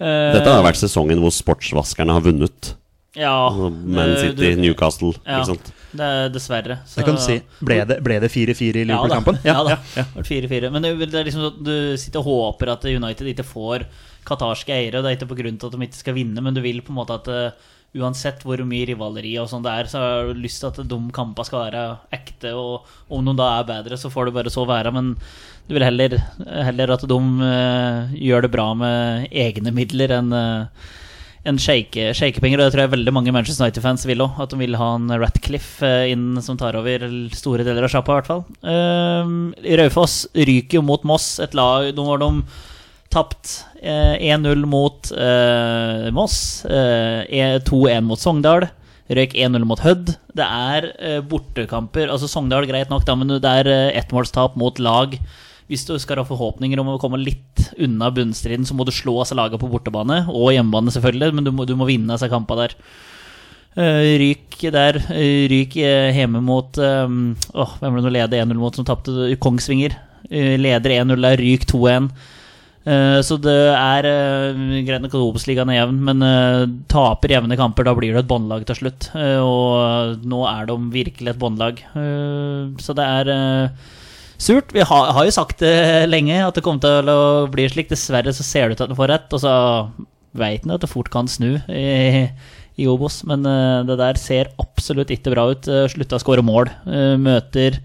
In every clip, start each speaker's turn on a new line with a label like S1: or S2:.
S1: Eh,
S2: Dette har vært sesongen hvor sportsvaskerne har vunnet.
S1: ja,
S2: Altså, Man
S1: eh,
S2: City,
S1: du-
S2: Newcastle,
S1: ja,
S2: ikke sant.
S1: Det er dessverre. Så,
S3: Det kan du si. Ble det ble det 4-4 i
S1: Ja da.
S3: Liverpool-kampen?
S1: Ja, da.
S3: ja, ja.
S1: Det ble 4-4. Men det, det er liksom sånn at du sitter og håper at United ikke får qatarske eiere. Det er ikke på grunn til at de ikke skal vinne, men du vil på en måte at eh, uansett hvor mye rivaleri og sånn det er, så har du lyst til at de kampene skal være ekte. Og om noen da er bedre, så får det bare så være. Men du vil heller, heller at de eh, gjør det bra med egne midler enn eh, enn shake, shakepenger, og det tror jeg veldig mange Manchester United-fans vil òg. At de vil ha en Ratcliffe eh, inn som tar over store deler av sjappa, i hvert fall. Ehm, Raufoss ryker jo mot Moss, et lag Nå har de tapt eh, 1-0 mot eh, Moss, eh, e- 2-1 mot Sogndal. Røyk 1-0 mot Hødd. Det er eh, bortekamper. Altså Sogndal greit nok, da, men det er eh, ettmålstap mot lag. Hvis du skal ha forhåpninger om å komme litt unna bunnstriden, så må du slå disse lagene på bortebane, og hjemmebane selvfølgelig, men du må, du må vinne disse kampene der. Eh, ryk der. eh, ryk eh, hjemme mot eh, åh, Hvem var det nå leder 1-0 mot som tapte? Kongsvinger. Eh, leder 1-0 der, ryk 2-1. Eh, Så det er eh, greit nok at Obos-ligaen er jevn, men eh, taper jevne kamper, da blir det et båndlag til slutt. Eh, Og nå er de virkelig et båndlag. Eh, Så det er eh, surt. Vi har, har jo sagt det lenge, at det kommer til å bli slik. Dessverre så ser det ut til at en får rett, og så veit en at det fort kan snu i, i Obos. Men eh, det der ser absolutt ikke bra ut. Eh, Slutta å skåre mål. Eh, Møter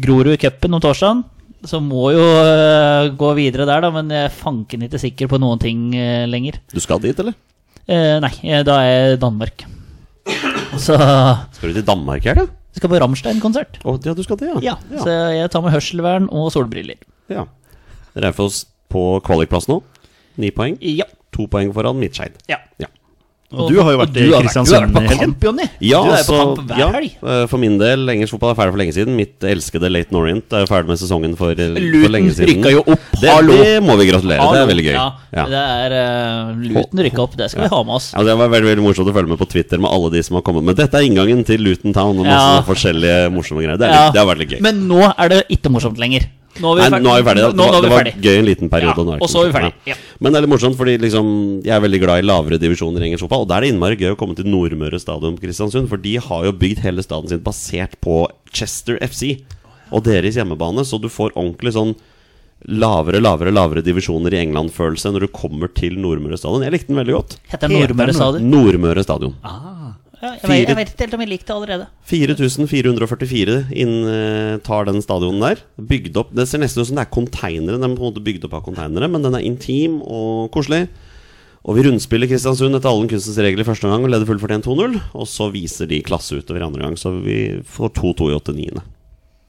S1: Grorud i cupen om torsdagen. Så må jo eh, gå videre der, da, men jeg er fanken ikke sikker på noen ting eh, lenger.
S2: Du skal dit, eller?
S1: Eh, nei, eh, da er jeg i Danmark. Så
S2: Skal du til Danmark i helga?
S1: skal på Rammstein-konsert.
S2: Å, ja, du skal det,
S1: Ja, så jeg tar med hørselvern og solbriller.
S2: Ja. Raufoss på kvalikplass nå. Ni poeng.
S1: Ja.
S2: To poeng foran Midtskeid.
S1: ja.
S3: Og du har jo vært i
S1: du har
S3: Kristiansund i
S1: vært på
S3: helgen.
S1: kamp, Jonny.
S2: Ja,
S1: du er
S2: altså,
S1: på kamp hver
S2: ja,
S1: helg.
S2: eh, for min del, engelsk fotball er ferdig for lenge siden. Mitt elskede Laton Orient er ferdig med sesongen for, eh, for
S1: Luton
S2: lenge siden.
S1: rykka jo opp.
S2: Det,
S1: Hallo.
S2: det må vi gratulere. Det
S1: Hallo.
S2: er veldig gøy.
S1: Ja,
S2: Ja.
S1: Det er eh, Luton rykka opp. Det skal vi ha med oss.
S2: Ja, det var veldig, veldig morsomt å følge med på Twitter med alle de som har kommet. Men dette er inngangen til Luton Town og masse
S1: Ja.
S2: forskjellige morsomme greier. Det, er
S1: Ja.
S2: litt, det har vært litt gøy.
S1: Men nå er det ikke morsomt lenger. Nå
S2: Nei, nå er vi ferdig. da.
S1: Nå, nå, er
S2: det
S1: vi
S2: var,
S1: ferdig.
S2: det var gøy en liten periode.
S1: Ja,
S2: nå det
S1: og så er vi
S2: ikke noe.
S1: ferdig. Ja.
S2: Men det er litt morsomt, fordi liksom, jeg er veldig glad i lavere divisjoner i engelsk fotball. Og da er det innmari gøy å komme til Nordmøre Stadion på Kristiansund, for de har jo bygd hele staden sin basert på Chester FC og deres hjemmebane, så du får ordentlig sånn lavere, lavere, lavere divisjoner i England-følelse når du kommer til Nordmøre Stadion. Jeg likte den veldig godt.
S1: Heter det Nordmøre Stadion?
S2: Nordmøre Stadion.
S1: Ja, jeg, vet,
S2: Fire.
S1: jeg vet ikke helt om jeg likte det allerede.
S2: 4444 inn, eh, tar den stadionen der. Bygd opp Det ser nesten ut som det er konteinere. Den er på en måte bygd opp av konteinere, men den er intim og koselig. Og vi rundspiller Kristiansund etter alle kunstens regler første gang og leder fullfortjent 2-0. Og så viser de klasse utover i andre gang, så vi får 2-2 i 89.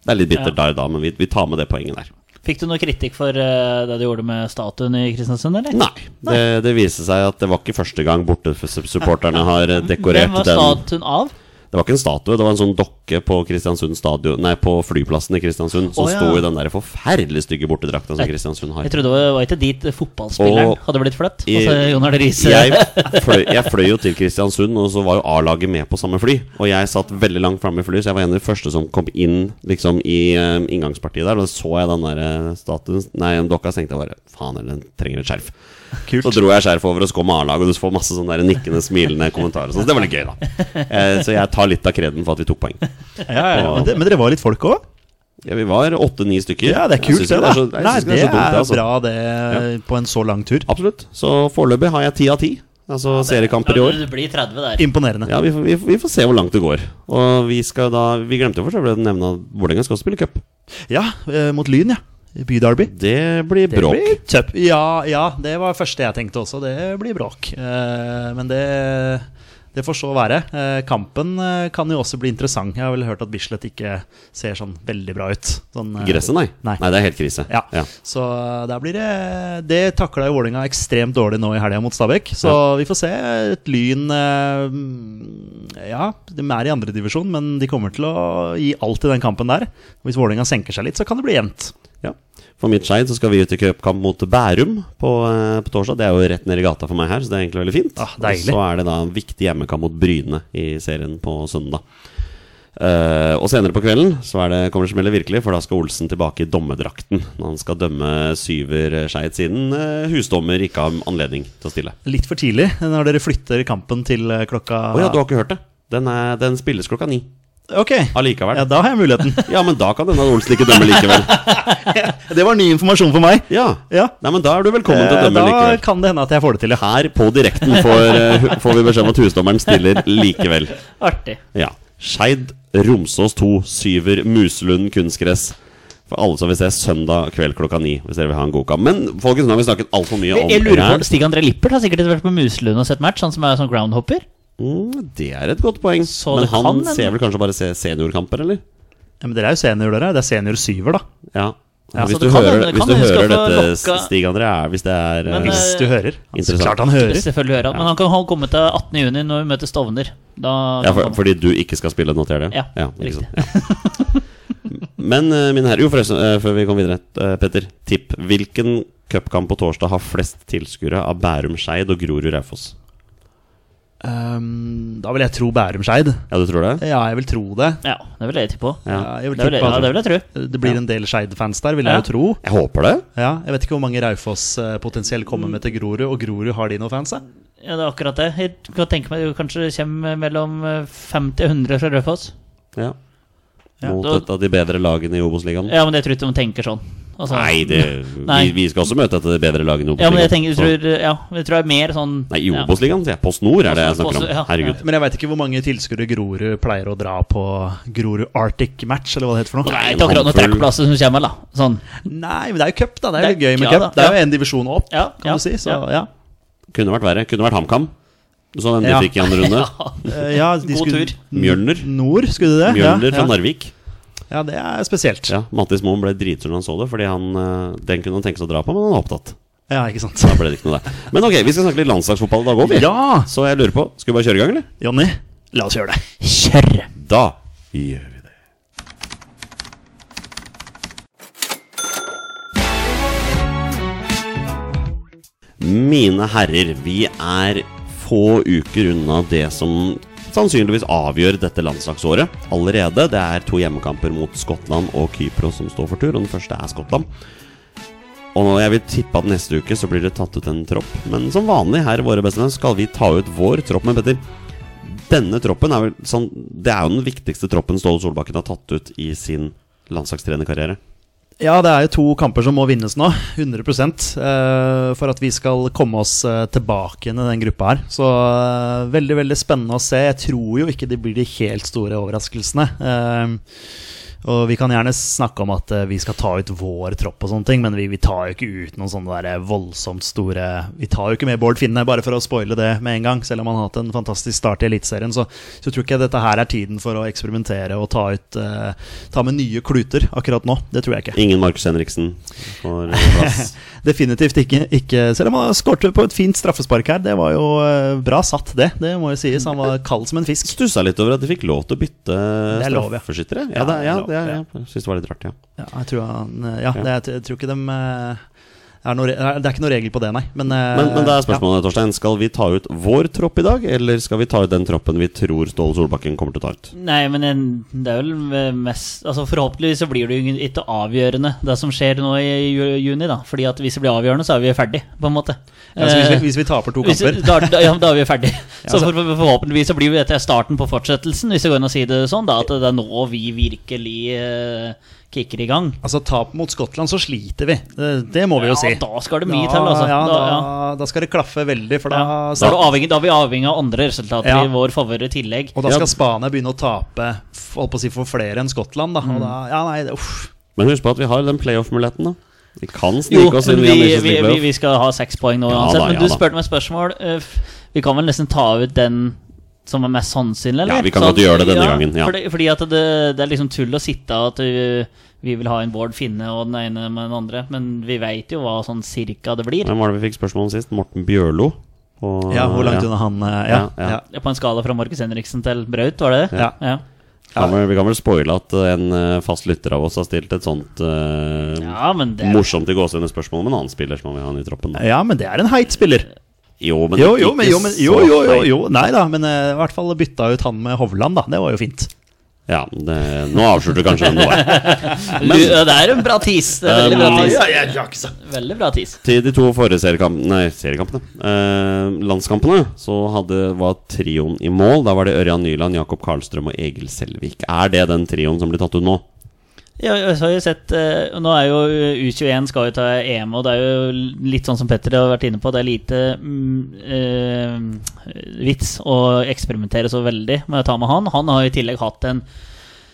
S2: Det er litt bittert der da, men vi, vi tar med det poenget der.
S1: Fikk du noe kritikk for eh, det du gjorde med statuen i Kristiansund, eller?
S2: Nei. Det, det viser seg at det var ikke første gang bortesupporterne har eh,
S1: Hvem
S2: dekorert
S1: var
S2: den.
S1: statuen av?
S2: Det var ikke en statue, det var en sånn dokke på Kristiansund stadion Nei, på flyplassen i Kristiansund som
S1: Å, ja.
S2: sto i den der forferdelig stygge bortedrakta som Kristiansund har.
S1: Jeg trodde det var ikke dit fotballspilleren
S2: Og-
S1: hadde blitt flyttet.
S2: I-
S1: Altså Jon Arne Riise.
S2: Jeg fløy, jeg fløy jo til Kristiansund, og så var jo A-laget med på samme fly. Og jeg satt veldig langt framme i flyet, så jeg var en av de første som kom inn liksom i eh, inngangspartiet der. Og da så jeg den der eh, statuen Nei, den dokka, så tenkte jeg bare faen eller den trenger et skjerf. Så dro jeg skjerf over og så kom A-laget, og du får masse sånne der nikkende, smilende kommentarer. og sånn, Så det var litt gøy, da. Eh, Så jeg tar litt av kreden for at vi tok poeng.
S3: Ja, ja, ja. Men, det, men dere var litt folk òg?
S2: Ja, vi var åtte-ni stykker.
S3: Ja, det er
S2: Jeg
S3: kult,
S2: syns
S3: det.
S2: ikke
S3: da
S2: så- jeg
S3: Nei,
S2: syns ikke
S3: det
S2: så dumt,
S3: er
S2: altså.
S3: bra, det, på en så lang tur.
S2: Absolutt. Så foreløpig har jeg ti av ti. Altså seriekamper i
S1: Ja,
S2: år.
S1: Du blir 30 der.
S3: Imponerende.
S2: Ja, vi, får- vi, får- vi får se hvor langt det går. Og vi skal da Vi glemte jo for så vidt å nevne at Vålerenga skal også spille cup.
S3: Ja, eh, mot Lyn, ja. Byderby.
S2: Det blir
S3: Det
S2: bråk.
S3: blir tøpp. Ja, ja, det var første jeg tenkte også. Det blir bråk. Eh, men det, det får så være. Eh, kampen eh, kan jo også bli interessant. Jeg har vel hørt at Bislett ikke ser sånn veldig bra ut. Sånn, eh,
S2: Gresset, nei.
S3: Nei.
S2: det er helt krise.
S3: Ja.
S2: Ja.
S3: Så eh, der blir det Det takla jo Vålerenga ekstremt dårlig nå i helga mot Stabæk. Så vi får se. Et Lyn eh, Ja, de er i andredivisjon, men de kommer til å gi alt i den kampen der. Hvis Vålerenga senker seg litt, så kan det bli jevnt.
S2: Ja. For mitt skeid så skal vi ut i cupkamp mot Bærum på, eh, på torsdag. Det er jo rett ned i gata for meg her, så det er egentlig veldig fint.
S3: Ah, deilig.
S2: Og så er det da en viktig hjemmekamp mot Bryne i serien på søndag. Eh, og senere på kvelden så er det, kommer det smelle virkelig, for da skal Olsen tilbake i dommerdrakten. Når han skal dømme syver Skeid siden eh, husdommer ikke har anledning til å stille.
S3: Litt for tidlig eh, når dere flytter kampen til eh, klokka
S2: Å ja, du har ikke hørt det? Den, er, den spilles klokka ni
S3: Ok, ja,
S2: allikevel.
S3: da har jeg muligheten.
S2: Ja, men da kan denne Olsen ikke dømme likevel.
S3: Det var ny informasjon for meg.
S2: Ja.
S3: Ja.
S2: Nei, men da er du velkommen til å
S3: Eh,
S2: dømme
S3: Da
S2: likevel.
S3: kan det hende at jeg får det til, ja.
S2: Her på direkten får, eh, hu- får vi beskjed om at husdommeren stiller likevel.
S1: Artig.
S2: Ja. Skeid, Romsås 2, Syver, Muselund, kunstgress. For alle som vil se søndag kveld klokka ni. Hvis dere vil ha en god kamp. Men folkens, nå har vi snakket altfor mye om
S1: Jeg lurer på
S2: Rern.
S1: Stig André Lippert har sikkert vært på Muselund og sett match, han som er sånn groundhopper.
S2: Mm, det er et godt poeng.
S1: Så
S2: Men
S1: det kan
S2: han
S1: hende.
S2: ser vel kanskje bare se seniorkamper, eller?
S3: ja. Men dere er jo senior, dere. Det er senior syver, da.
S2: Ja.
S3: Ja,
S2: hvis
S1: så
S2: du
S1: det kan
S2: hører,
S1: hende- det
S2: hvis
S1: kan
S2: du
S1: hende vi skal
S2: hører
S1: få
S2: dette,
S1: lokka-
S2: Stig André, er, hvis det er
S1: Men,
S2: eh,
S1: eh,
S3: Hvis du hører. Så
S2: Interessant.
S3: klart han hører.
S1: Selvfølgelig hører han. Men han kan ha- komme til 18. juni når vi møter Stovner. Da
S2: Ja,
S1: kan
S2: for,
S1: han komme.
S2: fordi du ikke skal spille, noter det?
S1: Ja,
S2: ikke sant? Ja. Men eh, min herre, jo forresten, eh, før vi kom videre, eh, Petter. Tipp. Hvilken cupkamp på torsdag har flest tilskuere av Bærum Skeid og Grorud Raufoss?
S3: Ehm, da vil jeg tro Bærum Skeid.
S2: Ja, du tror det?
S3: Ja, jeg vil tro det.
S1: ja, det vil jeg tippe på.
S2: Ja.
S3: Ja, jeg vil
S1: Det vil jeg,
S3: tippe
S1: ja,
S3: at
S1: det vil jeg tro.
S3: det blir en del Skeid-fans der, vil jeg
S1: Ja.
S3: jo tro.
S2: Jeg håper det.
S3: Ja, jeg vet ikke hvor mange Raufoss eh, potensielt kommer med til Grorud, og Grorud har de noen fans? da?
S1: Ja, det er akkurat det. Jeg kan tenke meg det kanskje kommer mellom eh, 50 og 100 fra Raufoss.
S2: Ja.
S1: Ja.
S2: Mot
S1: Da-
S2: et av de bedre lagene i Obos-ligaen.
S1: Ja, men jeg tror ikke de tenker sånn. Altså-
S2: Nei, det,
S1: Nei.
S2: Vi, vi skal også møte et av de bedre lagene i
S1: Ja, men jeg tenker,
S2: Obos-ligaen.
S1: jeg tror, ja, jeg tror det er mer sånn
S2: Så- Nei, i Obos-ligaen, sier jeg. Post Nord er det jeg
S1: Post-
S2: snakker om.
S1: ja.
S2: Herregud.
S3: Men jeg veit ikke hvor mange tilskuere Grorud pleier å dra på Grorud Arctic-match, eller hva det heter for noe.
S1: Nei, ikke akkurat noen
S2: Håndfull.
S1: trekkplasser som kommer, da. Sånn.
S3: Nei, men det er jo cup, da. Det er jo
S1: Det er-
S3: gøy med
S1: ja
S3: cup.
S1: da,
S3: Det er
S1: ja.
S3: jo en divisjon opp,
S1: Ja,
S3: kan
S1: ja,
S3: du si. Så
S1: ja.
S3: ja.
S2: Kunne vært verre. Kunne vært HamKam. Så den de
S3: Ja.
S2: fikk i andre runde.
S3: Eh, ja de
S1: God
S3: skulle-
S1: tur.
S2: Mjølner.
S3: Nord, skulle de det?
S2: Mjølner fra
S3: ja, ja.
S2: Narvik.
S3: ja, det er spesielt. Ja,
S2: Ja, Mattis Moen ble dritsur når han så det, fordi han, eh, den kunne han tenke seg å dra på, men han var opptatt.
S3: ikke sant.
S2: Da ble det ikke noe der. Men ok, vi skal snakke litt landslagsfotball i dag òg, vi.
S3: Ja,
S2: Så jeg lurer på, skal vi bare kjøre i gang, eller?
S3: Jonny. La oss gjøre det.
S1: Kjør!
S2: Da gjør vi det. Mine herrer, vi er få uker unna det som sannsynligvis avgjør dette landslagsåret allerede. Det er to hjemmekamper mot Skottland og Kypros som står for tur, og den første er Skottland. Og nå, Jeg vil tippe at neste uke så blir det tatt ut en tropp, men som vanlig her i Våre beste venner skal vi ta ut vår tropp med Petter. Denne troppen er vel sånn Det er jo den viktigste troppen Ståle Solbakken har tatt ut i sin landslagstrenerkarriere.
S3: Ja, det er jo to kamper som må vinnes nå, 100 eh, for at vi skal komme oss eh, tilbake igjen i den gruppa her. Så eh, veldig veldig spennende å se. Jeg tror jo ikke det blir de helt store overraskelsene. Eh, og vi kan gjerne snakke om at eh, vi skal ta ut vår tropp og sånne ting, men vi, vi tar jo ikke ut noen sånne der eh, voldsomt store Vi tar jo ikke med Bård Finne, bare for å spoile det med en gang. Selv om han har hatt en fantastisk start i Eliteserien, så, så tror ikke jeg dette her er tiden for å eksperimentere og ta, ut, eh, ta med nye kluter akkurat nå. Det tror jeg ikke.
S2: Ingen Markus Henriksen får plass.
S3: Definitivt ikke, ikke. Selv om han skårte på et fint straffespark her. Det var jo eh, bra satt, det. Det må jo sies. Han var kald som en fisk.
S2: Stussa litt over at de fikk lov til å bytte
S3: Det er lov, ja.
S2: straffeskyttere.
S3: Ja,
S2: Ja, det, ja,
S3: det er lov,
S2: det, ja, jeg syns det var litt rart, ja.
S3: Ja, jeg tror, han, eh, ja, det, jeg, tror ikke dem eh, er noe, re- Det er ikke noe regel på det, nei. Men, eh,
S2: Men, men da er
S3: ja.
S2: spørsmålet, Torstein, skal vi ta ut vår tropp i dag, eller skal vi ta ut den troppen vi tror Ståle Solbakken kommer til å ta ut?
S1: Nei, men en- det er vel mest Altså Forhåpentligvis så blir det jo ingen- ikke avgjørende, det som skjer nå i ju- juni. da Fordi at hvis det blir avgjørende, så er vi ferdig, på en måte.
S3: Ja, så hvis,
S1: Eh,
S3: vi, hvis vi taper to
S1: hvis-
S3: kamper
S1: da, da, ja, da er vi ferdig. Så
S3: altså-
S1: for, for, forhåpentligvis så blir jo dette starten på fortsettelsen, hvis det går an å si det sånn. da At det er nå vi virkelig eh, kicker i gang.
S3: Altså Tap mot Skottland, så sliter vi. Det, det må vi jo
S1: ja,
S3: si.
S1: Da skal det mye til, altså.
S3: Ja,
S1: Da-
S3: da,
S1: ja.
S3: da skal det klaffe veldig, for da,
S1: Ja. Da, er du avhengig, da er vi avhengig av andre resultater
S3: Ja.
S1: i vår favør i tillegg.
S3: Og da
S2: Ja.
S3: skal Spania begynne å tape f- holdt på å si, for flere enn Skottland. Da. Og da ja, nei, det, uff.
S2: Men husk på at vi har den playoff-muligheten, da. Vi kan
S1: Jo,
S2: snike oss inn
S1: men
S2: via
S1: vi,
S2: Nations
S1: vi,
S2: League
S1: vi,
S2: playoff.
S1: vi skal ha seks poeng nå
S2: Ja
S1: uansett.
S2: da, ja
S1: men du
S2: da.
S1: spurte meg spørsmål. eh, f- Vi kan vel nesten ta ut den som er mest sannsynlig, eller?
S2: Ja, vi kan
S1: Sånn,
S2: godt gjøre det denne gangen, ja.
S1: Fordi, fordi at det, det er liksom tull å sitte at vi, vi vil ha en Bård Finne og den ene med den andre, men vi veit jo hva sånn cirka det blir.
S2: Hvem var det vi fikk spørsmål om sist? Morten Bjørlo? Og-
S3: Ja, hvor langt unna han eh, Ja.
S2: Ja, ja.
S3: ja.
S1: På en skala fra Markus Henriksen til Braut, var det det?
S3: Ja.
S1: ja.
S2: Kan vel, vi kan vel spoile at eh, en eh, fast lytter av oss har stilt et sånt eh,
S1: Ja, men det
S2: morsomt i gåsehudespørsmål om en annen spiller som han vil ha inn i troppen. Da.
S3: ja, men det er en heit spiller.
S2: Jo, men,
S3: Jo,
S2: ikke
S3: jo, men, jo, men, jo,
S2: så
S3: jo, jo,
S2: feil.
S3: jo. Nei da, men eh, i hvert fall bytta ut han med Hovland, da. Det var jo fint.
S2: Ja, det, nå avslørte du kanskje hvem det var.
S1: Du, ja, det er en bra tis. Det er veldig bra
S2: Um,
S1: tis.
S2: Ja,
S1: Veldig bra tis.
S2: Til de to forrige seriekampene, nei, seriekampene eh, landskampene, så hadde, var trioen i mål. Da var det Ørjan Nyland, Jakob Karlstrøm og Egil Selvik. Er det den trioen som blir tatt ut nå?
S1: Ja, jeg har jo sett eh, Nå er jo U21 skal jo ta EM, og det er jo litt sånn som Petter har vært inne på. Det er lite mm, eh, vits å eksperimentere så veldig med å ta med han. Han har jo i tillegg hatt en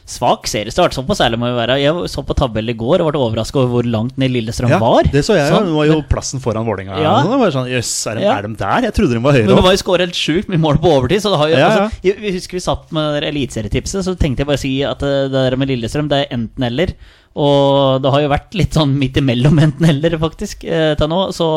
S1: svak seriestart. Såpass ærlig må vi være. Jeg så på tabell i går og ble overraska over hvor langt ned Lillestrøm var.
S3: det så jeg jo.
S1: Sånn.
S3: Det var jo plassen foran Vålerenga.
S1: Ja.
S3: Det var sånn, Jøss, er, de-
S1: Ja.
S3: er de der? Jeg trodde de var høyere
S1: Men det
S3: opp.
S1: var jo skåret helt sjukt med mål på overtid. Så det har
S3: Ja,
S1: jo,
S3: ja.
S1: Altså, jeg, jeg husker vi satt med det der eliteserietipset, så tenkte jeg bare å si at eh, det der med Lillestrøm, det er enten-eller. Og det har jo vært litt sånn midt imellom enten-eller, faktisk, eh, til nå. Så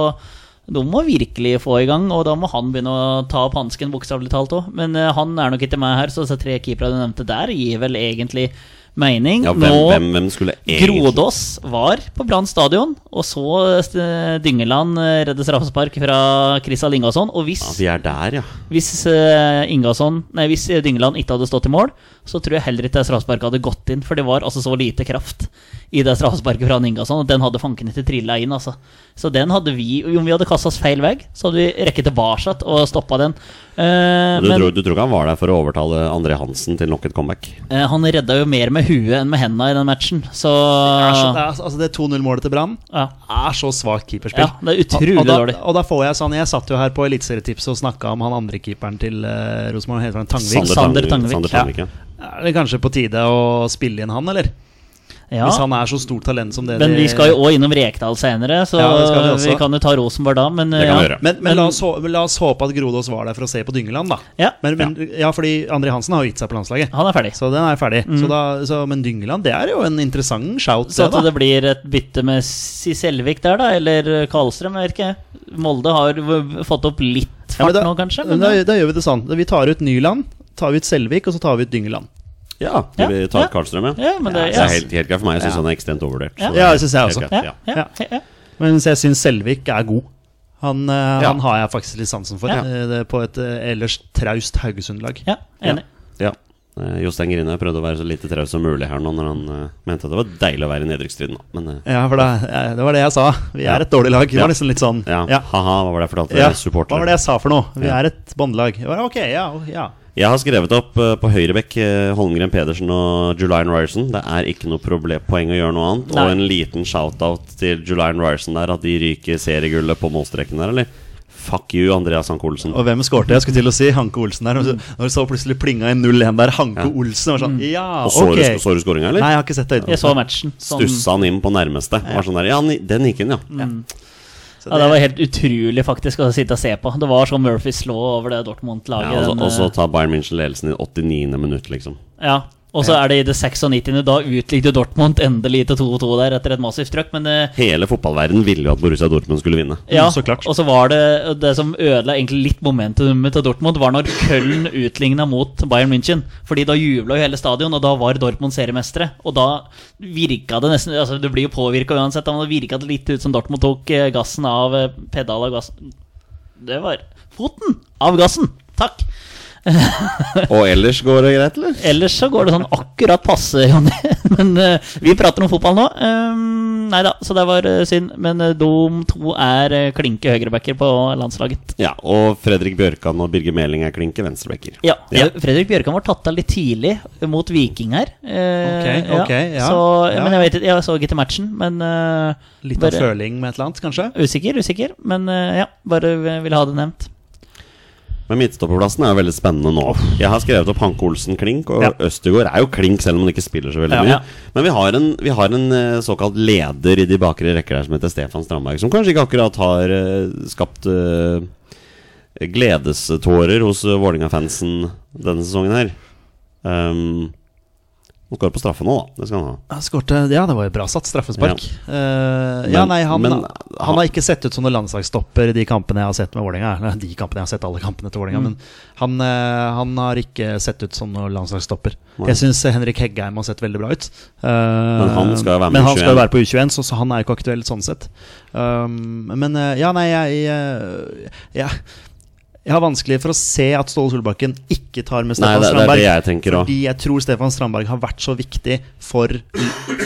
S1: de må virkelig få i gang, og da må han begynne å ta opp hansken, bokstavelig talt òg. Men eh, han er nok ikke med her, så disse tre keeperne du nevnte der, gir vel egentlig mening.
S2: Ja, hvem, hvem, hvem skulle egentlig
S1: Grodås var på Brann stadion, og så eh, Dyngeland eh, redde straffespark fra Christian Ingasson. Og hvis,
S2: Ja, vi er der, ja.
S1: hvis, eh, Ingasson, nei, hvis eh, Dyngeland ikke hadde stått i mål, så tror jeg heller ikke det straffesparket hadde gått inn. For det var altså så lite kraft i det straffesparket fra han Ingasson, og den hadde fanken ikke trilla inn. Altså. Så den hadde vi Om vi hadde kasta oss feil vei, så hadde vi rekket tilbake og stoppa den. Eh,
S2: Du, tror, du tror ikke han var der for å overtale André Hansen til nok et comeback?
S1: eh, han redda jo mer med huet enn med henda i den matchen, så
S3: Det er så- det er- Altså, det 2-0-målet til Brann
S1: ja.
S3: er så svakt keeperspill.
S1: Ja, det er utrolig
S3: og, og da,
S1: dårlig.
S3: Og da får jeg sånn Jeg satt jo her på Eliteserietipset og snakka om han andre keeperen til uh, Rosenborg, heter han Tangvik.
S1: Sander Tangvik.
S2: Sander Tangvik ja.
S3: Er det kanskje på tide å spille inn han, eller?
S1: Ja.
S3: Hvis han er så stort talent som det
S1: Men
S3: de-
S1: vi skal jo òg innom Rekdal senere, så
S3: Ja, det skal vi
S1: vi,
S3: også.
S1: kan jo ta Rosenborg da. Men, eh,
S2: Det kan vi
S1: ja.
S2: gjøre.
S3: Men, men, la, oss, hå- la oss håpe at Grodås var der for å se på Dyngeland, da.
S1: Ja.
S3: Men, men, ja. fordi André Hansen har jo gitt seg på landslaget.
S1: Han er ferdig.
S3: Så den er ferdig. Så da, så, men Dyngeland, det er jo en interessant shout.
S1: Mm. Så at
S3: det,
S1: det blir et bytte med Siselvik der, da, eller Karlstrøm, jeg vet ikke. Molde har v- fått opp litt
S3: da. Ja, men
S1: fart
S3: da,
S1: nå, kanskje.
S3: men
S1: Men
S3: da,
S1: ja.
S3: da gjør vi det sånn. Vi tar ut Nyland, tar vi ut Selvik, og så tar vi ut Dyngeland.
S2: Ja,
S1: Ja,
S2: vi tar
S1: ja.
S2: Karlstrøm, ja.
S1: Ja, men
S2: så det
S1: det-
S2: er
S1: ja.
S2: helt, helt greit for meg. Jeg syns han er ekstremt overvurdert.
S1: Ja.
S2: så
S3: Ja, det synes jeg
S2: helt
S3: også.
S2: greit,
S1: Ja, ja, ja.
S3: Mens jeg syns Selvik er god. Han, eh,
S2: Ja.
S3: han har jeg faktisk litt sansen for,
S1: Ja.
S3: eh, det, på et eh, ellers traust Haugesund-lag.
S1: Ja, enig.
S2: Ja. Eh, Jostein Grine prøvde å være så lite traus som mulig her nå når han eh, mente at det var deilig å være i nedrykksstriden. da. Men eh,
S3: Ja, for da, eh, det var det jeg sa. Vi
S2: Ja.
S3: er et dårlig lag. Det
S2: Ja.
S3: var nesten litt sånn
S2: ja,
S3: ja.
S2: ha-ha, hva var det jeg fortalte
S3: Ja,
S2: supportere?
S3: Hva var det jeg sa for noe? Vi
S2: Ja.
S3: er et båndlag. Jeg bare, Ok, ja, ja.
S2: Jeg har skrevet opp eh, på høyrebekk eh, Holmgren Pedersen og Julian Ryerson. Det er ikke noe problem, poeng å gjøre noe annet.
S1: Nei.
S2: Og en liten shout-out til Julian Ryerson der, at de ryker seriegullet på målstreken der, eller? Fuck you, Andreas Hanke Olsen.
S3: Og hvem skårte? Jeg skulle til å si Hanke Olsen der. og så- Når du så plutselig plinga i 0-1 der, Hanke
S2: Ja.
S3: Olsen var sånn Ja,
S2: Og så
S3: ok.
S2: du, så du skåringa, eller?
S3: Nei, jeg har ikke sett det.
S1: Jeg så matchen. Sånn,
S2: Stussa han inn på nærmeste. Var sånn der, ja, ni- den gikk inn, ja.
S3: Så
S1: ja, det var helt utrolig faktisk å sitte og se på. Det var sånn Murphys lå over det Dortmund-laget.
S2: ja og så-
S1: den,
S2: og så
S1: eh,
S2: tar Bayern München ledelsen i 89. minutt, liksom.
S1: ja. Og så er det i det 96. Da utlignet Dortmund endelig til 2-2 der etter et massivt trøkk. Men eh,
S2: Hele fotballverdenen ville jo at Borussia Dortmund skulle vinne.
S1: Ja,
S3: Mm, så klart.
S1: og så var det det som ødela egentlig litt momentumet til Dortmund, var når Köln utligna mot Bayern München. Fordi da jubla jo hele stadion, og da var Dortmund seriemestere. Og da virka det nesten altså Du blir jo påvirka uansett, men det virka det litt ut som Dortmund tok eh, gassen av eh, pedal av gassen Det var foten av gassen! Takk!
S2: Og ellers går det greit, eller?
S1: Ellers så går det sånn akkurat passe, Jonny. Men eh, vi prater om fotball nå. Um, nei da, så det var eh, synd. Men uh, de to er eh, klinke høyrebacker på landslaget.
S2: Ja, og Fredrik Bjørkan og Birger Meling er klinke venstrebacker.
S1: Ja,
S2: Ja.
S1: Fredrik Bjørkan var tatt av litt tidlig mot Viking her. Eh,
S3: Ok, ok, ja.
S1: Så,
S3: Ja.
S1: Men jeg vet ikke, jeg så ikke til matchen. Men eh,
S3: Litt av
S1: bare,
S3: føling med et eller annet, kanskje?
S1: Usikker, usikker. Men eh, ja, bare ville ha det nevnt.
S2: Men midtstopperplassen er jo veldig spennende nå. Jeg har skrevet opp Hanke Olsen klink, og
S3: Ja.
S2: Østegård er jo klink selv om han ikke spiller så veldig
S3: Ja.
S2: mye.
S3: Ja.
S2: Men vi har, en, vi har en eh, såkalt leder i de bakre rekker der som heter Stefan Strandberg, som kanskje ikke akkurat har eh, skapt eh, gledestårer hos eh, Vålerenga-fansen denne sesongen her. Um, han skårer på straffe nå, da. Det skal han ha.
S3: Han skårte Ja, det var jo bra satt straffespark. Ja, ja
S2: Men-
S3: nei, han,
S2: men-
S3: han har ikke sett ut som noen landslagsstopper i de kampene jeg har sett med Vålerenga. Nei, De kampene jeg har sett alle kampene til
S2: Mm.
S3: Vålerenga, men han, eh, han har ikke sett ut som noen landslagsstopper.
S2: Nei.
S3: Jeg syns Henrik Heggheim har sett veldig bra ut. Eh, men
S2: han skal jo være med i
S3: han skal
S2: 21.
S3: jo være på U21, så, så han er jo ikke aktuell sånn sett. Um, men eh, ja, nei, jeg jeg- jeg, jeg har vanskelig for å se at Ståle Solbakken ikke tar med
S2: Nei,
S3: Stefan
S2: det, det er
S3: Strandberg.
S2: det jeg tenker òg.
S3: Fordi jeg tror Stefan Strandberg har vært så viktig for,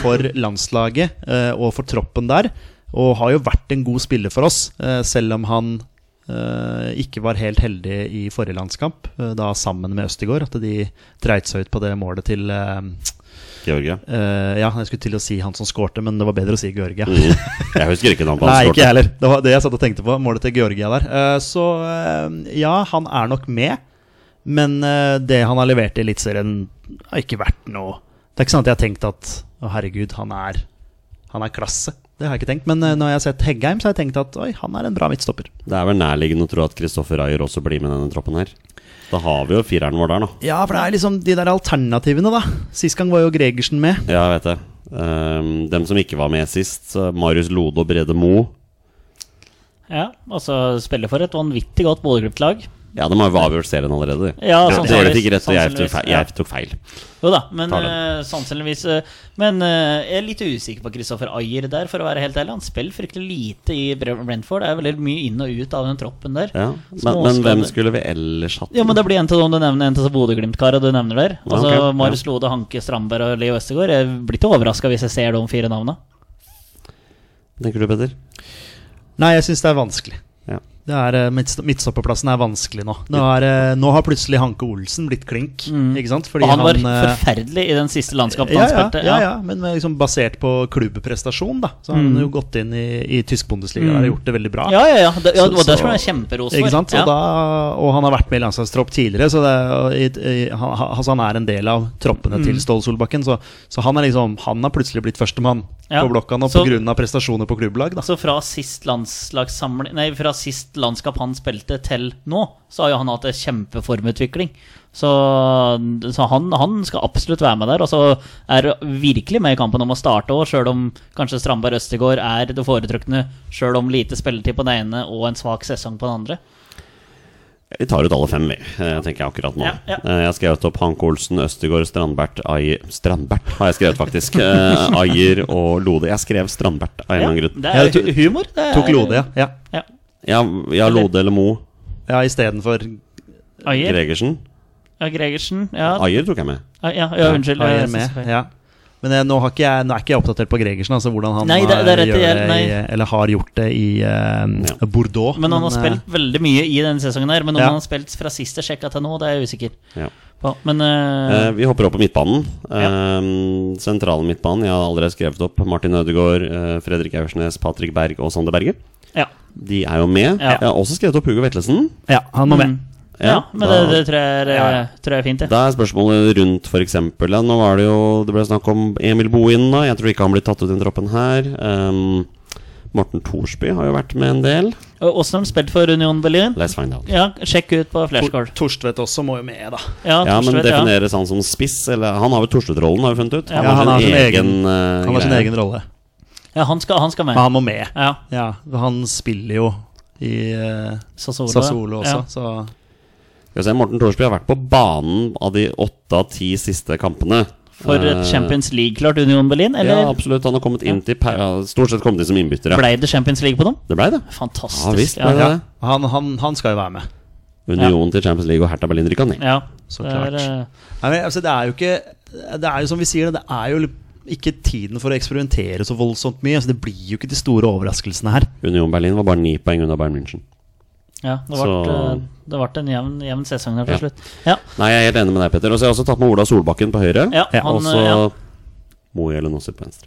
S3: for landslaget eh, og for troppen der. Og har jo vært en god spiller for oss, eh, selv om han eh, ikke var helt heldig i forrige landskamp, eh, da sammen med Østegård. At de dreit seg ut på det målet til eh,
S2: Georgia.
S3: eh, Ja, jeg skulle til å si han som skårte, men det var bedre å si Georgia.
S2: Mm. Jeg husker ikke navnet på
S3: Nei,
S2: han
S3: ikke jeg
S2: skåret.
S3: heller. Det var det jeg satt og tenkte på. Målet til Georgia der. Eh, Så eh, ja, han er nok med. Men eh, det han har levert i Eliteserien, har ikke vært noe Det er ikke sånn at jeg har tenkt at å herregud, han er, han er klasse. Det har jeg ikke tenkt. Men eh, når jeg har sett Heggheim, så har jeg tenkt at oi, han er en bra midtstopper.
S2: Det er vel nærliggende å tro at Kristoffer Ayer også blir med i denne troppen her. Da har vi jo fireren vår der, da.
S3: Ja, for det er liksom de der alternativene, da. Sist gang var jo Gregersen med.
S2: Ja, jeg vet det. Ehm, dem som ikke var med sist, eh, Marius Lode og Brede Mo
S1: Ja, altså spiller for et vanvittig godt Bodø-Glimt-lag.
S2: Ja, de har jo avgjort serien allerede. de.
S1: Ja,
S2: det var litt ikke rett, og jeg tok
S1: sannsynligvis,
S2: feil.
S1: ja.
S2: Jeg tok feil.
S1: Jo da, men
S2: Tar den.
S1: eh, sannsynligvis eh, Men eh, jeg er litt usikker på Christopher Ayer der, for å være helt ærlig. Han spiller fryktelig lite i Bre- Brentford. Det er veldig mye inn og ut av den troppen der.
S2: Ja. Men, men hvem skulle vi ellers hatt?
S1: Ja, men det blir en til dem du nevner, en til så Bodø-Glimt-kara du nevner der.
S2: Ja,
S1: Altså
S2: ok,
S1: Marius Lode, Hanke Strandberg og Leo Østegård. Jeg blir ikke overraska hvis jeg ser de fire navna.
S2: Tenker du, Petter?
S3: Nei, jeg syns det er vanskelig.
S2: Ja.
S3: Det er, eh, midtsto- Midtstopperplassen er vanskelig nå. Nå, er, eh, nå har plutselig Hanke Olsen blitt klink. Ikke sant? Fordi
S1: Og han var
S3: eh,
S1: forferdelig i den siste landskampen
S3: ja,
S1: han
S3: ja,
S1: spilte.
S3: ja, ja, men med liksom basert på klubbprestasjon, da. Så har han jo gått inn i, i tysk Bundesliga der og gjort det veldig bra.
S1: Mm. ja, ja, ja. Det, ja
S3: Så-
S1: og der skal han ha
S3: så-
S1: kjemperos
S3: Ikke
S1: for.
S3: sant? Og,
S1: Ja.
S3: da, og han har vært med i landslagstropp tidligere, så det, og i, i, han, altså han er en del av troppene
S1: Mm.
S3: til Ståle Solbakken. Så, så han, er liksom, han har plutselig blitt førstemann
S1: Ja.
S3: på blokka nå
S1: Så-
S3: pga. prestasjoner på klubblag. Da.
S1: Så fra sist landslagssamling Nei, fra sist landskap han spilte til nå, så har jo han hatt en kjempeformutvikling. Så, så han, han skal absolutt være med der. Og så er virkelig med i kampen om å starte òg, sjøl om kanskje Strandberg Østegård er det foretrukne, sjøl om lite spilletid på den ene og en svak sesong på den andre.
S2: Vi tar ut alle fem, vi, eh, tenker jeg akkurat nå.
S1: Ja, ja.
S2: Eh, Jeg har skrevet opp Hanke Olsen, Østegård, Strandbert, Ayer Strandbert har jeg skrevet, faktisk. Eh, Ayer og Lode. Jeg skrev Strandbert av en eller annen grunn.
S1: det er
S3: Ja, det
S1: hu- humor. Det er,
S3: Tok Lode, ja. ja.
S1: Ja.
S2: Ja, ja Lode eller Mo
S3: Ja, istedenfor
S1: Ayer?
S2: Gregersen.
S1: Ja, Gregersen. Ja,
S2: Ayer tok jeg med.
S1: ja, ja, ja unnskyld. jeg
S3: Ayer
S1: synes
S3: med.
S1: det er feil.
S3: Ja. Men jeg, nå, har ikke jeg, nå er ikke jeg oppdatert på Gregersen, altså hvordan han
S1: Nei, det- det er
S3: eh,
S1: rett,
S3: gjør det i,
S1: jeg- nei.
S3: eller har gjort det i eh,
S2: Ja.
S3: Bordeaux.
S1: Men han har
S3: eh,
S1: spilt veldig mye i denne sesongen her. Men om
S3: Ja.
S1: han har spilt fra sist jeg sjekka til nå, det er jeg usikker
S2: Ja.
S1: på. Men eh,
S2: Eh, vi hopper opp på midtbanen. Eh, sentrale midtbanen. Jeg har allerede skrevet opp Martin Ødegaard, eh, Fredrik Aursnes, Patrick Berg og Sander Berge.
S1: ja.
S2: De er jo med.
S1: Ja.
S2: Jeg har også skrevet opp Hugo Vetlesen.
S3: Ja, han må med.
S1: Mm. Ja, men det,
S2: da-
S1: det tror, jeg er, eh,
S3: Ja.
S1: tror jeg er fint, det.
S2: Da er spørsmålet rundt f.eks. Ja, nå var det jo Det ble snakk om Emil Bohin, da. Jeg tror ikke han blir tatt ut i den troppen her. Ehm, Morten Thorsby har jo vært med en del.
S1: Og Åssen har han spilt for Union Berlin?
S2: Let's find out.
S1: Ja, sjekk ut på flashcard.
S3: Tor- Torstvedt også må jo med, da.
S1: Ja,
S2: Ja, men
S1: Torstvedt, ja.
S2: defineres han som spiss? Eller han har vel Thorstvedt-rollen, har vi funnet ut?
S1: Ja,
S2: har
S3: han har
S2: sin
S3: sin egen-
S2: eh,
S3: Han har sin
S2: greie.
S3: egen rolle.
S1: ja, han skal, han skal med.
S3: Men han må med.
S1: Ja,
S3: Ja, han spiller jo i eh,
S1: Sassuolo,
S3: Sassuolo også,
S1: Ja.
S3: så
S2: Skal vi se, Morten Thorsby har vært på banen av de åtte av ti siste kampene.
S1: For et
S2: Eh,
S1: Champions League-klart Union Berlin,
S2: Ja,
S1: eller
S2: absolutt. Han har kommet inn til per- ja, Stort sett kommet inn som innbytter, ja.
S1: ble det Champions League på dem?
S2: Det blei det.
S1: Fantastisk.
S2: Ja visst.
S1: ja,
S2: ble det
S1: ja.
S2: det.
S3: han, han, han skal jo være med.
S2: Union til Champions League og Hertha Berlin rykka ned.
S1: ja.
S3: Så
S1: det
S3: klart.
S1: er, eh,
S3: Nei, men, altså, det er jo ikke Det er jo som vi sier, det det er jo litt- ikke tiden for å eksperimentere så voldsomt mye. Altså, det blir jo ikke de store overraskelsene her.
S2: Union Berlin var bare ni poeng unna Bayern München.
S1: ja, det ble,
S2: Så-
S1: eh, det ble en jevn, jevn sesong der
S2: Ja.
S1: til slutt. Ja,
S2: Nei, jeg er helt enig med deg, Petter. Og så har jeg også tatt med Ola Solbakken på høyre.
S1: ja,
S3: Ja,
S1: han,
S2: og så
S1: eh, ja.
S2: Mo Jelenossi på venstre.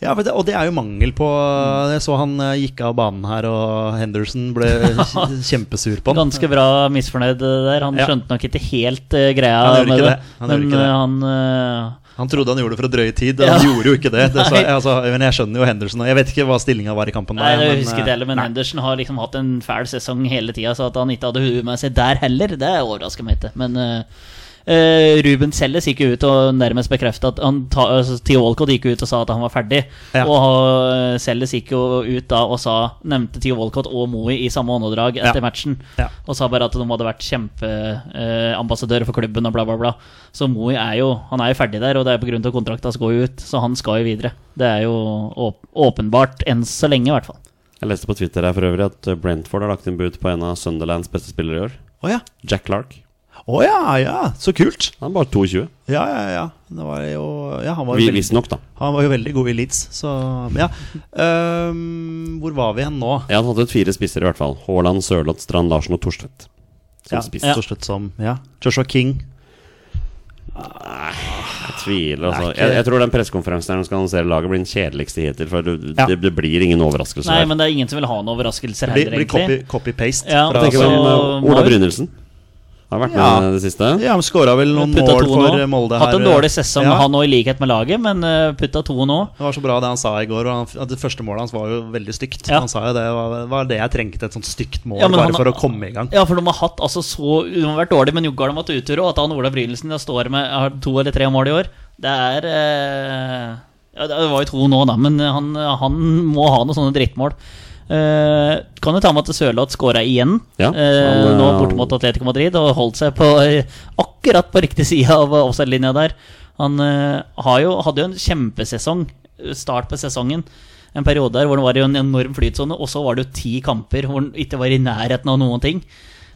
S3: Ja, men det, Og det er jo mangel på
S1: Mm.
S3: Jeg så han eh, gikk av banen her, og Henderson ble kjempesur på han.
S1: Ganske bra misfornøyd eh, der. Han
S3: Ja.
S1: skjønte nok ikke helt eh, greia
S3: Han gjorde
S1: med
S3: ikke
S1: det.
S3: det. Han gjorde ikke
S1: men
S3: det.
S1: eh, han eh,
S3: Han trodde han gjorde det for å drøye tid, og han
S1: Ja.
S3: gjorde jo ikke det. det så,
S1: Nei.
S3: altså, men jeg skjønner jo Henderson. og Jeg vet ikke hva stillinga var i kampen.
S1: Nei,
S3: der,
S1: det
S3: men,
S1: husker jeg
S3: eh,
S1: ikke heller, men Henderson har liksom hatt en fæl sesong hele tida, så at han ikke hadde huet med seg der heller, det overrasker meg ikke. Men eh, eh, Ruben Selles gikk jo ut og nærmest bekrefta at han ta, altså, Theo Walcott gikk jo ut og sa at han var ferdig.
S3: Ja.
S1: Og uh, Selles gikk jo ut da og sa nevnte Theo Walcott og Moe i samme åndedrag etter
S3: Ja.
S1: matchen.
S3: Ja.
S1: Og sa bare at de hadde vært kjempeambassadører for klubben og bla, bla, bla. Så Moe er jo han er jo ferdig der, og det er pga. kontrakta som går ut, så han skal jo videre. Det er jo åp åpenbart enn så lenge, i hvert fall.
S2: Jeg leste på Twitter her for øvrig at eh, Brentford har lagt inn bud på en av Sunderlands beste spillere i år.
S3: Å ja.
S2: Jack Clark.
S3: Å ja, ja. Så kult.
S2: Han er bare 22.
S3: Ja, ja, ja. Det var jo, ja han, var jo
S2: Vi-
S3: veldig,
S2: Visstnok, da.
S3: han var jo veldig god i Leeds, så Ja. Ehm, hvor var vi hen nå?
S2: Jeg hadde tatt ut fire spisser, i hvert fall. Haaland, Sørloth, Strand, Larsen og Thorstvedt. Som
S3: Ja,
S2: spiss.
S3: til slutt som ja. Joshua King.
S2: Jeg tviler, altså.
S3: Det er ikke-
S2: Jeg, jeg tror den pressekonferansen der de skal annonsere laget, blir den kjedeligste hittil. For det,
S3: Ja.
S2: det, det blir ingen overraskelser
S1: Nei,
S2: der.
S1: men det er ingen som vil ha noen overraskelser
S3: Blir
S1: heller,
S3: blir
S1: egentlig.
S3: copy- copy-paste.
S1: Ja,
S3: fra-
S1: tenker
S2: Tenker vi om
S1: altså,
S2: eh, Ola
S1: Moi-
S2: Brynildsen. Har vært
S3: Ja.
S2: med i det siste.
S3: ja, han skåra vel noen
S1: Putta
S3: mål
S1: to
S3: for
S1: nå.
S3: Molde her. eh,
S1: Hatt en dårlig sesong,
S3: Ja.
S1: han òg, i likhet med laget, men eh, putta to nå.
S3: Det var så bra det han sa i går. Og han, at det første målet hans var jo veldig stygt.
S1: Ja.
S3: Han sa jo det var, var det jeg trengte, et sånt stygt mål,
S1: Ja, men
S3: bare
S1: han-
S3: for å komme i gang.
S1: Ja, for de har hatt altså så De har vært dårlige, men Joggard har vært utur, og at han Ola Brynildsen da står med har to eller tre mål i år, det er eh, ja, Det var jo to nå, da, men han, han må ha noen sånne drittmål. Eh, kan jo ta med at Sørloth skåra igjen,
S2: Ja,
S1: eh,
S2: han,
S1: nå
S2: eh,
S1: borte mot Atletico Madrid, og holdt seg på eh, akkurat på riktig side av eh, offside-linja der. Han eh, har jo, hadde jo en kjempesesong, eh, start på sesongen. En periode der hvor han var i en enorm flytsone, og så var det jo ti kamper hvor han ikke var i nærheten av noen ting.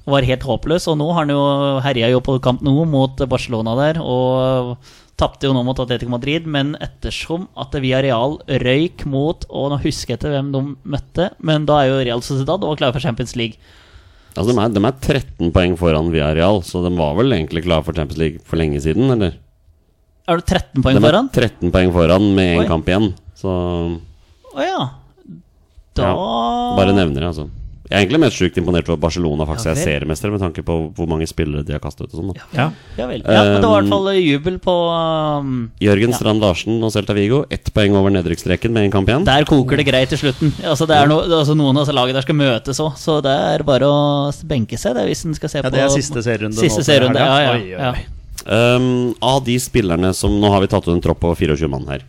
S1: Og var helt håpløs, og nå har han jo herja jo på kamp nå mot Barcelona der, og tapte jo nå mot Atletico Madrid, men ettersom at Villarreal røyk mot Og nå husker jeg ikke hvem de møtte, men da er jo Real Sociedad og klare for Champions League.
S2: Altså, de, er, de er 13 poeng foran Villarreal, så de var vel egentlig klare for Champions League for lenge siden, eller?
S1: Er du 13
S2: De
S1: poeng
S2: er
S1: foran?
S2: 13 poeng foran med
S1: Oi.
S2: én kamp igjen, så
S1: Å ja. Da
S2: bare nevner det, altså. Jeg er egentlig mest sjukt imponert over at Barcelona faktisk
S1: Ah.
S2: er
S1: Ja, vel.
S2: seriemestere, med tanke på hvor mange spillere de har kastet ut og sånn. da.
S3: Ja.
S1: Ja vel. Ja, men det var i hvert fall eh, jubel på um,
S2: Jørgen Strand Larsen og Celta Vigo, ett poeng over nedrykksstreken med én kamp igjen.
S1: Der koker det greit til slutten. Altså, det er no, altså, noen av disse lagene der skal møtes òg, så det er bare å benke seg det, er hvis en skal se
S3: Ja,
S1: på
S3: det er siste serierunde nå
S1: Siste
S3: for
S1: serierunde,
S3: helga.
S1: ja, ja,
S3: Oi, oi,
S1: ja.
S3: oi.
S2: Um, av de spillerne som Nå har vi tatt ut en tropp på 24 mann her.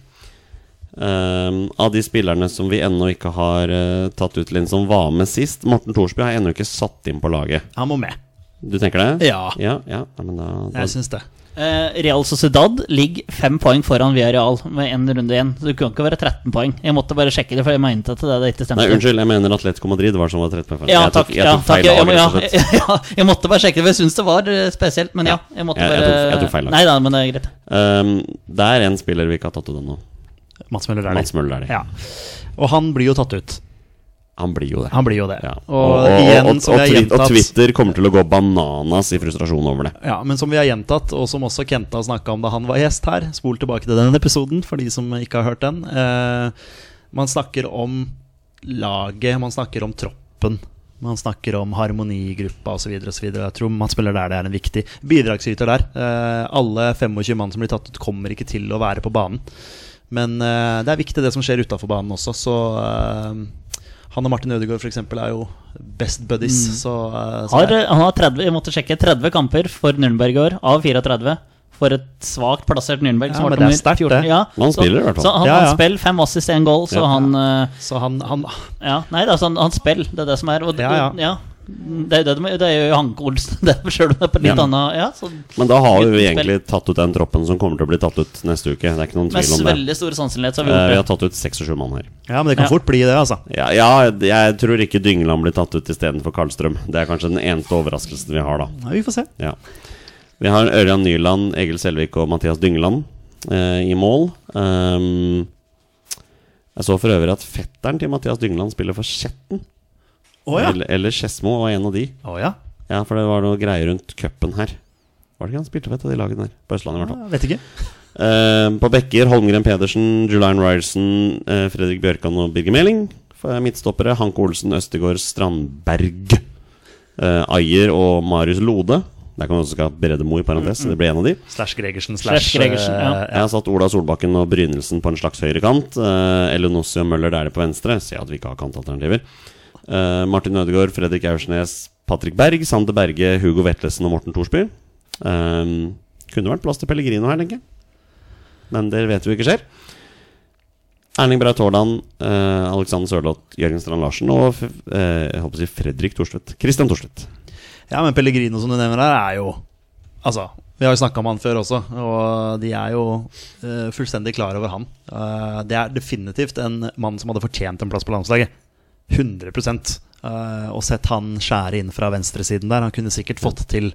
S2: Um, av de spillerne som vi ennå ikke har eh, tatt ut, Linn, som var med sist Morten Thorsby har jeg ennå ikke satt inn på laget.
S3: Han må med.
S2: Du tenker det?
S3: Ja.
S2: Ja, ja. Nei, men da, da
S3: Jeg syns det.
S1: Eh, Real Sociedad ligger fem poeng foran Villarreal med én runde igjen. Så det kunne ikke være 13 poeng. Jeg måtte bare sjekke det, for jeg mente at det, det ikke stemte.
S2: Nei, unnskyld, jeg mener Atletico Madrid var som var 13 poeng foran.
S1: Ja,
S2: Jeg tok-
S1: takk.
S2: Jeg
S1: ja,
S2: tok
S1: takk
S2: feil
S1: ja,
S2: lag,
S1: men ja,
S2: rett og slett.
S1: ja, jeg måtte bare sjekke det, for jeg syns det var eh, spesielt. Men ja, jeg måtte
S2: Ja, jeg
S1: bare
S2: tok- jeg tok feil lag.
S1: Nei da, men det er greit.
S2: Um, det er en spiller vi ikke har tatt ut ennå.
S3: Mats Møller er
S2: Mats
S3: det.
S2: Møller er det.
S3: Ja. Og han blir jo tatt ut.
S2: Han blir jo det.
S3: Han blir jo det.
S2: Ja.
S3: Og, igjen, som vi har
S2: twi- og
S3: gjentatt
S2: Twitter kommer til å gå bananas i frustrasjon over det.
S3: Ja, men som vi har gjentatt, og som også Kenta snakka om da han var gjest her Spol tilbake til den episoden, for de som ikke har hørt den. Eh, man snakker om laget, man snakker om troppen. Man snakker om harmonigruppa osv. Jeg tror man spiller der det er en viktig bidragsyter der. Eh, alle 25 mann som blir tatt ut, kommer ikke til å være på banen. Men eh, det er viktig det som skjer utafor banen også, så eh, han og Martin Ødegaard for eksempel er jo best buddies, så, eh, så
S1: Har,
S3: det-
S1: eh, han har 30, jeg måtte sjekke 30 kamper for Nürnberg i år, av 34. For et svakt plassert Nürnberg.
S3: Ja, men
S1: som var
S3: det er
S1: nummer
S3: sterkt, det.
S1: 14. Ja,
S2: Men han
S1: så-
S2: spiller i hvert fall.
S1: Så han,
S3: Ja, ja.
S1: han spiller fem assist, én goal, så
S2: Ja.
S1: han eh,
S3: så han, han
S1: Ja, nei, altså, han, han spiller, det er det som er. Og,
S3: Ja, ja.
S1: og- ja. Det er jo det de- det er jo Hanke Olsen, det er selv om det er på litt
S3: Ja.
S1: annet ja, så,
S2: Men da har vi
S1: Gutten
S2: egentlig tatt ut den troppen som kommer til å bli tatt ut neste uke. Det er ikke noen
S1: Med
S2: tvil om det.
S1: veldig stor sannsynlighet så har vi
S2: Eh, vi har
S1: gjort det.
S2: tatt ut 26 mann her.
S3: Ja, men det kan
S1: Ja.
S3: fort bli det, altså.
S2: Ja, ja, jeg tror ikke Dyngeland blir tatt ut istedenfor Karlstrøm. Det er kanskje den eneste overraskelsen vi har, da.
S3: Nei, vi får se.
S2: Ja. Vi har Ørjan Nyland, Egil Selvik og Mathias Dyngeland eh, i mål. Ehm, jeg så for øvrig at fetteren til Mathias Dyngeland spiller for Skjetten.
S3: Å ja.
S2: Eller, eller Skedsmo var en av de.
S3: Å ja.
S2: Ja, for det var noe greier rundt cupen her. Var det ikke han spilte for et av de lagene der? På Østlandet, i hvert fall.
S3: Ja, Vet ikke.
S2: Ehm, på bekker Holmgren Pedersen, Julian Ryerson, eh, Fredrik Bjørkan og Birger Meling. For midtstoppere Hanke Olsen, Østegård, Strandberg, eh, Ayer og Marius Lode. Der kan vi også skal Bredemo i parentes. Det blir en av de.
S3: Slash eh, Gregersen
S1: slash, Gregersen, ja.
S2: Jeg har satt Ola Solbakken og Brynelsen på en slags høyrekant. Eh, Elenossi og Møller der på venstre. Se at vi ikke har kantalternativer. Eh, Martin Ødegaard, Fredrik Aursnes, Patrick Berg, Sander Berge, Hugo Vetlesen og Morten Thorsby. Eh, kunne vært plass til Pellegrino her, tenker jeg. Men det vet vi ikke skjer. Erling Braut Haaland, eh, Alexander Sørloth, Jørgen Strand Larsen og f eh, jeg håper å si Fredrik Thorstvedt. Christian Thorstvedt.
S3: Ja, men Pellegrino, som du nevner her, er jo Altså, vi har jo snakka om han før også, og de er jo eh, fullstendig klar over han. Eh, det er definitivt en mann som hadde fortjent en plass på landslaget. 100 Eh, Og sett han skjære inn fra venstresiden der. Han kunne sikkert fått til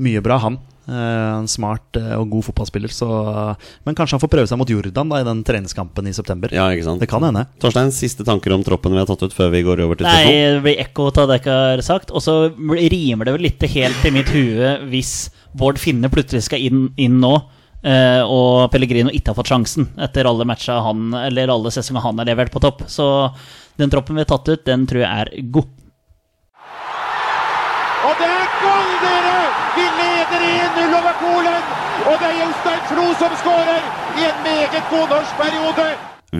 S3: mye bra, han. Eh, En smart eh, og god fotballspiller, så eh, Men kanskje han får prøve seg mot Jordan da i den treningskampen i september.
S2: Ja, ikke sant?
S3: Det kan hende.
S2: Torstein, siste tanker om troppen vi har tatt ut før vi går over til
S1: Nei,
S2: spørsmål?
S1: det blir ekko av det jeg har sagt. Og så rimer det vel litt helt til mitt hue hvis Bård Finne plutselig skal inn, inn nå, eh, og Pellegrino ikke har fått sjansen etter alle matcha han Eller alle sesonger han har levert på topp. Så den troppen vi har tatt ut, den tror jeg er god.
S4: Og det er gull, dere! Vi leder 1-0 over Polen! Og det er Jostein Flo som skårer i en meget god norsk periode!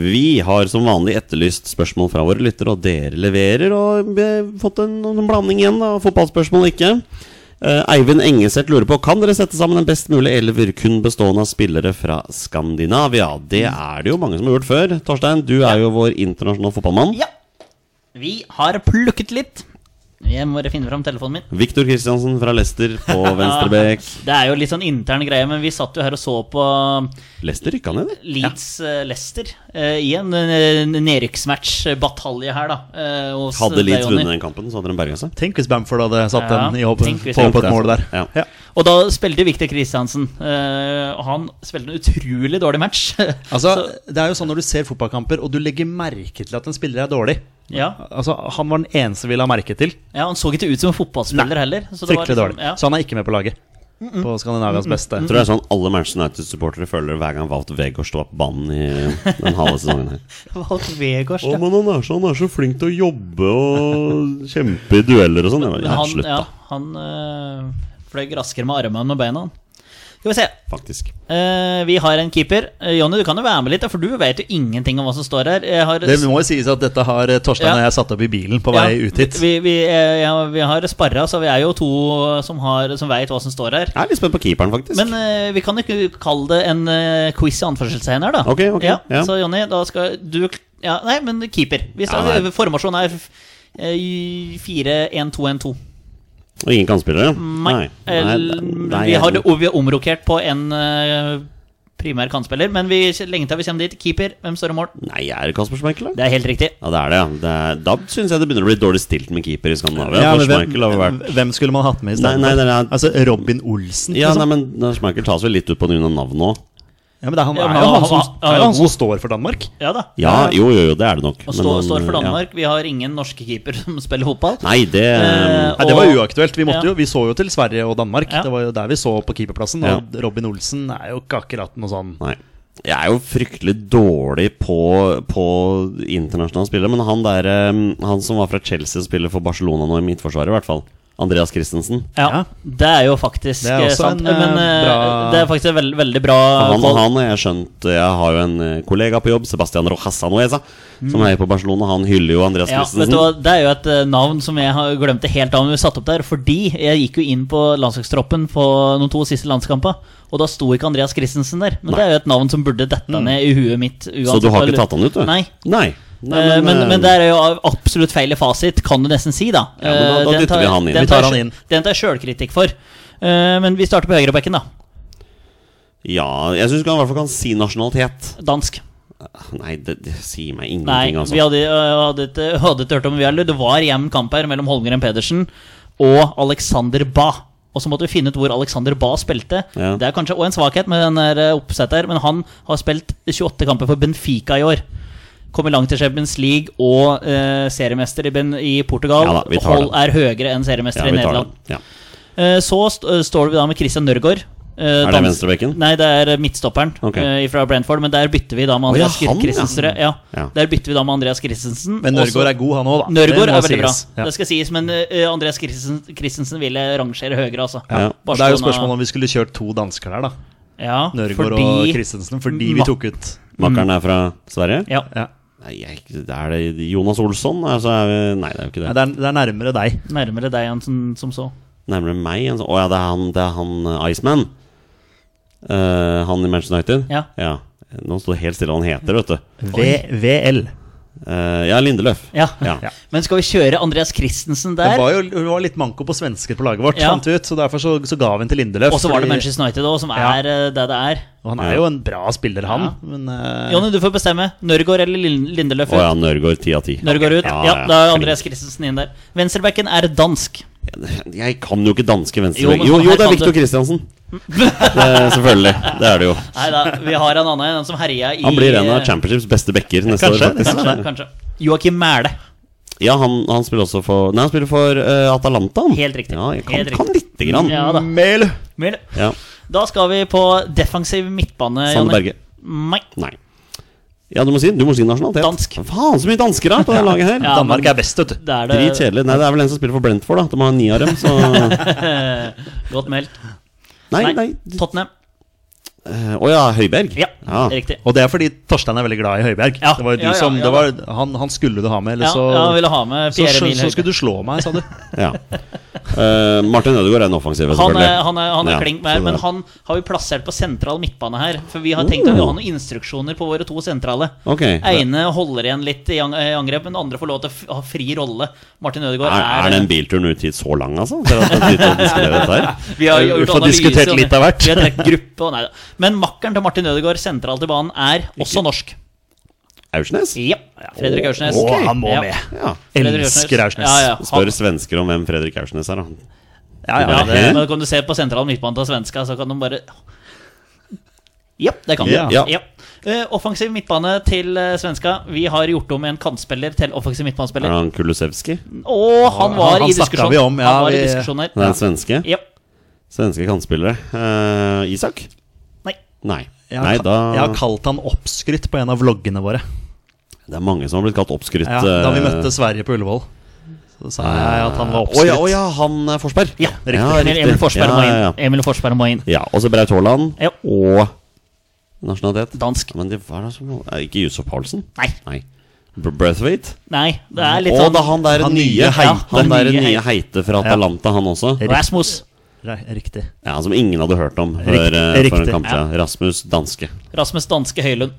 S2: Vi har som vanlig etterlyst spørsmål fra våre lyttere, og dere leverer. Og vi har fått en, en blanding igjen av fotballspørsmål og ikke. Eh, Eivind Engeseth lurer på Kan dere sette sammen en best mulig elver kun bestående av spillere fra Skandinavia. Det er det jo mange som har gjort før. Torstein, du er jo vår internasjonale fotballmann.
S1: Ja. Vi har plukket litt. Jeg må bare finne fram telefonen min.
S2: Viktor Kristiansen fra Leicester på venstrebekk.
S1: Det er jo litt sånn intern greie, men vi satt jo her og så på
S2: Leicester rykka ned, det.
S1: Leeds eh, Leicester eh, i en eh, nedrykksmatch, eh, batalje her, da. eh, hos
S2: Hadde
S1: deg,
S2: Leeds
S1: Jonny.
S2: vunnet den kampen, så hadde de berga seg.
S3: Tenk hvis Bamford hadde satt
S1: Ja,
S3: den i åpen,
S1: tenk hvis
S3: på
S1: han-
S3: åpent mål der.
S2: Ja.
S1: Og da spilte Viktor Kristiansen. eh, og han spilte en utrolig dårlig match.
S3: Altså, det er jo sånn Når du ser fotballkamper og du legger merke til at en spiller er dårlig
S1: ja,
S3: Altså, Han var den eneste vi la merke til.
S1: ja, Han så ikke ut som en fotballspiller
S3: Nei,
S1: heller. så det var
S3: Fryktelig
S1: liksom-
S3: dårlig.
S1: ja.
S3: Så han er ikke med på laget. På Skandinavias beste.
S2: Jeg tror det er sånn alle Manchester United-supportere føler hver gang Wout Weghorst var på banen i den halve sesongen her.
S1: Valgt Vegårs,
S2: Å,
S1: ja.
S2: men han er, så, han er så flink til å jobbe og kjempe i dueller og sånn.
S1: Men
S2: Ja,
S1: han,
S2: slutt,
S1: ja,
S2: da,
S1: han eh, fløy raskere med armene enn med beina. han. Skal vi se.
S2: faktisk.
S1: Eh, vi har en keeper. Eh, Jonny, du kan jo være med litt, da, for du vet jo ingenting om hva som står her. Jeg har,
S3: Det må jo sies at dette har eh, Torstein
S1: Ja.
S3: og jeg satt opp i bilen på vei
S1: Ja,
S3: ut hit.
S1: Vi, vi, eh, ja, vi har sparra, så vi er jo to som, har, som veit hva som står her.
S2: Jeg er litt spent på keeperen, faktisk.
S1: Men eh, vi kan jo ikke kalle det en eh, quiz i anførselstegn her, da.
S2: Ok, ok,
S1: ja,
S2: ja.
S1: Så Jonny, da skal du ja, Nei, men keeper. Vi
S2: Ja,
S1: skal,
S2: nei.
S1: Formasjonen er 4-1-2-1-2.
S2: Og ingen kantspillere?
S1: Nei.
S2: Nei,
S1: Eller,
S2: nei,
S1: eh, vi,
S2: jeg-
S1: har, og vi har omrokert på en eh, primær kantspiller, men vi lenge til vi kommer dit. Keeper, hvem står i mål?
S2: Nei, er det Kasper Schmeichel, da?
S1: Det er helt riktig.
S2: Ja, det er det, ja. Det er, da syns jeg det begynner å bli dårlig stilt med keeper i Skandinavia.
S3: Ja,
S2: for
S3: men
S2: Schmeichel har jo
S3: hvem,
S2: vært
S3: hvem skulle man hatt med i
S2: Nei,
S3: stedet?
S2: nei, nei, nei.
S3: Altså Robin Olsen?
S2: Ja,
S3: liksom.
S2: nei, men da Schmeichel tas vel litt ut på grunn av navnet òg.
S3: ja, men det er han,
S1: Ja,
S3: er
S1: men
S3: jo
S1: han-
S3: han, som,
S1: han-
S3: er jo han som står for Danmark.
S1: Ja da.
S2: Ja, jo, jo, jo, det er det nok.
S1: Og
S2: men
S1: stå,
S2: han,
S1: står for
S2: ja.
S1: Danmark. Vi har ingen norske keeper som spiller fotball.
S2: Nei, det ehm,
S1: Eh,
S3: Nei, Det var
S1: Og-
S3: uaktuelt. Vi, måtte
S1: Ja.
S3: jo, vi så jo til Sverige og Danmark.
S1: Ja.
S3: Det var jo der vi så på keeperplassen. Og Robin Olsen er jo ikke akkurat noe sånn
S2: Nei. Jeg er jo fryktelig dårlig på, på internasjonale spillere, men han der eh, Han som var fra Chelsea og spiller for Barcelona nå i midtforsvaret, i hvert fall. Andreas Christensen.
S1: Ja,
S3: Ja.
S1: Det er jo faktisk
S3: Det er
S1: eh,
S3: også
S1: sant.
S3: en, eh,
S1: men eh,
S3: bra-
S1: det er faktisk en veld, veldig bra
S2: Han og
S1: call.
S2: han, og jeg har skjønt Jeg har jo en eh, kollega på jobb, Sebastian Rojas Anoesa, som heier på Barcelona. Han hyller jo Andreas
S1: Mm. Ja, vet
S2: Christensen.
S1: du hva, Det er jo et eh, navn som jeg har- glemte helt av når vi satte opp der. Fordi jeg gikk jo inn på landslagstroppen på de to siste landskampene, og da sto ikke Andreas Christensen der. Men
S2: Nei.
S1: det er jo et navn som burde
S3: Mm.
S1: dette ned i huet mitt. Uansett,
S2: Så du har ikke
S1: hva-
S2: tatt han ut, du?
S1: Nei.
S2: Nei. Nei,
S1: Eh, men,
S2: eh,
S1: men det er jo absolutt feil i fasit, kan du nesten si, da.
S2: Ja, men da- da
S1: Eh,
S2: dytter
S1: den
S2: vi
S1: tar-
S2: han inn.
S1: den
S3: Vi tar han
S1: sjøl-
S3: inn.
S1: Den tar jeg sjølkritikk for. Eh, Men vi starter på høyrebekken, da.
S2: Ja, jeg syns han i hvert fall kan si nasjonalitet.
S1: Dansk.
S2: Nei, det, det sier meg
S1: Nei,
S2: ingenting, altså.
S1: vi hadde, øh, hadde, ikke, hadde ikke hørt om Viallu. Det var jevn kamp her mellom Holmgren Pedersen og Alexander Ba. Og så måtte vi finne ut hvor Alexander Ba spilte.
S2: Ja.
S1: Det er kanskje også en svakhet med den der, øh, oppsettet her, men han har spilt 28 kamper for Benfica i år. Kommer langt i Champions League og øh, seriemester i, ben, i Portugal.
S2: Ja da, vi tar
S1: Hold er høyere enn seriemester
S2: ja,
S1: i
S2: vi tar
S1: Nederland.
S2: den. Ja.
S1: Eh, Så st øh, står vi da med Christian Nørgaard. eh,
S2: Er det venstrebekken?
S1: Nei, det er midtstopperen eh,
S2: Ok.
S1: fra Brentford. Men der bytter vi da
S2: Å,
S1: med
S2: ja,
S1: Andreas
S2: han, ja.
S1: Christensen. Ja.
S2: Ja.
S1: Der bytter vi da med Andreas Christensen.
S3: Men Nørgaard er
S1: Også-
S3: god, han òg, da.
S1: Nørgaard
S3: Det må
S1: er veldig bra.
S3: sies. Ja.
S1: Det skal sies, men eh, Andreas Christensen, Christensen ville rangere høyere, altså.
S2: Ja.
S3: Og Det er jo spørsmål om vi skulle kjørt to dansker der, da.
S1: ja,
S3: Nørgaard
S1: fordi-
S3: og Christensen. Fordi vi
S1: Ma-
S3: tok ut
S2: Makkeren er fra Sverige?
S1: Ja.
S3: ja.
S2: Nei, jeg, det er det Jonas Olsson? Altså, er vi, nei, det er jo ikke
S3: Nei,
S2: det.
S3: det, er, det er nærmere deg.
S1: Nærmere deg enn som, som så.
S2: Nærmere meg en sånn Å ja, det er han, det er han eh, Iceman. Eh, han i Manchester United?
S1: Ja.
S2: Nå står det helt stille hva han heter, vet du.
S3: VVL.
S2: Eh, ja, Lindeløf.
S1: Ja.
S2: Ja.
S3: Ja.
S1: Men skal vi kjøre Andreas Christensen
S3: Det
S1: der?
S3: var jo det var litt manko på svensker på laget vårt,
S1: Ja.
S3: fant vi ut. Så derfor så, så ga vi den til Lindeløf.
S1: Og så var det
S3: fordi-
S1: Manchester United òg, som
S3: Ja.
S1: er eh, det det er.
S3: og han er jo en bra spiller, han. Men eh,
S1: Jonny, du får bestemme. Nørgaard eller Lin- Lindeløf?
S2: Å ja, Nørgaard ti av ti.
S1: Nørgaard ut.
S2: Ja,
S1: Ja,
S2: ja.
S1: da er Andreas Christensen inn der. Venstrebacken er dansk.
S2: Jeg kan jo ikke danske
S1: Jo, men
S2: venstrebekk. Jo,
S1: her
S2: jo, det
S1: kan
S2: er Viktor
S1: du.
S2: Kristiansen. Eh, selvfølgelig. Det er det jo.
S1: Nei da, vi har en annen en som herja i
S2: Han blir en av Championships beste backer neste
S3: Kanskje,
S2: år. faktisk.
S1: Kanskje, kanskje. Joakim Mæle.
S2: Ja, han, han spiller også for Nei, han spiller for eh, Atalanta. han.
S1: Helt riktig.
S2: Ja, jeg kan,
S1: Helt riktig.
S2: kan lite grann.
S1: Ja da.
S3: Mel!
S1: Mæle.
S2: Ja.
S1: Da skal vi på defensiv midtbane.
S2: Sander
S1: Jonny.
S2: Berge.
S1: Nei.
S2: Nei. Ja, du må si, du må si nasjonalitet.
S1: Dansk.
S2: Faen, så mye dansker da, på det laget her.
S1: Ja,
S3: Danmark
S1: men-
S3: er best, vet du.
S1: Det er det
S2: Dritkjedelig. Nei, det er vel en som spiller for Brentford, da. De har ni av dem, så Nei,
S1: godt meldt.
S2: nei.
S1: Tottenham.
S2: Eh, Å ja, Høiberg.
S1: Ja,
S2: Ja.
S1: riktig.
S3: Og det er fordi Torstein er veldig glad i Høibjerg.
S1: Ja.
S3: Det var jo du
S1: Ja, ja,
S3: som,
S1: ja,
S3: det var, han, han skulle du ha med, eller
S1: Ja,
S3: så
S1: ja, han ville ha med
S3: så,
S1: Pierre
S3: så,
S1: Emil
S3: så
S1: Høibjerg.
S3: skulle du slå meg, sa du.
S2: ja. Eh, Martin Ødegaard er en offensiv,
S1: Han
S2: selvfølgelig.
S1: er, han er, han er
S2: Ja,
S1: klink med her,
S2: så
S1: men
S2: det-
S1: han har vi plassert på sentral midtbane her. For vi har tenkt å ha noen instruksjoner på våre to sentrale.
S2: Ok.
S1: Ene holder igjen litt i ang- eh, angrep, men den andre får lov til å f- ha fri rolle. Martin
S2: Er,
S1: Ødegaard
S2: er den bilturen ut hit så lang, altså? Til at det er tid til å diskutere dette her? Eh,
S1: Vi har
S3: Vi
S1: gjort
S3: får
S1: analyse,
S3: diskutert
S1: og
S3: litt av hvert.
S1: Vi har trukket gruppe og nei da. Men makkeren til Martin Ødegaard sentralt i banen er også norsk.
S2: Aursnes?
S1: Ja. Fredrik Aursnes.
S2: Ok.
S3: Å, han må
S1: Ja.
S3: med.
S2: Ja.
S1: Fredrik
S3: Elsker Aursnes.
S1: Ja, ja.
S2: Spør
S1: Han,
S2: svensker om hvem Fredrik Aursnes er, da.
S3: Ja, ja,
S1: ja,
S3: det,
S1: men kan du se på sentralen midtbanen til svenska, så kan de bare Ja, det kan de.
S3: Ja.
S1: Ja. Eh, offensiv midtbane til eh, svenska. Vi har gjort om en kantspiller til offensiv
S2: Er
S1: midtbanespiller.
S2: han Kulusevski? Det
S1: Og han var
S3: Han- han
S1: i
S3: snakket
S1: diskusjon.
S3: vi om, ja,
S1: han var i
S3: vi-
S1: diskusjon her.
S2: er en svenske?
S1: Ja.
S2: Svenske kantspillere. Eh, Isak?
S1: Nei.
S2: Nei.
S3: jeg,
S2: Nei,
S3: har,
S2: da
S3: jeg har kalt han oppskrytt på en av vloggene våre.
S2: Det er mange som har blitt kalt oppskrytt.
S3: Ja, da vi
S2: eh,
S3: møtte Sverige på Ullevål, så sa jeg at han var
S2: Å ja,
S3: oppskrytt.
S2: å ja, han er Forsberg.
S1: Ja,
S3: riktig.
S1: Emil Forsberg
S2: ja,
S1: må
S2: ja,
S1: inn.
S2: ja.
S1: Emil Forsberg må inn.
S2: ja, og så Braut Haaland
S1: Ja.
S2: og nasjonalitet.
S1: Dansk.
S2: Men det var da som eh, Ikke Yusuf Paulsen?
S1: Nei.
S2: Nei. Br- Braithwaite?
S1: Nei, det er litt
S2: Og
S1: sånn
S2: da han der
S3: Han nye
S2: nye
S3: heite.
S2: heite. Han der
S1: nye
S2: nye
S1: heite.
S2: heite fra Atalanta, han også.
S1: Rasmus.
S3: Nei, Riktig.
S2: Ja, Som ingen hadde hørt om før,
S3: Riktig,
S2: eh, for en
S3: riktig.
S2: kamp siden. Rasmus Danske.
S1: Rasmus Danske Høylund.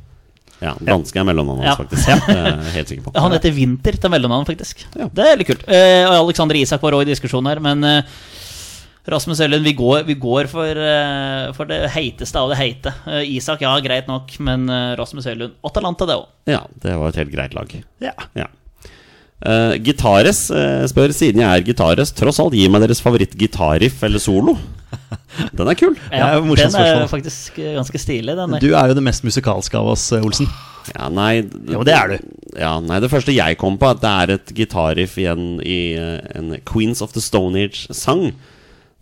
S2: Ja, Danske er mellomnavnet hans,
S1: Ja.
S2: faktisk. Det er jeg helt sikker på.
S1: Han heter Winter til mellomnavn, faktisk.
S2: Ja.
S1: Det er litt kult. Eh, og Alexander Isak var òg i diskusjonen her, men eh, Rasmus Ellen, vi går, vi går for, eh, for det heiteste av det heite. Eh, Isak, ja, greit nok, men eh, Rasmus Ellen Atalanta, det òg.
S2: Ja, det var et helt greit lag.
S3: Ja.
S2: Ja. Eh, Gitares eh, spør siden jeg er gitares, tross alt gi meg deres favoritt-gitarriff eller solo. Den er kul.
S3: er jo et morsomt
S1: den er
S3: spørsmål.
S1: faktisk eh, ganske stilig, den.
S3: Du er jo det mest musikalske av oss, eh, Olsen.
S2: Ja, nei
S3: Jo, det er du.
S2: Ja, nei, det første jeg kom på, er at det er et gitarriff igjen i eh, en Queens of the Stone Age-sang.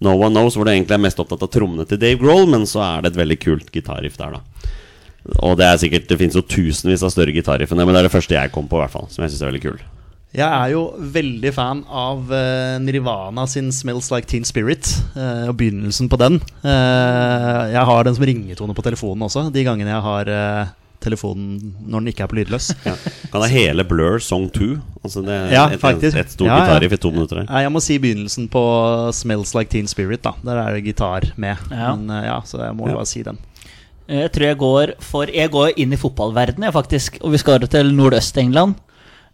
S2: No One Knows, hvor det egentlig er mest opptatt av trommene til Dave Grohl, men så er det et veldig kult gitarriff der, da. Og det er sikkert, det fins jo tusenvis av større gitarriff enn det, men det er det første jeg kom på, i hvert fall. Som jeg syns er veldig kul.
S3: Jeg er jo veldig fan av eh, Nirvana sin 'Smells Like Teen Spirit' eh, og begynnelsen på den. Eh, jeg har den som ringetone på telefonen også, de gangene jeg har eh, telefonen når den ikke er på lydløs.
S2: Ja. Kan ha hele Blur Song 2. Altså det er
S3: Ja,
S2: et,
S3: faktisk.
S2: et stort
S3: Ja, ja.
S2: gitarriff i to minutter der.
S3: Nei, jeg må si begynnelsen på 'Smells Like Teen Spirit'. da Der er det gitar med.
S1: Ja.
S3: Men, eh, ja, så jeg må
S2: Ja.
S3: bare si den.
S1: Eh, Jeg tror jeg går for Jeg går inn i fotballverdenen, jeg, faktisk. Og vi skal til Nordøst-England.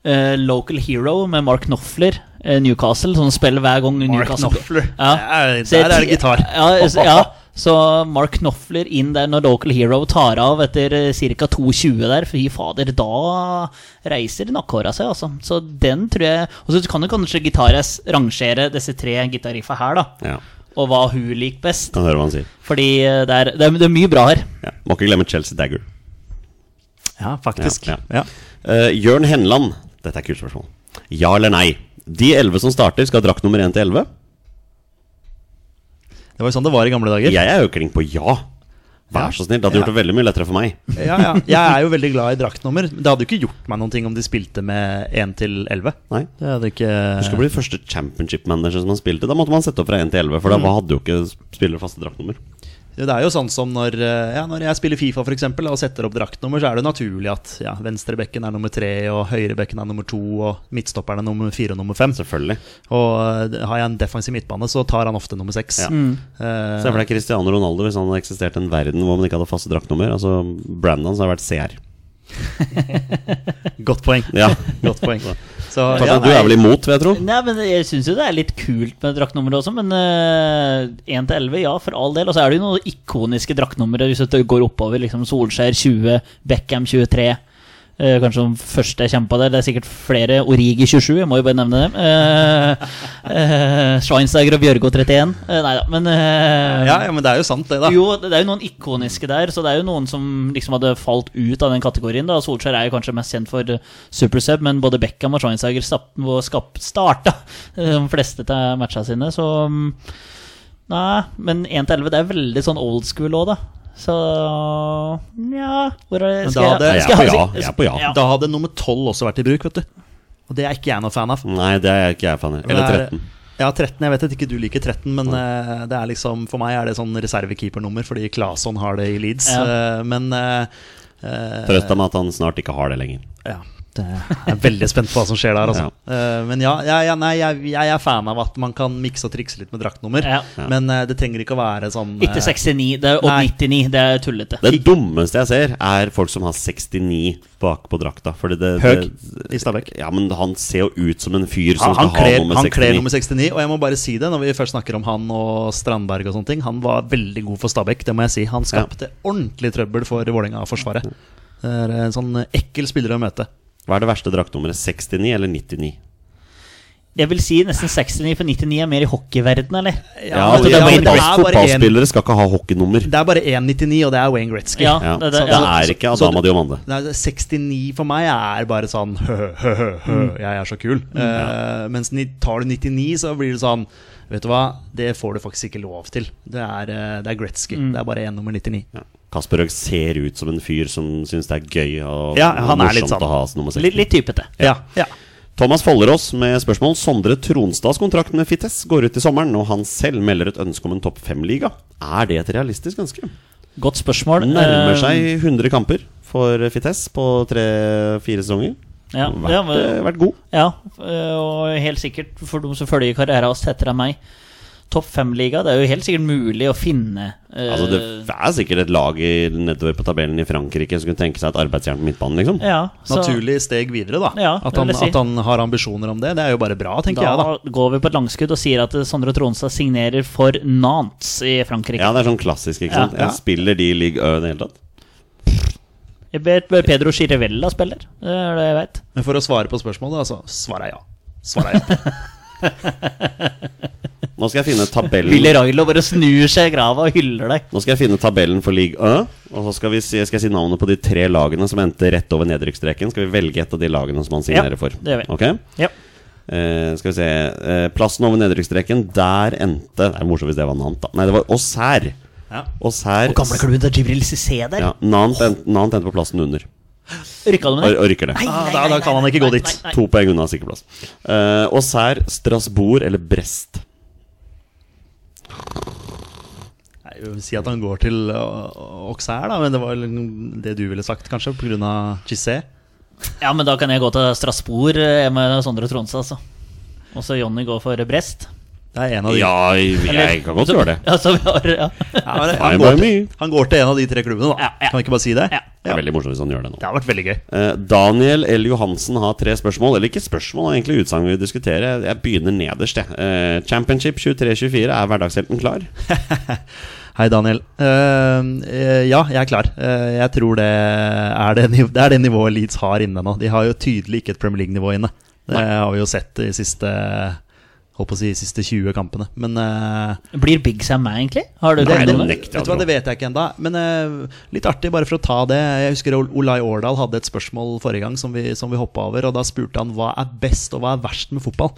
S1: Eh, Local Hero med Mark Knopfler, eh, Newcastle, som spiller hver gang Newcastle Ja.
S3: Der,
S1: Så jeg
S3: der er det
S1: ti-
S3: gitar.
S1: Ja, så, ja, så Mark Knopfler inn der når Local Hero tar av etter eh, ca. 2,20 der. Fy fader, da reiser nakkhåra seg, altså. Så den tror jeg Og så kan jo kanskje Gitares rangere disse tre gitarriffa her, da.
S2: Ja,
S1: Og hva hun liker best.
S2: kan høre hva han sier.
S1: Fordi eh, det er, det er, det er mye bra her.
S2: Ja. Må ikke glemme Chelsea Dagger.
S3: Ja, faktisk.
S2: Ja,
S3: Ja.
S2: Eh, Jørn Henland. Dette er et kult spørsmål. Ja eller nei? De elleve som starter, skal ha drakt nummer én til elleve?
S3: Det var jo sånn det var i gamle dager.
S2: Jeg er jo kling på ja. Vær så snill. Det hadde gjort det veldig mye lettere for meg.
S3: ja, ja. Jeg er jo veldig glad i draktnummer. Det hadde jo ikke gjort meg noen ting om de spilte med 1 til 11.
S2: Nei.
S3: Det hadde ikke
S2: Du skal bli første championship manager som han spilte. Da måtte man sette opp fra 1 til 11, for da
S3: Mm.
S2: hadde jo ikke spillere faste draktnummer.
S3: Det er jo sånn som når, eh, ja, når jeg spiller Fifa for eksempel, og setter opp draktnummer, så er det jo naturlig at ja, venstrebekken er nummer 3, og høyrebekken er nummer 2, og midtstopperen er nummer 4 og nummer 5.
S2: Selvfølgelig.
S3: Og eh, har jeg en defensiv midtbane, så tar han ofte nummer Eh, 6.
S2: Ja. Se for deg Cristiano Ronaldo hvis han hadde eksistert i en verden hvor man ikke hadde faste draktnummer. Altså Brandon som har vært CR.
S3: Godt poeng.
S2: Ja.
S3: Godt poeng. Så,
S2: Tarzan,
S3: ja,
S2: du er
S3: nei,
S2: vel imot, vil jeg tro?
S1: Nei, men Jeg syns jo det er litt kult med draktnummeret også, men eh, 1 til 11, ja, for all del. Og så er det jo noen ikoniske draktnumre hvis du går oppover. liksom Solskjær 20, Beckham 23. eh, kanskje den første jeg kommer på der. Det er sikkert flere. Origi 27, jeg må jo bare nevne dem. Eh, eh, Schweinsteiger og Bjørgo 31. Uh, nei da, men eh,
S3: ja, ja, men det er jo sant, det, da.
S1: jo, det det er jo noen ikoniske der, så det er jo noen som liksom hadde falt ut av den kategorien. da Solskjær er jo kanskje mest kjent for eh, supersub, men både Beckham og Schweinsteiger stapp- og skap- starta eh, de fleste av matcha sine, så mm, Nei, men 1-11 det er veldig sånn old school òg, da. Så nja hvor er,
S3: Men
S1: skal
S3: da hadde-
S1: jeg-
S2: Jeg er
S1: skal
S2: på ja,
S1: si-
S2: jeg er på ja.
S3: Da hadde nummer 12 også vært i bruk, vet du. Og det er ikke jeg noe fan av.
S2: Nei, det er ikke jeg fan av. Eller
S3: Det er-
S2: 13.
S3: Ja, 13. Jeg vet at ikke du liker 13, men eh, det er liksom, for meg er det sånn reservekeepernummer, fordi Claesson har det i Leeds.
S1: Ja.
S3: eh, men eh, eh,
S2: Trøst deg med at han snart ikke har det lenger.
S3: ja, det jeg er veldig spent på hva som skjer der, altså. Eh, men ja, ja, ja nei, jeg, jeg er fan av at man kan mikse og trikse litt med draktnummer.
S1: Ja.
S2: Ja.
S3: Men eh, det trenger ikke å være sånn eh,
S1: Ikke 69 det er, og
S3: Nei.
S1: 99, det er tullete.
S2: Det dummeste jeg ser, er folk som har 69 bak på drakta. Fordi det,
S3: Høg
S2: det,
S3: i Stabæk.
S2: Ja, men han ser jo ut som en fyr
S3: Ja,
S2: som
S3: han,
S2: skal ha
S3: kler,
S2: nummer
S3: han kler
S2: 69.
S3: nummer 69, og jeg må bare si det når vi først snakker om han og Strandberg og sånne ting. Han var veldig god for Stabæk, det må jeg si. Han skapte ordentlig trøbbel for Vålerenga-forsvaret. Det er en sånn ekkel spiller å møte.
S2: Hva er det verste draktnummeret? 69 eller 99?
S1: Jeg vil si nesten 69, for 99 er mer i hockeyverdenen, eller?
S2: Ja,
S3: men
S1: altså, det er bare-
S2: fotball-
S1: det er bare
S2: Fotballspillere skal ikke ha hockeynummer.
S3: Det er bare 1,99, og det er Wayne Gretzky.
S1: Ja,
S2: Ja,
S1: det,
S2: det,
S1: det, ja.
S2: er ikke
S3: så-
S2: Adama Diomande.
S3: Nei, 69 for meg er bare sånn hø-hø-hø, jeg er så kul. Eh, mens ni, tar du 99, så blir det sånn Vet du hva, det får du faktisk ikke lov til. Det er, eh, det er Gretzky. Det er bare én nummer 99.
S2: Ja. Kasper Høeg ser ut som en fyr som syns det er gøy og
S3: Ja, han er litt
S2: morsomt å
S3: sånn.
S2: ha som nummer 69.
S1: Litt, litt typete.
S3: Ja, ja.
S2: Thomas Follerås med spørsmål. Sondre Tronstads kontrakt med Fittes går ut i sommeren, og han selv melder et ønske om en topp fem-liga. Er det et realistisk ønske?
S1: Godt spørsmål.
S2: Nærmer
S1: Eh,
S2: seg 100 kamper for Fittes på tre-fire sesonger.
S1: Ja,
S2: vært,
S1: ja, men-
S2: eh, vært god.
S1: Ja, eh, og helt sikkert for de som følger karrieren hans tettere enn meg, topp fem-liga. Det er jo helt sikkert mulig å finne eh,
S2: Altså, det er sikkert et lag i, nedover på tabellen i Frankrike som kunne tenke seg et arbeidsjern på midtbanen, liksom.
S1: ja, så
S3: Naturlig steg videre, da.
S1: Ja, det
S3: at, han,
S1: vil jeg si.
S3: at han har ambisjoner om det. Det er jo bare bra, tenker jeg, da.
S1: Da går vi på et langskudd og sier at eh, Sondre Tronstad signerer for Nantes i Frankrike.
S2: Ja, det er sånn klassisk, ikke
S1: Ja.
S2: sant.
S3: Ja.
S2: Spiller de i Ligue Ø i det hele tatt?
S1: Jeg vet Pedro Chirivella spiller, det er det jeg vet.
S3: Men for å svare på spørsmålet, altså, svarer jeg ja. Svarer jeg ja.
S2: Nå skal jeg finne
S1: Willy
S2: tabellen
S1: Railo bare snur seg i grava og hyller deg.
S2: Nå skal jeg finne tabellen for Ligue Ø, og så skal, vi si, skal jeg si navnet på de tre lagene som endte rett over nedrykksstreken. Skal vi velge et av de lagene som han signerer
S1: Ja,
S2: for?
S1: det gjør vi.
S2: Ok?
S1: Ja.
S2: Eh, skal vi se eh, Plassen over nedrykksstreken, der endte Det er morsomt hvis det var Nant, da. Nei, det var Auxerre.
S3: Ja.
S2: Auxerre
S1: Og gamle klubben til Jibril Cissé der.
S2: ja, Nant, endte, Nant endte på plassen under.
S1: Rykka du med
S2: Og,
S1: det?
S2: og rykker det.
S3: Ah, da, da kan han ikke gå dit.
S1: nei.
S2: To poeng unna sikker plass. Eh, Auxerre, Strasbourg eller Brest?
S3: Nei, Jeg vil si at han går til øh, Auxerre, da, men det var vel det du ville sagt, kanskje, pga. Chissé.
S1: Ja, men da kan jeg gå til Strasbourg eh, med Sondre Tronstad, altså. Og så Jonny går for Brest.
S3: Det er en av de.
S2: Ja, jeg kan godt gjøre det.
S1: Ja, så vi har, ja.
S3: Ja, men
S2: Bye bye
S3: han, går til,
S2: me.
S3: han går til en av de tre klubbene, da.
S1: Ja, ja.
S3: Kan vi ikke bare si det?
S1: Ja.
S2: Det er veldig morsomt hvis han gjør det nå.
S3: Det har vært veldig gøy.
S2: Eh, Daniel L. Johansen har tre spørsmål. Eller ikke spørsmål, det er egentlig utsagn vi diskuterer. Jeg- Jeg begynner nederst, jeg. Eh, Championship 23-24, er hverdagshelten klar?
S3: Hei, Daniel. Ehm, eh, ja, jeg er klar. Eh, jeg tror det er det, niv det er det nivået Leeds har inne nå. De har jo tydelig ikke et Premier League-nivå inne. Det har vi jo sett de siste Holdt på å si de siste 20 kampene. Men eh,
S1: Blir Big Sam meg, egentlig? Har du
S2: Nei,
S1: tenkt
S2: det
S1: over
S2: nekter jeg
S3: Vet du
S2: å
S3: hva,
S2: tro.
S3: det vet jeg ikke ennå. Men eh, litt artig, bare for å ta det. Jeg husker Ol- Olai Årdal hadde et spørsmål forrige gang som vi, som vi hoppa over. Og da spurte han hva er best og hva er verst med fotball.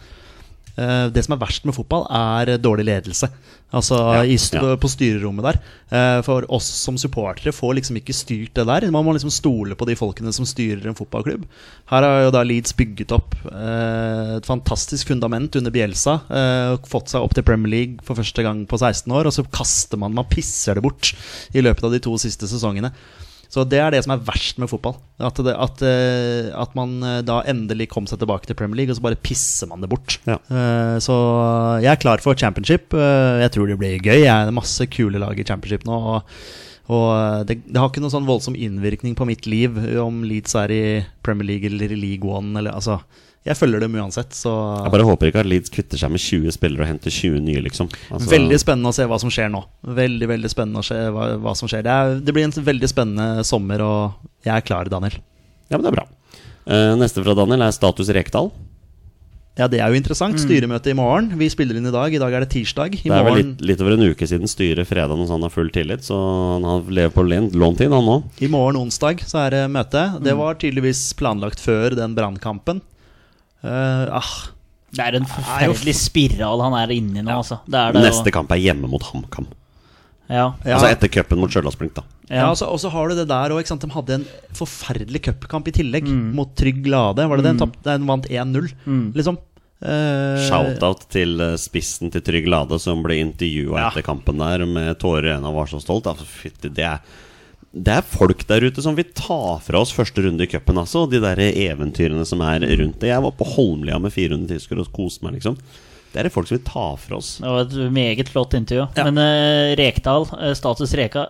S3: Eh, det som er verst med fotball, er dårlig ledelse. Altså i, st-
S2: ja.
S3: på styrerommet der. Eh, for oss som supportere får liksom ikke styrt det der. Man må liksom stole på de folkene som styrer en fotballklubb. Her har jo da Leeds bygget opp eh, et fantastisk fundament under Bjelsa. eh, og fått seg opp til Premier League for første gang på 16 år, og så kaster man Man pisser det bort i løpet av de to siste sesongene. Så det er det som er verst med fotball. At, det, at, eh, at man eh, da endelig kom seg tilbake til Premier League, og så bare pisser man det bort.
S2: Ja.
S3: Eh, Så jeg er klar for championship. Eh, Jeg tror det blir gøy. Jeg er masse kule lag i championship nå. Og, og eh, det, det har ikke noen sånn voldsom innvirkning på mitt liv om Leeds er i Premier League eller i League One. Eller, altså, jeg følger dem uansett, så
S2: Jeg bare håper ikke at Leeds kvitter seg med 20 spillere og henter 20 nye, liksom. Altså,
S3: Veldig spennende å se hva som skjer nå. Veldig, veldig spennende å se hva, hva som skjer. Det, er, det blir en veldig spennende sommer, og jeg er klar, Daniel.
S2: Ja, men det er bra. Eh, neste fra Daniel er status Rekdal.
S3: Ja, det er jo interessant. Styremøte i morgen. Vi spiller inn i dag. I dag er det tirsdag. I
S2: Det Mm. er vel
S3: morgen,
S2: litt, litt over en uke siden styret fredag, så han har full tillit. Så han har- lever på lent- lånt inn, han nå.
S3: I morgen onsdag så er det møte. Det var tydeligvis planlagt før den brannkampen. Eh, ah,
S1: Det er en forferdelig spiral han er inne i nå, altså. Det er det,
S2: Neste kamp er hjemme mot HamKam.
S1: Og, ja.
S3: ja.
S2: Altså etter cupen mot Stjørdals-Blink, da.
S3: Ja, altså, og så- og så har du det der òg. De hadde en forferdelig cupkamp i tillegg, mot Trygg Lade. Var det den? Tapte- Den vant 1-0, liksom. Eh,
S2: Shoutout til eh, spissen til Trygg Lade som ble intervjua
S3: Ja.
S2: etter kampen der med tårer i øynene og var så stolt. Altså, fytti, det er det er folk der ute som vil ta fra oss første runde i cupen, altså. Og de der eventyrene som er rundt det. Jeg var på Holmlia med 400 tyskere og koste meg, liksom. Det er det folk som vil ta fra oss.
S1: Det var et meget flott intervju. Men eh, Rekdal, eh, status Reka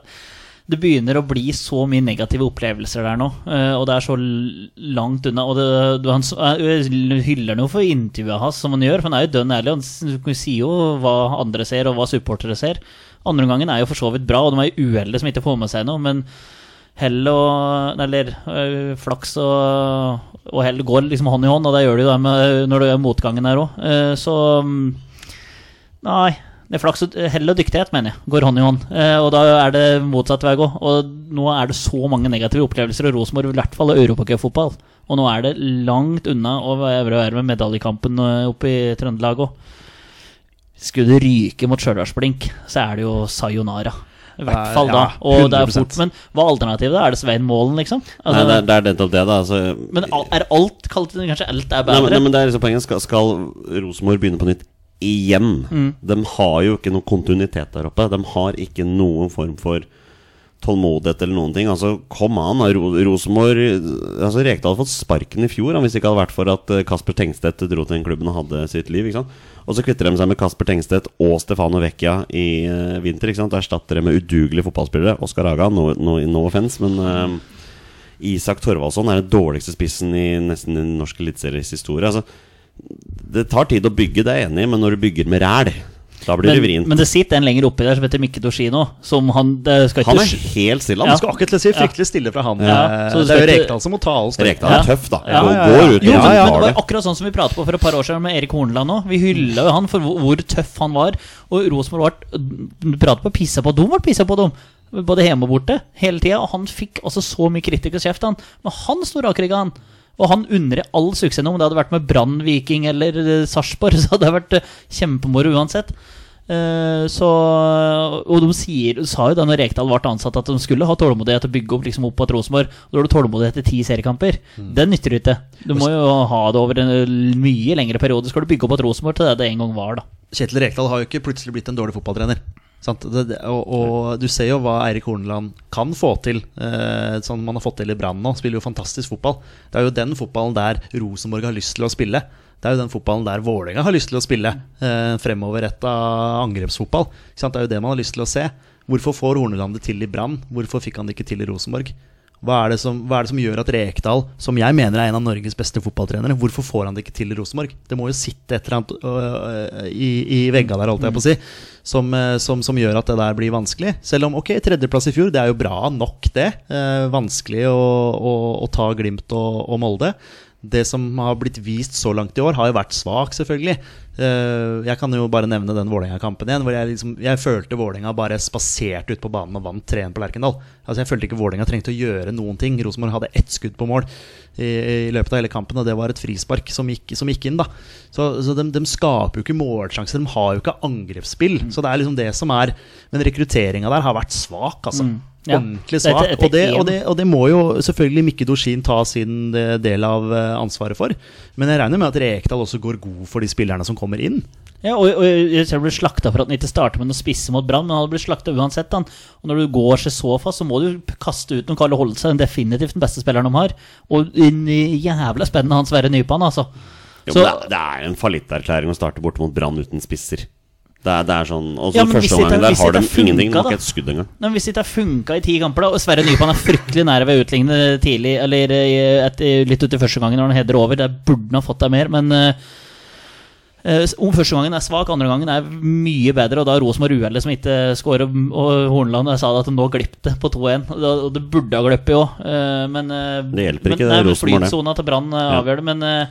S1: Det begynner å bli så mye negative opplevelser der nå, eh, og det er så l- langt unna. Og det, du, han s- eh, hyller noe for intervjuet hans, som han gjør, for han er jo dønn ærlig. Han s- sier jo hva andre ser, og hva supportere ser. Andre gangen er jo for så vidt bra, og de er uheldige som ikke får med seg noe, men hell og Eller øh, flaks og, og hell går liksom hånd i hånd, og det gjør det jo det med, når det er motgangen her òg. så mm, Nei. Det er flaks og Hell og dyktighet, mener jeg, går hånd i hånd. Eh, og da er det motsatt vei å gå. Og nå er det så mange negative opplevelser, og Rosenborg vil i hvert fall ha europacupfotball. Og nå er det langt unna å være være med medaljekampen eh, oppe i Trøndelag òg. Skulle det ryke mot Stjørdalsblink, så er det jo sayonara. I hvert
S3: Nei,
S1: fall da.
S3: ja,
S1: Og det er
S3: 100%.
S1: fort, men hva er alternativet? da? Er det Svein Målen, liksom? Altså,
S2: Nei, det er, det er nettopp det, da. Altså,
S1: Men al- er alt kalt Kanskje alt
S2: Nei,
S1: er
S2: men,
S1: bedre?
S2: nei, men det er liksom poenget. Skal, skal Rosenborg begynne på nytt igjen?
S1: Mm.
S2: De har jo ikke noe kontinuitet der oppe. De har ikke noen form for tålmodighet eller noen ting. Altså, Kom an, da, Ro- Rosenborg altså, Rekdal hadde fått sparken i fjor han, hvis det ikke hadde vært for at eh, Kasper Tengstedt dro til den klubben og hadde sitt liv. ikke sant? Og så kvitter de seg med Kasper Tengstedt og Stefano Vecchia i eh, vinter. ikke sant? Erstatter de med udugelige fotballspillere. Oskar Haga, no, no, no offense, men eh, Isak Torvaldsson er den dårligste spissen i nesten den norske eliteseries historie. Altså, det tar tid å bygge, det er jeg enig i, men når du bygger med ræl, da blir det
S1: Men,
S2: vrient.
S1: men det sitter en lenger oppi der som heter Mikke Doshino. Som han det skal ikke
S2: Han er helt stille,
S1: Ja.
S2: han.
S3: Jeg skulle akkurat til å si fryktelig stille fra han.
S1: Ja,
S3: eh,
S1: så
S3: det er
S1: du
S3: jo
S1: skal ikke-
S3: Rekdal som må ta oss.
S2: Rekdal er
S1: Ja.
S2: tøff, da.
S1: Ja,
S2: Går-
S3: ja, ja.
S2: Går ut
S1: Jo,
S2: og
S1: men
S2: tar
S1: Det
S2: det.
S1: var akkurat sånn som vi pratet på for et par år siden med Erik Horneland òg. Vi hylla jo han for hvor- hvor tøff han var. Og Rosenborg ble pratet på pissa på dem, ble pissa på dem. Både hjemme og borte, hele tida. Og han fikk altså så mye kritikk og kjeft, han. Men han sto rakrygga, han. Og han undrer all suksess nå. Om det hadde vært med Brann, Viking eller eh, Sarpsborg, så hadde det vært eh, kjempemoro uansett. Eh, Så, og de sier, sa jo da når Rekdal ble ansatt at de skulle ha tålmodighet til å bygge opp, liksom opp at Rosenborg. Da har du tålmodighet til ti seriekamper. Det nytter du ikke. Du må jo ha det over en eh, mye lengre periode. Skal du bygge opp at Rosenborg til det det en gang var, da.
S3: Kjetil Rekdal har jo ikke plutselig blitt en dårlig fotballtrener. Sant? Det, det, og, og du ser jo hva Eirik Horneland kan få til. Eh, sånn man har fått til i Brann nå. Spiller jo fantastisk fotball. Det er jo den fotballen der Rosenborg har lyst til å spille. Det er jo den fotballen der Vålerenga har lyst til å spille. Eh, fremoverretta angrepsfotball. Ikke sant? Det er jo det man har lyst til å se. Hvorfor får Horneland det til i Brann? Hvorfor fikk han det ikke til i Rosenborg? Hva er, det som, hva er det som gjør at Rekdal, som jeg mener er en av Norges beste fotballtrenere, hvorfor får han det ikke til i Rosenborg? Det må jo sitte et eller annet øh, øh, i, i vegga der, holdt jeg på å si, som, øh, som, som gjør at det der blir vanskelig. Selv om ok, tredjeplass i fjor, det er jo bra nok, det. Eh, vanskelig å, å, å ta Glimt og, og Molde. Det som har blitt vist så langt i år, har jo vært svak, selvfølgelig. Eh, Jeg kan jo bare nevne den Vålerenga-kampen igjen. Hvor jeg, liksom, jeg følte Vålerenga bare spaserte ut på banen og vant 3-1 på Lerkendal. Altså, jeg følte ikke Vålerenga trengte å gjøre noen ting. Rosenborg hadde ett skudd på mål i, i løpet av hele kampen, og det var et frispark som gikk, som gikk inn. da Så, så de, de skaper jo ikke målsjanser, de har jo ikke angrepsspill.
S1: Mm.
S3: Så det er liksom det som er Men rekrutteringa der har vært svak, altså.
S1: Mm, ja.
S3: Ordentlig
S1: Det er
S3: svak.
S1: et- et
S3: og, det, og,
S1: ekstrem.
S3: det, og det må jo selvfølgelig Mikke Dorsin ta sin eh, del av eh, ansvaret for. Men jeg regner med at Rekdal også går god for de spillerne som kommer inn.
S1: Ja, og, og jeg ser du blir slakta for at han ikke starter med noe spisse mot Brann, men han blir slakta uansett. Han. Og når du går seg så fast, så må du p- kaste ut noen Kalle Holse, den definitivt den beste spilleren de har. Og en eh, jævla spennende han Sverre Nypan, altså.
S2: Jo,
S1: Så-
S2: men det, det er en fallitterklæring å starte bort mot Brann uten spisser. Det er, det er sånn Og så
S1: Ja, men
S2: første
S1: hvis det-
S2: omgangen der
S1: hvis
S2: har de
S1: det funka,
S2: ingenting. Det var
S1: da.
S2: ikke et skudd engang.
S1: Nei, men hvis det ikke har funka i ti kamper, da og Sverre Nypan er fryktelig nære ved å utligne tidlig, eller eh, etter, litt uti første gangen når han header over, der burde han ha fått deg mer, men eh, eh, om første gangen er svak, andre gangen er mye bedre, og da er Rosenborg uheldig som ikke skårer. Og Hornland jeg sa det at nå glipp det på 2-1, og da- og det burde ha glippet òg, men eh,
S2: Det hjelper ikke, det
S1: men,
S2: Rosenborg, det.
S1: Flytsona til Brann eh, avgjør det, men eh,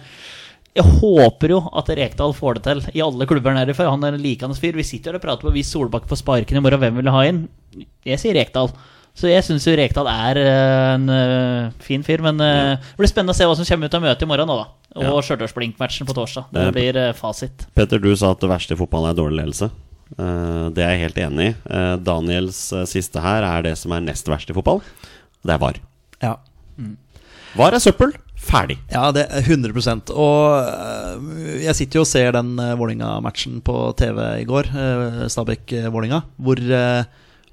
S1: jeg håper jo at Rekdal får det til i alle klubber nede. For han er en likende fyr. Vi sitter her og prater på hvis Solbakken får sparken i morgen, hvem vil ha inn? Jeg sier Rekdal. Så jeg syns jo Rekdal er eh, en eh, fin fyr. Men eh, det blir spennende å se hva som kommer ut av møtet i morgen nå, da. Og
S2: Ja.
S1: Stjørdals-Blink-matchen på torsdag. Det
S2: Det er-
S1: blir eh, fasit.
S2: Petter, du sa at det verste i fotball er dårlig ledelse. Eh, det er jeg helt enig i. Eh, Daniels eh, siste her er det som er nest verst i fotball. Det er VAR.
S3: Ja,
S2: VAR er søppel. Ferdig.
S3: Ja, det er 100 Og øh, jeg sitter jo og ser den øh, Vålinga-matchen på TV i går. øh, Stabæk-Vålinga. Hvor, øh,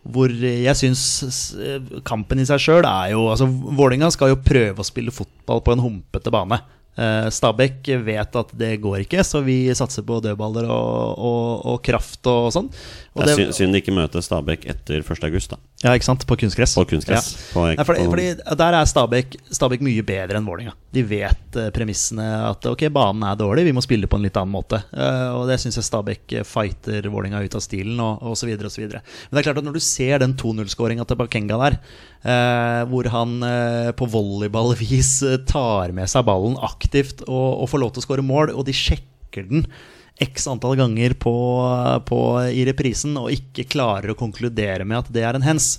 S3: hvor jeg syns eh, kampen i seg sjøl er jo Altså, Vålinga skal jo prøve å spille fotball på en humpete bane. Eh, Stabæk vet at det går ikke, så vi satser på dødballer og, og, og kraft og sånn. Og
S2: det er synd- synd de ikke møter Stabæk etter 1. august, da.
S3: ja, ikke sant? På kunstgress.
S2: På kunstgress. På-
S3: Nei, fordi,
S2: på-
S3: fordi der er Stabæk, Stabæk mye bedre enn Vålerenga. De vet eh, premissene at ok, banen er dårlig, vi må spille på en litt annen måte. Eh, og det syns jeg Stabæk eh, fighter Vålerenga ut av stilen, og og så videre og så videre. Men det er klart at når du ser den 2-0-skåringa til Bakenga der, eh, hvor han eh, på volleyballvis eh, tar med seg ballen aktivt og, og får lov til å skåre mål, og de sjekker den X antall ganger på, på, i reprisen og ikke klarer å konkludere med at det er en hens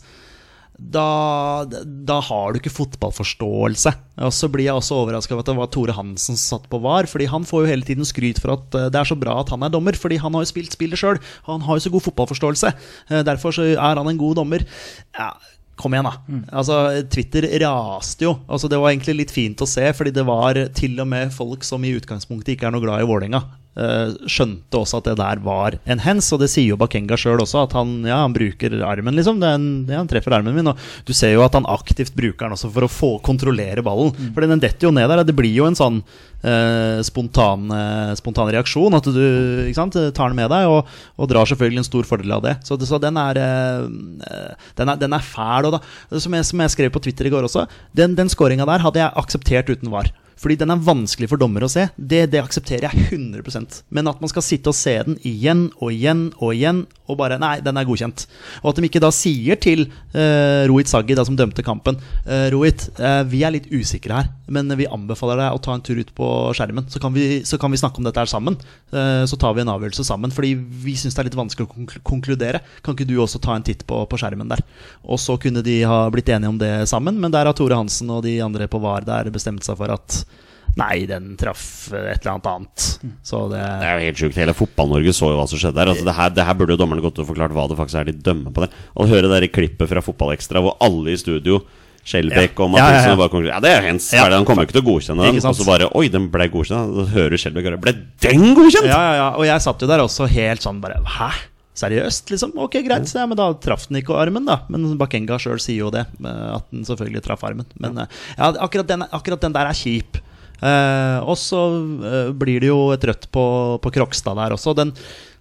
S3: da, da har du ikke fotballforståelse. Og så blir jeg også overraska over at det var Tore Hansen som satt på VAR. Fordi han får jo hele tiden skryt for at eh, det er så bra at han er dommer. Fordi han har jo spilt spillet sjøl. Han har jo så god fotballforståelse. Eh, Derfor så er han en god dommer. Ja, Kom igjen, da. Altså, Twitter raste jo. Altså, det var egentlig litt fint å se, fordi det var til og med folk som i utgangspunktet ikke er noe glad i Vålerenga, eh, skjønte også at det der var en hands, og det sier jo Bakenga sjøl også, at han, ja, han bruker armen, liksom. Det er en, ja, han treffer armen min, og du ser jo at han aktivt bruker den også for å få kontrollere ballen. Fordi den detter jo ned der. og Det blir jo en sånn eh, spontan, eh, spontan reaksjon, at du ikke sant, tar den med deg, og, og drar selvfølgelig en stor fordel av det. Så, det- så den, er, eh, den, er, den er fæl. Og da, som, jeg, som jeg skrev på Twitter i går også, den, den scoringa der hadde jeg akseptert uten var. Fordi den er vanskelig for dommer å se. Det, det aksepterer jeg 100 Men at man skal sitte og se den igjen og igjen og igjen og bare Nei, den er godkjent. Og at de ikke da sier til eh, Rohit Saggi, da som dømte kampen eh, Rohit, eh, vi er litt usikre her, men vi anbefaler deg å ta en tur ut på skjermen. Så kan vi, så kan vi snakke om dette her sammen. Eh, så tar vi en avgjørelse sammen. Fordi vi syns det er litt vanskelig å konkl- konkludere. Kan ikke du også ta en titt på, på skjermen der? Og så kunne de ha blitt enige om det sammen, men der har Tore Hansen og de andre på VAR der bestemt seg for at Nei, den traff eh, et eller annet annet. Så det
S2: Det er jo helt sjukt. Hele Fotball-Norge så jo hva som skjedde der. Altså, det, her, det her burde jo dommerne gått og forklart hva det faktisk er de dømmer på der. Og høre det der klippet fra Fotballekstra hvor alle i studio Skjelbæk
S3: Ja.
S2: og
S3: Ja, ja, ja.
S2: Mathisen og bare konkluderer Ja, det er hens.
S3: Ja.
S2: Er det? Han kommer jo ikke til å godkjenne den.
S3: Ikke sant?
S2: Og så bare Oi, den ble godkjent. Da hører du Skjelbæk og bare, Ble den godkjent?!
S3: Ja, ja, ja. Og jeg satt jo der også helt sånn bare Hæ? Seriøst, liksom? Ok, greit. Så, ja, men da traff den ikke armen, da. Men Bakenga sjøl sier jo det. eh, At den selvfølgelig traff armen. Men eh, ja, akkurat den, akkurat den der er kjip. Eh, og så eh, blir det jo et rødt på, på Krokstad der også. Den,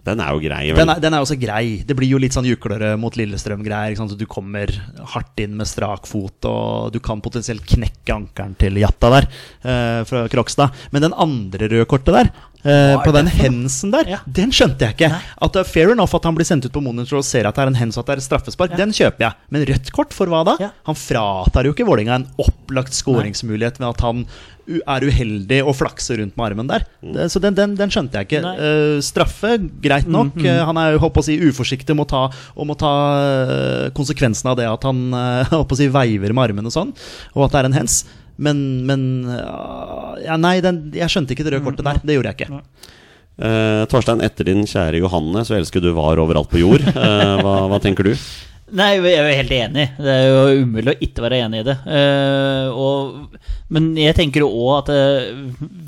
S2: Den er jo grei. vel?
S3: den, er, den er også grei. Det blir jo litt sånn juklere mot Lillestrøm-greier. ikke sant? Så Du kommer hardt inn med strak fot, og du kan potensielt knekke ankelen til Jatta der eh, fra Krokstad. Men den andre røde kortet der, eh, på den hensen der, den skjønte jeg ikke. At det er Fair enough at han blir sendt ut på monitor og ser at det er en hens og at det er et straffespark, den kjøper jeg. Men rødt kort for hva da?
S1: Ja.
S3: Han fratar jo ikke Vålinga en opplagt skåringsmulighet ved at han u- er uheldig og flakser rundt med armen der. Det- Så den, den, den skjønte jeg ikke.
S1: Nei.
S3: Eh, straffe, greit nok. Eh, han er jo håper å si, uforsiktig med å ta, og må ta eh, konsekvensen av det at han eh, håper å si, veiver med armen og sånn, og at det er en hens. Men, men ah, ja, Nei, den, jeg skjønte ikke det røde kortet der. Det gjorde jeg ikke.
S2: Eh, Torstein, etter din kjære Johanne, så elsker du var overalt på jord. Eh, hva, hva tenker du?
S1: Nei, jeg er jo helt enig. Det er jo umulig å ikke være enig i det. Eh, og, men jeg tenker jo òg at eh,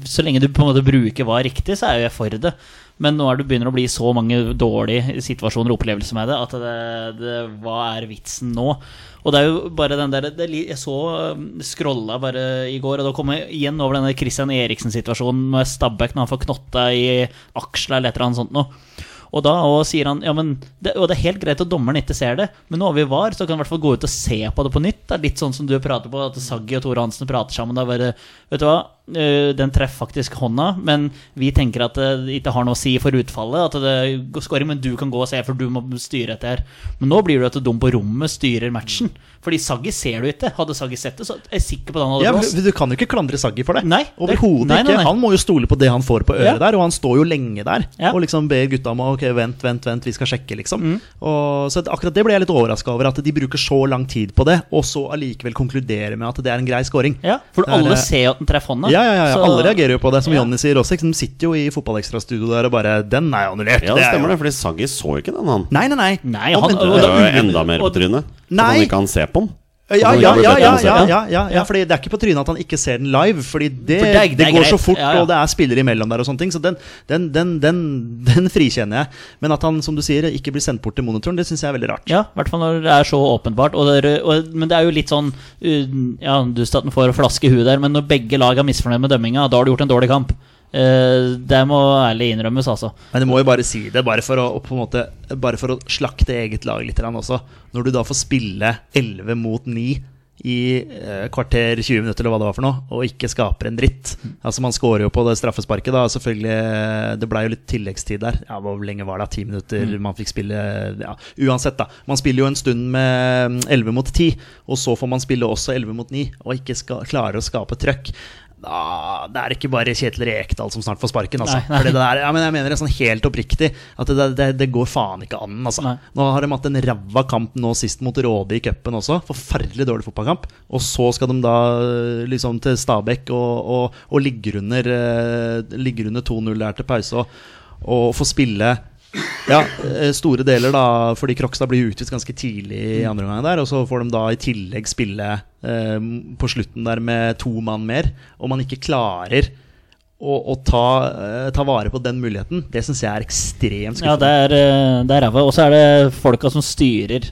S1: så lenge du på en måte bruker hva er riktig, så er jo jeg for det. Men nå er det begynner å bli så mange dårlige situasjoner og opplevelser med det, at det, det, hva er vitsen nå? Og det er jo bare den der det, er li- Jeg så eh, scrolla bare i går, og da kom jeg igjen over denne Christian Eriksen-situasjonen med Stabæk når han får knotta i aksla eller et eller annet sånt noe. Og da og sier han ja, men det, og det er helt greit at dommeren ikke ser det, men nå har vi VAR, så kan vi i hvert fall gå ut og se på det på nytt. Det er litt sånn som du prater på, at Saggi og Tore Hansen prater sammen. Da bare, vet du hva, Eh, den treffer faktisk hånda, men vi tenker at det ikke har noe å si for utfallet. At det går scoring, men du kan gå og se, for du må styre etter her. Men nå blir det at dum på rommet styrer matchen. Fordi Saggi ser du ikke. Hadde Saggi sett det, så er jeg sikker på at han hadde
S3: Ja,
S1: blåst.
S3: men du kan jo ikke klandre Saggi for det.
S1: Nei, det-
S3: Overhodet
S1: nei, nei,
S3: ikke.
S1: nei.
S3: Han må jo stole på det han får på øret
S1: Ja.
S3: der, og han står jo lenge der
S1: Ja. Mm.
S3: og liksom ber gutta om å ok, vent, vent, vent, vi skal sjekke, liksom. Og, så akkurat det ble jeg litt overraska over, at de bruker så lang tid på det, og så allikevel konkluderer med at det er en grei scoring.
S1: Ja, for
S3: Det er,
S1: alle
S3: eh,
S1: ser jo at den treffer hånda.
S3: Ja, ja, ja, ja.
S1: så-
S3: alle reagerer jo på det, som
S1: Ja.
S3: Jonny sier også. ikke sant? De sitter jo i Fotballekstra-studio der og bare 'Den er jo annullert'.
S2: Ja, det
S3: det er jo-
S2: stemmer det, fordi Saggi så ikke den, han.
S3: Nei, nei, nei.
S1: Nei,
S3: Og
S1: han-
S3: vent-
S1: og-
S2: Det
S1: og-
S2: var jo enda mer på
S1: og-
S2: trynet. At
S3: Nei.
S2: han ikke kan se på den.
S3: Ja,
S2: At han
S3: ja,
S2: ikke
S3: ja,
S2: har blitt bedt
S3: ja,
S2: om å se på
S3: ja,
S2: den.
S3: ja, ja, ja, fordi det er ikke på trynet at han ikke ser den live. Fordi det,
S1: For det
S3: det,
S1: er- det er
S3: går så
S1: greit.
S3: fort,
S1: Ja, ja.
S3: og det er spillere imellom der og sånne ting. Så den, den, den, den, den frikjenner jeg. Men at han, som du sier, ikke blir sendt bort til monitoren, det syns jeg er veldig rart.
S1: Ja, i hvert fall når det er så åpenbart. Og det er, og, men det er jo litt sånn uh, Ja, dust at den får flaske i huet der, men når begge lag er misfornøyd med dømminga, da har du gjort en dårlig kamp. Eh, det må ærlig innrømmes, altså.
S3: Men du må jo bare si det, bare for å, og på en måte, bare for å slakte eget lag litt grann også. Når du da får spille 11 mot 9 i eh, kvarter 20 minutter eller hva det var for noe, og ikke skaper en dritt. Altså Man scorer jo på det straffesparket, da. Selvfølgelig, eh, det blei jo litt tilleggstid der. Ja, Hvor lenge var det? Ti minutter?
S1: Mm.
S3: Man fikk spille eh, ja, Uansett, da. Man spiller jo en stund med mm, 11 mot 10, og så får man spille også 11 mot 9, og ikke ska, klarer å skape trøkk. Da, det er ikke bare Kjetil Rekdal som snart får sparken, altså.
S1: Nei, nei.
S3: Fordi det der, ja, men jeg mener det sånn helt oppriktig at det, det, det går faen ikke an. Altså.
S1: Nei.
S3: Nå har de hatt en ræva kamp nå sist mot Råde i cupen også. Forferdelig dårlig fotballkamp. Og så skal de da øh, liksom til Stabæk og, og, og ligge under, øh, ligge under 2-0 der til pause og, og få spille ja, øh, store deler, da, fordi Krokstad blir utvist ganske tidlig i
S1: Mm.
S3: andre omgang der. Og så får de da i tillegg eh, spille øh, på slutten der med to mann mer, og man ikke klarer Og, og ta, eh, ta vare på den muligheten, det syns jeg er ekstremt
S1: Ja, det
S3: skuffende.
S1: er, eh, det er ræva. Og så er det folka som styrer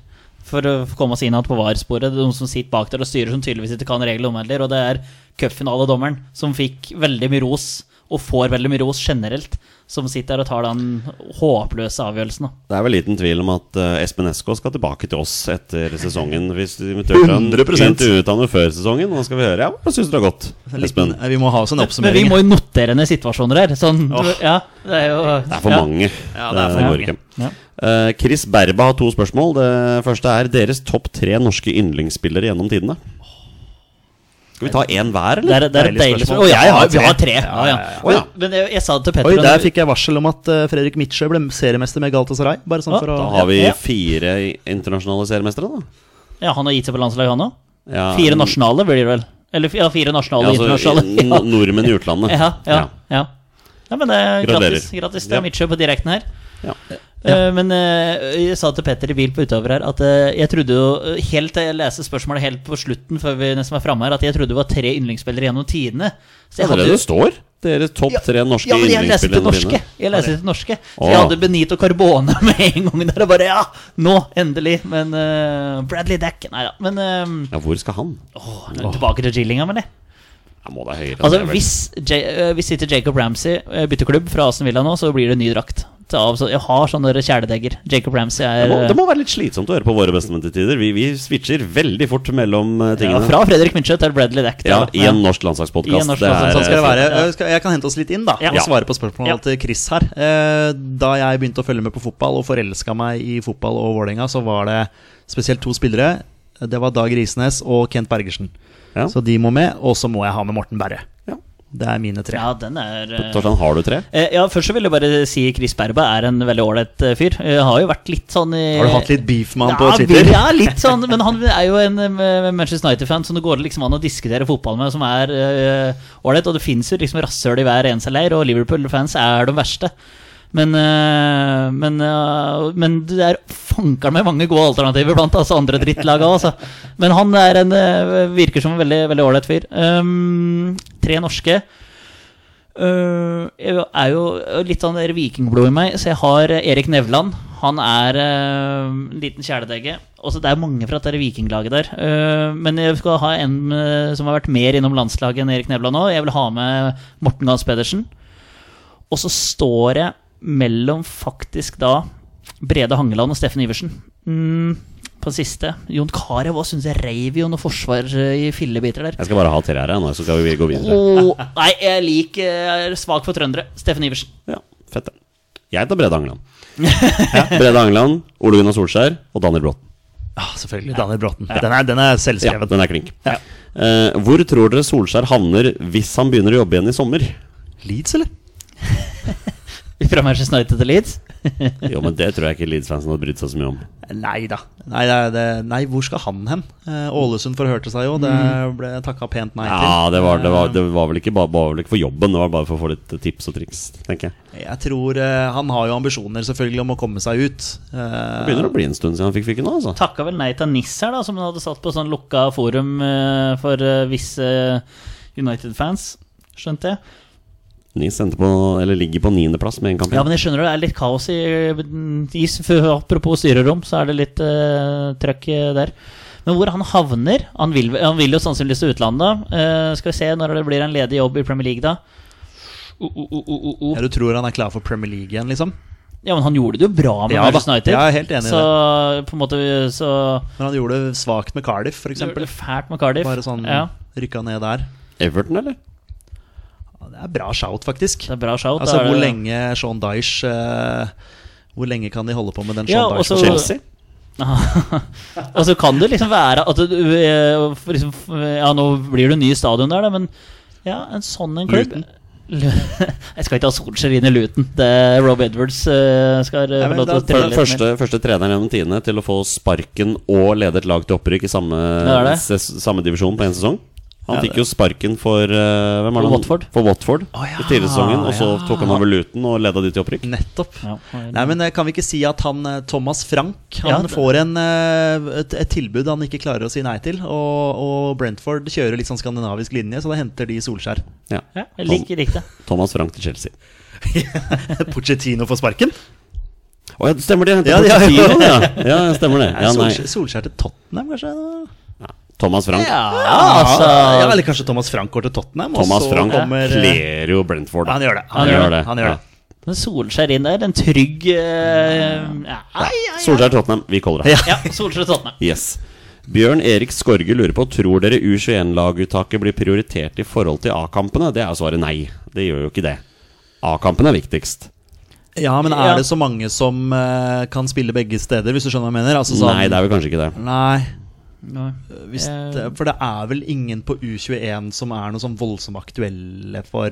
S1: for å komme oss innad på VAR-sporet. Det er De som sitter bak der og styrer, som tydeligvis ikke kan reglene om heller. Og det er cupfinaledommeren, som fikk veldig mye ros, og får veldig mye ros generelt, som sitter der og tar den håpløse avgjørelsen. da.
S2: Det er vel liten tvil om at eh, Espen Esko skal tilbake til oss etter sesongen. Hvis de inviterte han
S3: 100%.
S2: intervjuet han jo før sesongen. Nå skal vi høre. Ja, Hva syns du det har gått,
S3: En
S2: Espen?
S3: liten- eh, vi må ha oss en
S1: Men vi
S3: oppsummering.
S1: må jo notere ned situasjoner her. Sånn, ja, det er jo
S2: Det er for
S1: ja.
S2: mange.
S3: Ja, det er for
S2: går
S1: mange.
S2: ikke.
S1: Ja.
S2: Eh, Chris Berba har to spørsmål. Det første er deres topp tre norske yndlingsspillere gjennom tidene. Skal vi ta én hver,
S1: Det
S2: eller?
S1: er, det er et
S3: Deilig
S1: deilig
S3: spørsmål.
S1: spørsmål. Og jeg
S3: Jeg har
S1: har, vi har
S3: tre.
S1: tre. Ja, ja.
S2: Å, ja.
S1: Men eh, jeg, jeg sa det til Petter
S3: Oi,
S1: og-
S3: der fikk jeg varsel om at eh, Fredrik Midtsjø ble seriemester med Galatasaray. Bare sånn
S1: Ja,
S3: for å
S2: Da har vi
S1: Ja.
S2: fire internasjonale seriemestere, da.
S1: ja, Han har gitt seg på landslaget, han òg?
S2: Ja,
S1: Fire nasjonale blir det vel? Eller ja, fire nasjonale
S2: ja,
S1: og
S2: altså,
S1: internasjonale.
S2: no- Nordmenn i utlandet.
S1: Ja, ja, ja. ja, men eh, det er
S2: Gratulerer.
S1: gratis. gratis. Det
S2: Ja.
S1: er Midtsjø på direkten her.
S2: Ja.
S1: Eh, men eh, jeg sa til Petter i bil på utover her at eh, jeg trodde jo eh, helt til jeg leste spørsmålet helt på slutten, før vi nesten var framme her, at jeg trodde det var tre yndlingsspillere gjennom tidene. Så
S2: Det
S1: jeg
S2: er
S1: hadde
S2: det
S1: jo-
S2: det står. Deres topp tre norske
S1: ja, men jeg leste
S2: yndlingsspillere
S1: til
S2: gjennom
S1: norske.
S2: tidene.
S1: Jeg leste til norske Så
S2: Å.
S1: jeg hadde Benito Carbone med en gang der. Og bare ja, nå, endelig. Men eh, Bradley Dack Nei da. Men eh,
S2: Ja, hvor skal han?
S1: åh, tilbake til Gillingham, eller?
S2: Han må da høyere.
S1: Altså,
S2: det er vel-
S1: hvis, J eh, hvis ikke Jacob Ramsey eh, bytter klubb fra Aston Villa nå, så blir det ny drakt. Ta av, så jeg har sånne der kjæledegger. Jacob Ramsey
S2: det,
S1: er
S2: må, det
S1: eh,
S2: må være litt slitsomt å høre på våre bestemenn til tider. Vi, vi switcher veldig fort mellom eh,
S1: ja,
S2: tingene.
S1: Fra Fredrik Minchett til Bradley Dack.
S2: Ja, i en norsk
S1: I en
S2: landslagspodkast.
S1: norsk
S2: Det er- eh,
S3: Sånn skal det være.
S1: Ja.
S3: Jeg, skal, jeg kan hente oss litt inn da
S1: Ja.
S3: og svare på spørsmålet
S1: Ja.
S3: til Chris her. Eh, Da jeg begynte å følge med på fotball og forelska meg i fotball og Vålerenga, så var det spesielt to spillere. Det var Dag Risnes og Kent Bergersen.
S2: Ja.
S3: Så de må med. Og så må jeg ha med Morten Berre.
S2: Ja.
S3: Det er mine tre.
S1: Ja, den er eh,
S2: Torstein, har du tre?
S1: eh, ja, Først så vil jeg bare si Chris Berba er en veldig ålreit eh, fyr. Jeg har jo vært litt sånn i
S3: Har du hatt litt beef med han på
S1: Ja,
S3: Twitter?
S1: vi- Ja, litt sånn, men han er jo en eh, Manchester United-fan som det går liksom an å diskutere fotball med, som er eh, ålreit. og det fins jo liksom rasshøl i hver eneste leir, og Liverpool-fans er de verste. Men, eh, men, eh, men det er fankeren meg mange gode alternativer blant altså andre drittlag òg, altså. Men han er en, eh, virker som en veldig veldig ålreit fyr. Um, tre norske. Eh, jeg er jo litt sånn der vikingblod i meg, så jeg har eh, Erik Nevland. Han er eh, en liten kjæledegge. Også det er mange fra det der vikinglaget der. Eh, men jeg skal ha en eh, som har vært mer innom landslaget enn Erik Nevland nå. Jeg vil ha med Morten Gahns Pedersen. Og så står jeg mellom faktisk da Brede Hangeland og Steffen Iversen. Mm, på siste. Jon Carew òg syns jeg reiv jo noe forsvar eh, i fillebiter der.
S2: Jeg skal bare ha tre her, jeg, nå, så skal vi gå videre.
S1: Åh, Oh, nei, jeg liker jeg er svak for trøndere. Steffen Iversen.
S2: Ja, fett det. Jeg tar Brede Angeland. Ja, Brede Angeland, Ole Gunnar Solskjær og Daniel Bråten.
S3: Ja, Ah, selvfølgelig. Daniel Bråten. Den er, den er
S2: Ja,
S3: selvskrevet.
S2: den er klink.
S3: Ja.
S2: Eh, hvor tror dere Solskjær havner hvis han begynner å jobbe igjen i sommer?
S3: Leeds, eller?
S1: Fra Manchester United til Leeds.
S2: Jo, men Det tror jeg ikke Leeds-fansen hadde brydd seg så mye om.
S3: Nei da. Nei, det, er- det, nei, hvor skal han hen? Eh, Ålesund forhørte seg jo. Det
S1: Mm.
S3: ble takka pent nei til.
S2: Ja, Det var, det
S1: Eh.
S2: var, det var vel ikke bare var vel ikke for jobben, det var bare for å få litt eh, tips og triks, tenker jeg.
S3: Jeg tror eh, Han har jo ambisjoner selvfølgelig om å komme seg ut. Eh,
S2: Det begynner å bli en stund siden han fikk fyken nå, altså.
S1: Takka vel nei til NIS her, da, som han hadde satt på sånn lukka forum eh, for eh, visse United-fans. Skjønte jeg.
S2: Nis endte på, eller ligger på niendeplass med en kamp.
S1: Ja,
S2: igjen.
S1: men jeg skjønner det er litt kaos i, i Apropos styrerom, så er det litt eh, trøkk eh, der. Men hvor han havner Han vil, han vil jo sannsynligvis til utlandet. Eh, skal vi se når det blir en ledig jobb i Premier League, da.
S3: Oh,
S1: O, o, o, o, o.
S3: Ja, du tror han er klar for Premier League igjen, liksom?
S1: Ja, men han gjorde det jo bra med
S3: Ja da,
S1: Manchester United.
S3: jeg er helt enig i
S1: så, På en måte, så
S3: Men han gjorde det svakt med Cardiff, f.eks.
S1: Det ble fælt med Cardiff.
S3: Bare sånn
S1: ja,
S3: rykka ned der.
S2: Everton, eller?
S3: Ja, Det er bra shout, faktisk.
S1: det er bra shout.
S3: Altså,
S1: da er
S3: hvor
S1: det-
S3: lenge Sean Dyche eh, Hvor lenge kan de holde på med den
S1: Ja,
S3: Sean
S1: og så-
S3: Dyche?
S2: Chelsea?
S1: Og så kan det liksom være at du eh, for liksom, Ja, nå blir det ny stadion der, da, men ja, en sånn en klubb
S2: Luton.
S1: Lu- Jeg skal ikke ha Solskjær inn i Luton. Det er Rob Edwards eh, skal eh,
S3: Ja,
S1: få
S3: men
S1: lov til å
S3: da-
S2: Før-
S1: trille litt mer.
S2: Første, første treneren gjennom tidene til å få sparken og lede et lag til opprykk i samme,
S1: Det er det.
S2: ses, samme divisjon på én sesong. Han
S3: Ja,
S2: fikk jo sparken for eh, hvem er det? han-
S1: Watford.
S2: For Watford
S3: Å, ja,
S2: i tidligere sesongen. Og så
S3: ja.
S2: tok han over Luton og leda de til opprykk.
S3: Nettopp.
S1: Ja.
S3: Nei, men eh, Kan vi ikke si at han eh, Thomas Frank Han
S1: Ja, det-
S3: får en, eh, et, et tilbud han ikke klarer å si nei til. Og, og Brentford kjører litt sånn skandinavisk linje, så da henter de Solskjær.
S2: Ja.
S1: ja, jeg liker riktig.
S2: Thomas Frank til Chelsea.
S3: Pochettino får sparken.
S2: Å ja, stemmer det!
S3: Ja,
S2: Henta
S3: ja.
S2: Pochettino, ja. ja! Stemmer det. Ja, nei.
S3: Solskjær, Solskjær til Tottenham, kanskje?
S2: Thomas Frank.
S3: altså. ja, Eller kanskje Thomas Frank går til Tottenham? og
S2: Thomas
S3: så
S2: Frank
S3: kommer, eh,
S2: kler jo Brentford. da.
S3: Han gjør det.
S2: Han gjør det.
S3: Han gjør
S2: Ja.
S3: det.
S1: Men Solskjær inn der, en trygg eh, ja,
S2: Solskjær Tottenham, vi caller det.
S1: ja, Solskjær Tottenham.
S2: Yes. Bjørn Erik Skorge lurer på Tror dere U21-laguttaket blir prioritert i forhold til A-kampene. Det er svaret nei. Det gjør jo ikke det. A-kampen er viktigst.
S3: Ja, men er
S1: Ja.
S3: det så mange som eh, kan spille begge steder, hvis du skjønner hva jeg mener? Altså, sånn-
S2: Nei, det er vel kanskje ikke det.
S3: Nei, hvis
S1: Eh.
S3: det, for det er vel ingen på U21 som er noe sånn voldsomt aktuelle for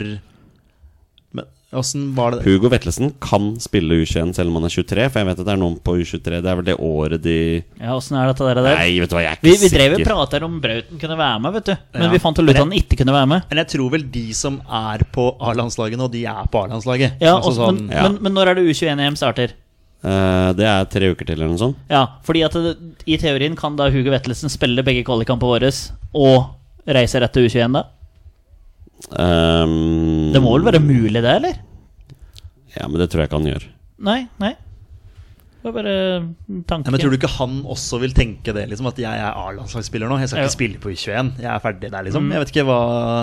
S3: Men åssen var det
S2: Hugo Vetlesen kan spille U21 selv om han er 23, for jeg vet at det er noen på U23 Det er vel det året de
S1: Ja, åssen er dette der? og der?
S2: Nei, vet du hva, jeg er ikke
S1: Vi, vi drev
S2: sikker.
S1: og prata om Brauten kunne være med, vet du. Men
S3: Ja.
S1: vi fant ut at han ikke kunne være med.
S3: Men jeg tror vel de som er på A-landslaget nå, de er på A-landslaget.
S1: Ja,
S3: altså,
S1: også, men,
S3: sånn,
S2: Ja.
S1: Men, men når er det U21-EM starter?
S2: Eh, det er tre uker til, eller noe sånt.
S1: Ja, fordi at det, i teorien kan da Hugo Vettelsen spille begge kvalikkampene våre og reise rett til U21, da?
S2: Ehm,
S1: Det må vel være mulig, det, eller?
S2: Ja, men det tror jeg ikke han gjør.
S1: Nei, nei. Det var bare en tanke.
S3: Nei, men tror du ikke han også vil tenke det? Liksom, at jeg er A-landslagsspiller nå, jeg skal
S1: Ja. Mm.
S3: ikke spille på U21. Jeg er ferdig der, liksom. Jeg vet ikke hva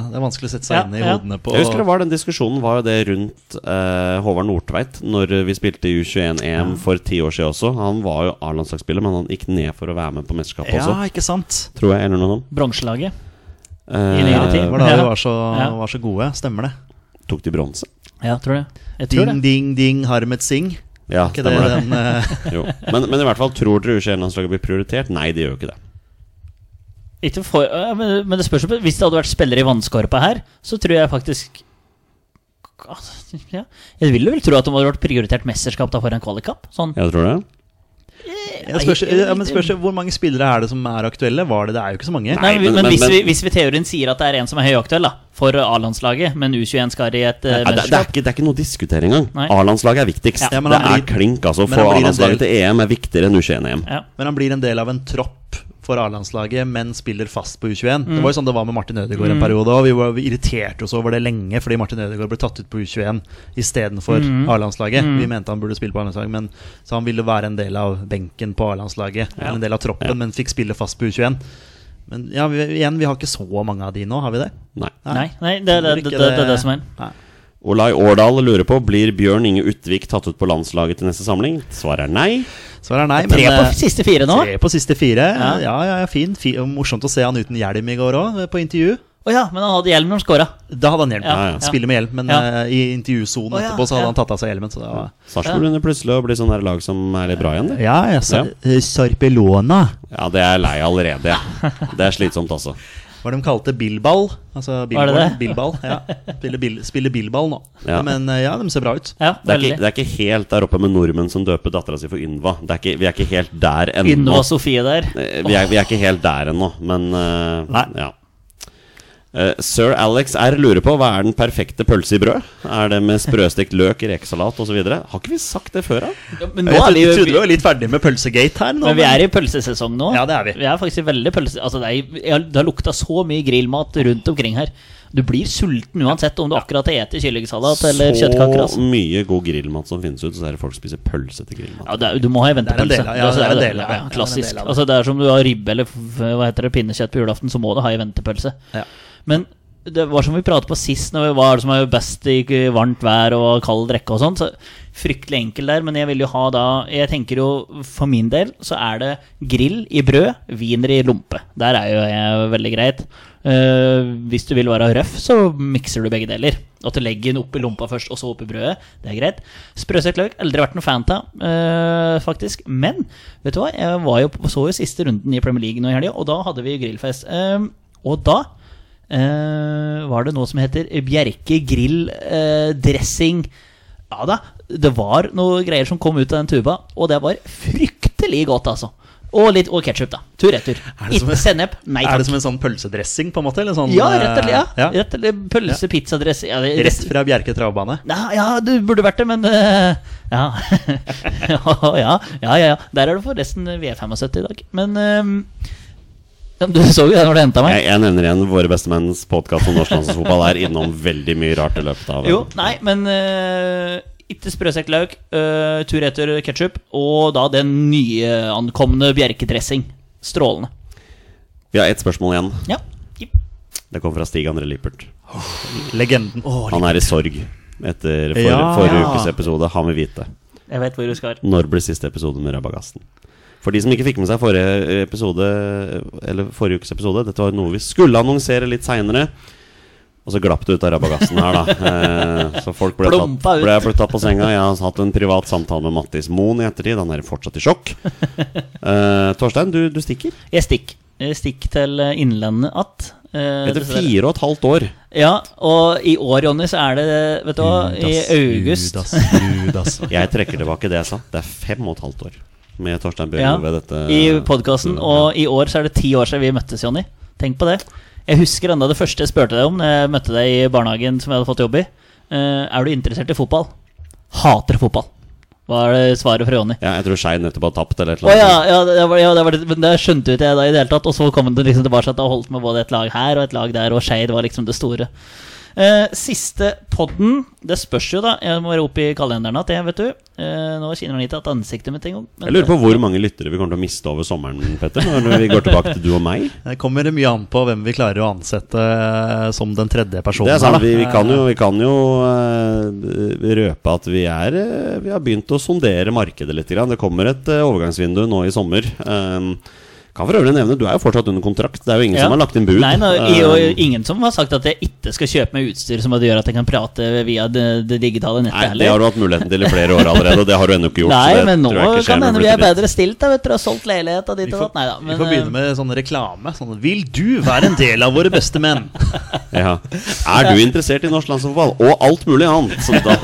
S3: Det er vanskelig å sette seg
S1: Ja,
S3: inn i
S1: ja.
S3: hodene på
S2: Jeg husker det var den diskusjonen var jo det rundt eh, Håvard Nordtveit når vi spilte i U21-EM for ti år siden også. Han var jo A-landslagsspiller, men han gikk ned for å være med på mesterskapet
S3: Ja,
S2: også.
S3: ikke sant?
S2: Tror jeg, eller noe sånt.
S1: Bronselaget.
S2: Eh,
S1: I nyere
S3: Det
S1: tid.
S3: var da
S1: Ja.
S3: de var så,
S1: Ja.
S3: var så gode. Stemmer det?
S2: Tok de bronse?
S1: Ja, tror det. Jeg tror
S3: Ding,
S1: det.
S3: ding, ding, Harmet Singh.
S2: Ja,
S3: Ikke det
S2: stemmer det.
S3: den eh,
S2: Jo. Men, men i hvert fall, tror dere U21-landslaget blir prioritert? Nei, det gjør jo ikke det.
S1: Ikke for, ja, men, men det spørs jo på- Hvis det hadde vært spillere i vannskorpa her, så tror jeg faktisk ja. Jeg ville vel tro at de hadde vært prioritert mesterskap da foran kvalikkamp. Sånn
S2: Jeg tror det.
S3: Jeg spørs, ja, men spørs jo, Hvor mange spillere er det som er aktuelle? Var det, det er jo ikke så mange.
S1: Nei,
S2: Nei,
S1: men,
S2: men-
S1: hvis,
S2: men-
S1: vi, hvis vi i teorien sier at det er en som er høyaktuell da, for A-landslaget, men U21 skal i et eh,
S2: Ja, det, det, er
S1: mesterskap
S2: ikke, det er ikke noe å diskutere engang.
S1: Nei.
S2: A-landslaget er viktigst.
S1: Ja.
S3: Ja, men
S2: det
S3: han
S2: er
S3: blir-
S2: klink, altså.
S3: men
S2: Få
S3: han blir en del-
S2: A-landslaget til EM er viktigere enn E U21-EM.
S1: ja.
S3: Men han blir en del av en tropp for A-landslaget, men spiller fast på U21. Det var
S1: Mm.
S3: jo sånn det var med Martin Ødegaard en periode òg. Vi, var- vi irriterte oss over det lenge fordi Martin Ødegaard ble tatt ut på U21 istedenfor
S1: Mm.
S3: A-landslaget. Vi mente han burde spille på A-landslaget, men så han ville være en del av benken på A-landslaget. eller En del av troppen, men fikk spille fast på U21. Men ja, vi, igjen, vi har ikke så mange av de nå, har vi det?
S2: Nei.
S1: Nei, nei det, er det,
S3: Ikke
S1: det, det, det er det som er.
S3: Nei.
S2: Olai Årdal lurer på Blir Bjørn Inge Utvik tatt ut på landslaget til neste samling. Svaret er nei.
S3: Svaret er nei.
S1: Tre
S3: men,
S1: på
S3: eh,
S1: siste fire nå?
S3: Tre på siste fire. Ja,
S1: Ja.
S3: ja, ja fin. Fi- og Morsomt å se han uten hjelm i går òg, på intervju.
S1: Å ja, men han hadde hjelm når han scora.
S3: Da hadde han hjelm.
S1: Ja,
S2: ja.
S3: Spiller med hjelm, men
S1: Ja.
S3: eh, i intervjusonen
S1: Å, ja,
S3: etterpå så hadde
S1: ja.
S3: han tatt av seg hjelmen. Så det var
S2: Sarpsborg begynner plutselig å bli sånn der lag som er litt bra igjen. Det.
S3: ja, ja, eh,
S2: Sar-
S3: Sarpelona.
S2: Ja, det er jeg lei av allerede. Ja. Det er slitsomt, altså.
S3: Var de kalte billball. Altså
S1: Var det det?
S3: billboard, billball. Ja. Spiller, bill, spiller billball nå.
S2: Ja.
S3: Men eh, ja, de ser bra ut.
S1: Ja,
S2: Det er,
S1: veldig.
S2: ikke, det er ikke helt der oppe med nordmenn som døper dattera si for Ynva. Det er ikke, vi er ikke helt der ennå.
S1: Ynva Sofie der.
S2: Eh, Vi er, vi er ikke helt der ennå, men eh,
S3: Nei.
S2: ja. Eh, Sir Alex R lurer på hva er den perfekte pølse i brød? Er det med sprøstekt løk, rekesalat osv.? Har ikke vi sagt det før, da?
S1: Ja, Men
S3: Jeg
S1: nå er
S3: trodde,
S1: vi,
S3: trodde vi
S1: vi,
S3: var litt ferdig med pølsegate her nå.
S1: men vi er i pølsesesong nå.
S3: Ja, det er vi.
S1: Vi er faktisk veldig pølse... Altså, det, er, jeg har- det har lukta så mye grillmat rundt omkring her. Du blir sulten uansett om du akkurat har spist kyllingsalat eller kjøttkaker.
S2: Så
S1: Altså.
S2: mye god grillmat som finnes ut, så er det folk spiser pølse til grillmat.
S1: Ja, det er, du må ha ei
S3: Det er en
S1: ventepølse.
S3: del av- ja,
S1: Altså,
S3: det er en
S1: jo
S3: del av det.
S1: ja,
S3: Ja, det er en
S1: klassisk.
S3: del av det.
S1: altså, det er som du har ribbe eller f- hva heter det, pinnekjøtt på julaften, så må du ha ei ventepølse.
S3: Ja.
S1: Men det var som vi pratet på sist, når vi var det som er best i k- varmt vær og kald drikke og sånn. Så fryktelig enkel der, men jeg vil jo ha da Jeg tenker jo for min del så er det grill i brød, wiener i lompe. Der er jo jeg veldig greit. Eh, hvis du vil være røff, så mikser du begge deler. At du legger den oppi lompa først, og så oppi brødet. Det er greit. Sprøstekt løk, aldri vært noen fan av, eh, faktisk. Men vet du hva, jeg var jo, på- så jo siste runden i Premier League nå i helga, og da hadde vi grillfest. Eh, og da eh, var det noe som heter Bjerke grill eh, dressing. Ja da, det var noe greier som kom ut av den tuba, og det var fryktelig godt, altså. Og litt og ketsjup, da. Tur-retur.
S3: Er det som
S1: Ikke
S3: en-
S1: sennep. Nei
S3: Er det
S1: takk.
S3: som en sånn pølsedressing, på en måte? Eller sånn,
S1: Ja, rett og slett. Ja.
S3: eh,
S1: Rett og slett Pølse, pizzadress ja, det-
S3: Rett fra Bjerke travbane?
S1: Ja, ja, du burde vært det, men eh, ja. ja, ja, ja, ja. Der er du forresten V75 i dag. Men eh, ja, Du så jo det når du henta meg.
S2: Jeg, jeg nevner igjen våre bestemenns podkast om norsk landslagsfotball er innom veldig mye rart i løpet av
S1: Jo, nei, men eh, ikke sprøstekt lauk, eh, tur etter ketsjup, og da den nyankomne bjerkedressing. Strålende.
S2: Vi har ett spørsmål igjen.
S1: Ja.
S2: Det kommer fra Stig André Lippert.
S3: Legenden.
S2: Han er i sorg etter for,
S3: Ja.
S2: forrige ukes episode. Han vil vite.
S1: Jeg vet hvor du skal.
S2: Når ble siste episode med Rabagassen? For de som ikke fikk med seg forrige episode Eller forrige ukes episode, dette var noe vi skulle annonsere litt seinere. Og så glapp det ut av Rabagassen her, da. Eh, Så folk ble tatt,
S1: Plumpa ut.
S2: ble, ble tatt på senga. Jeg har hatt en privat samtale med Mattis Moen i ettertid. Han er fortsatt i sjokk. Eh, Torstein, du, du stikker.
S1: Jeg stikk. Jeg stikk til eh, Innlandet att. eh,
S2: Etter
S1: dessverre.
S2: fire og et halvt år.
S1: Ja, og i år, Jonny, så er det Vet du hva, i august
S3: Judas, Judas.
S2: Jeg trekker tilbake det jeg sa. Det er fem og et halvt år med Torstein Bjørgo
S1: ja,
S2: ved dette. Mm.
S1: I podkasten. Og i år så er det ti år siden vi møttes, Jonny. Tenk på det. Jeg husker enda det første jeg spurte deg om da jeg møtte deg i barnehagen som jeg hadde fått jobb i. Eh, er du interessert i fotball? Hater fotball. Var det svaret fra Jonny.
S2: ja, jeg tror Skein nettopp har tapt eller et
S1: Å
S2: eller
S1: ja,
S2: annet.
S1: ja, det var, ja det var, det- men det skjønte jo ikke jeg da i det hele tatt. Og så kom den liksom tilbake og holdt med både et lag her og et lag der, og Skeid var liksom det store. Eh, siste podden Det spørs jo, da. Jeg må være oppe i kalenderen at jeg, vet du. Eh, nå kjenner han ikke at ansiktet mitt engang. men-
S2: Jeg lurer på hvor mange lyttere vi kommer til å miste over sommeren, Petter, når vi går tilbake til du og meg.
S3: Det kommer mye an på hvem vi klarer å ansette eh, som den tredje personen.
S2: Det er sant,
S3: her, da.
S2: Vi, vi kan jo, vi kan jo eh, røpe at vi, er, eh, vi har begynt å sondere markedet litt. Grann. Det kommer et eh, overgangsvindu nå i sommer. Um, kan for øvrig nevne, Du er jo fortsatt under kontrakt. Det er jo ingen
S1: Ja.
S2: som har lagt inn bud.
S1: Nei, nå, i,
S2: Um,
S1: og ingen som har sagt at jeg ikke skal kjøpe meg utstyr som gjør at jeg kan prate via det, det digitale nettet
S2: nei,
S1: heller.
S2: Det har du hatt muligheten til i flere år allerede, og det har du ennå ikke gjort. så
S1: Nei,
S2: det
S1: men nå
S2: tror jeg ikke skjer
S1: kan det
S2: når du
S1: hende vi
S2: blir
S1: er
S2: litt-
S1: bedre stilt. Da, vet du, har solgt leilighet og ditt
S3: Vi
S1: og
S3: får,
S1: datt. Nei da. eh,
S3: vi får begynne med sånn reklame. Sånn, Vil du være en del av våre beste menn?
S2: Ja. Er du interessert i norsk landsfotball? Og alt mulig annet! som da,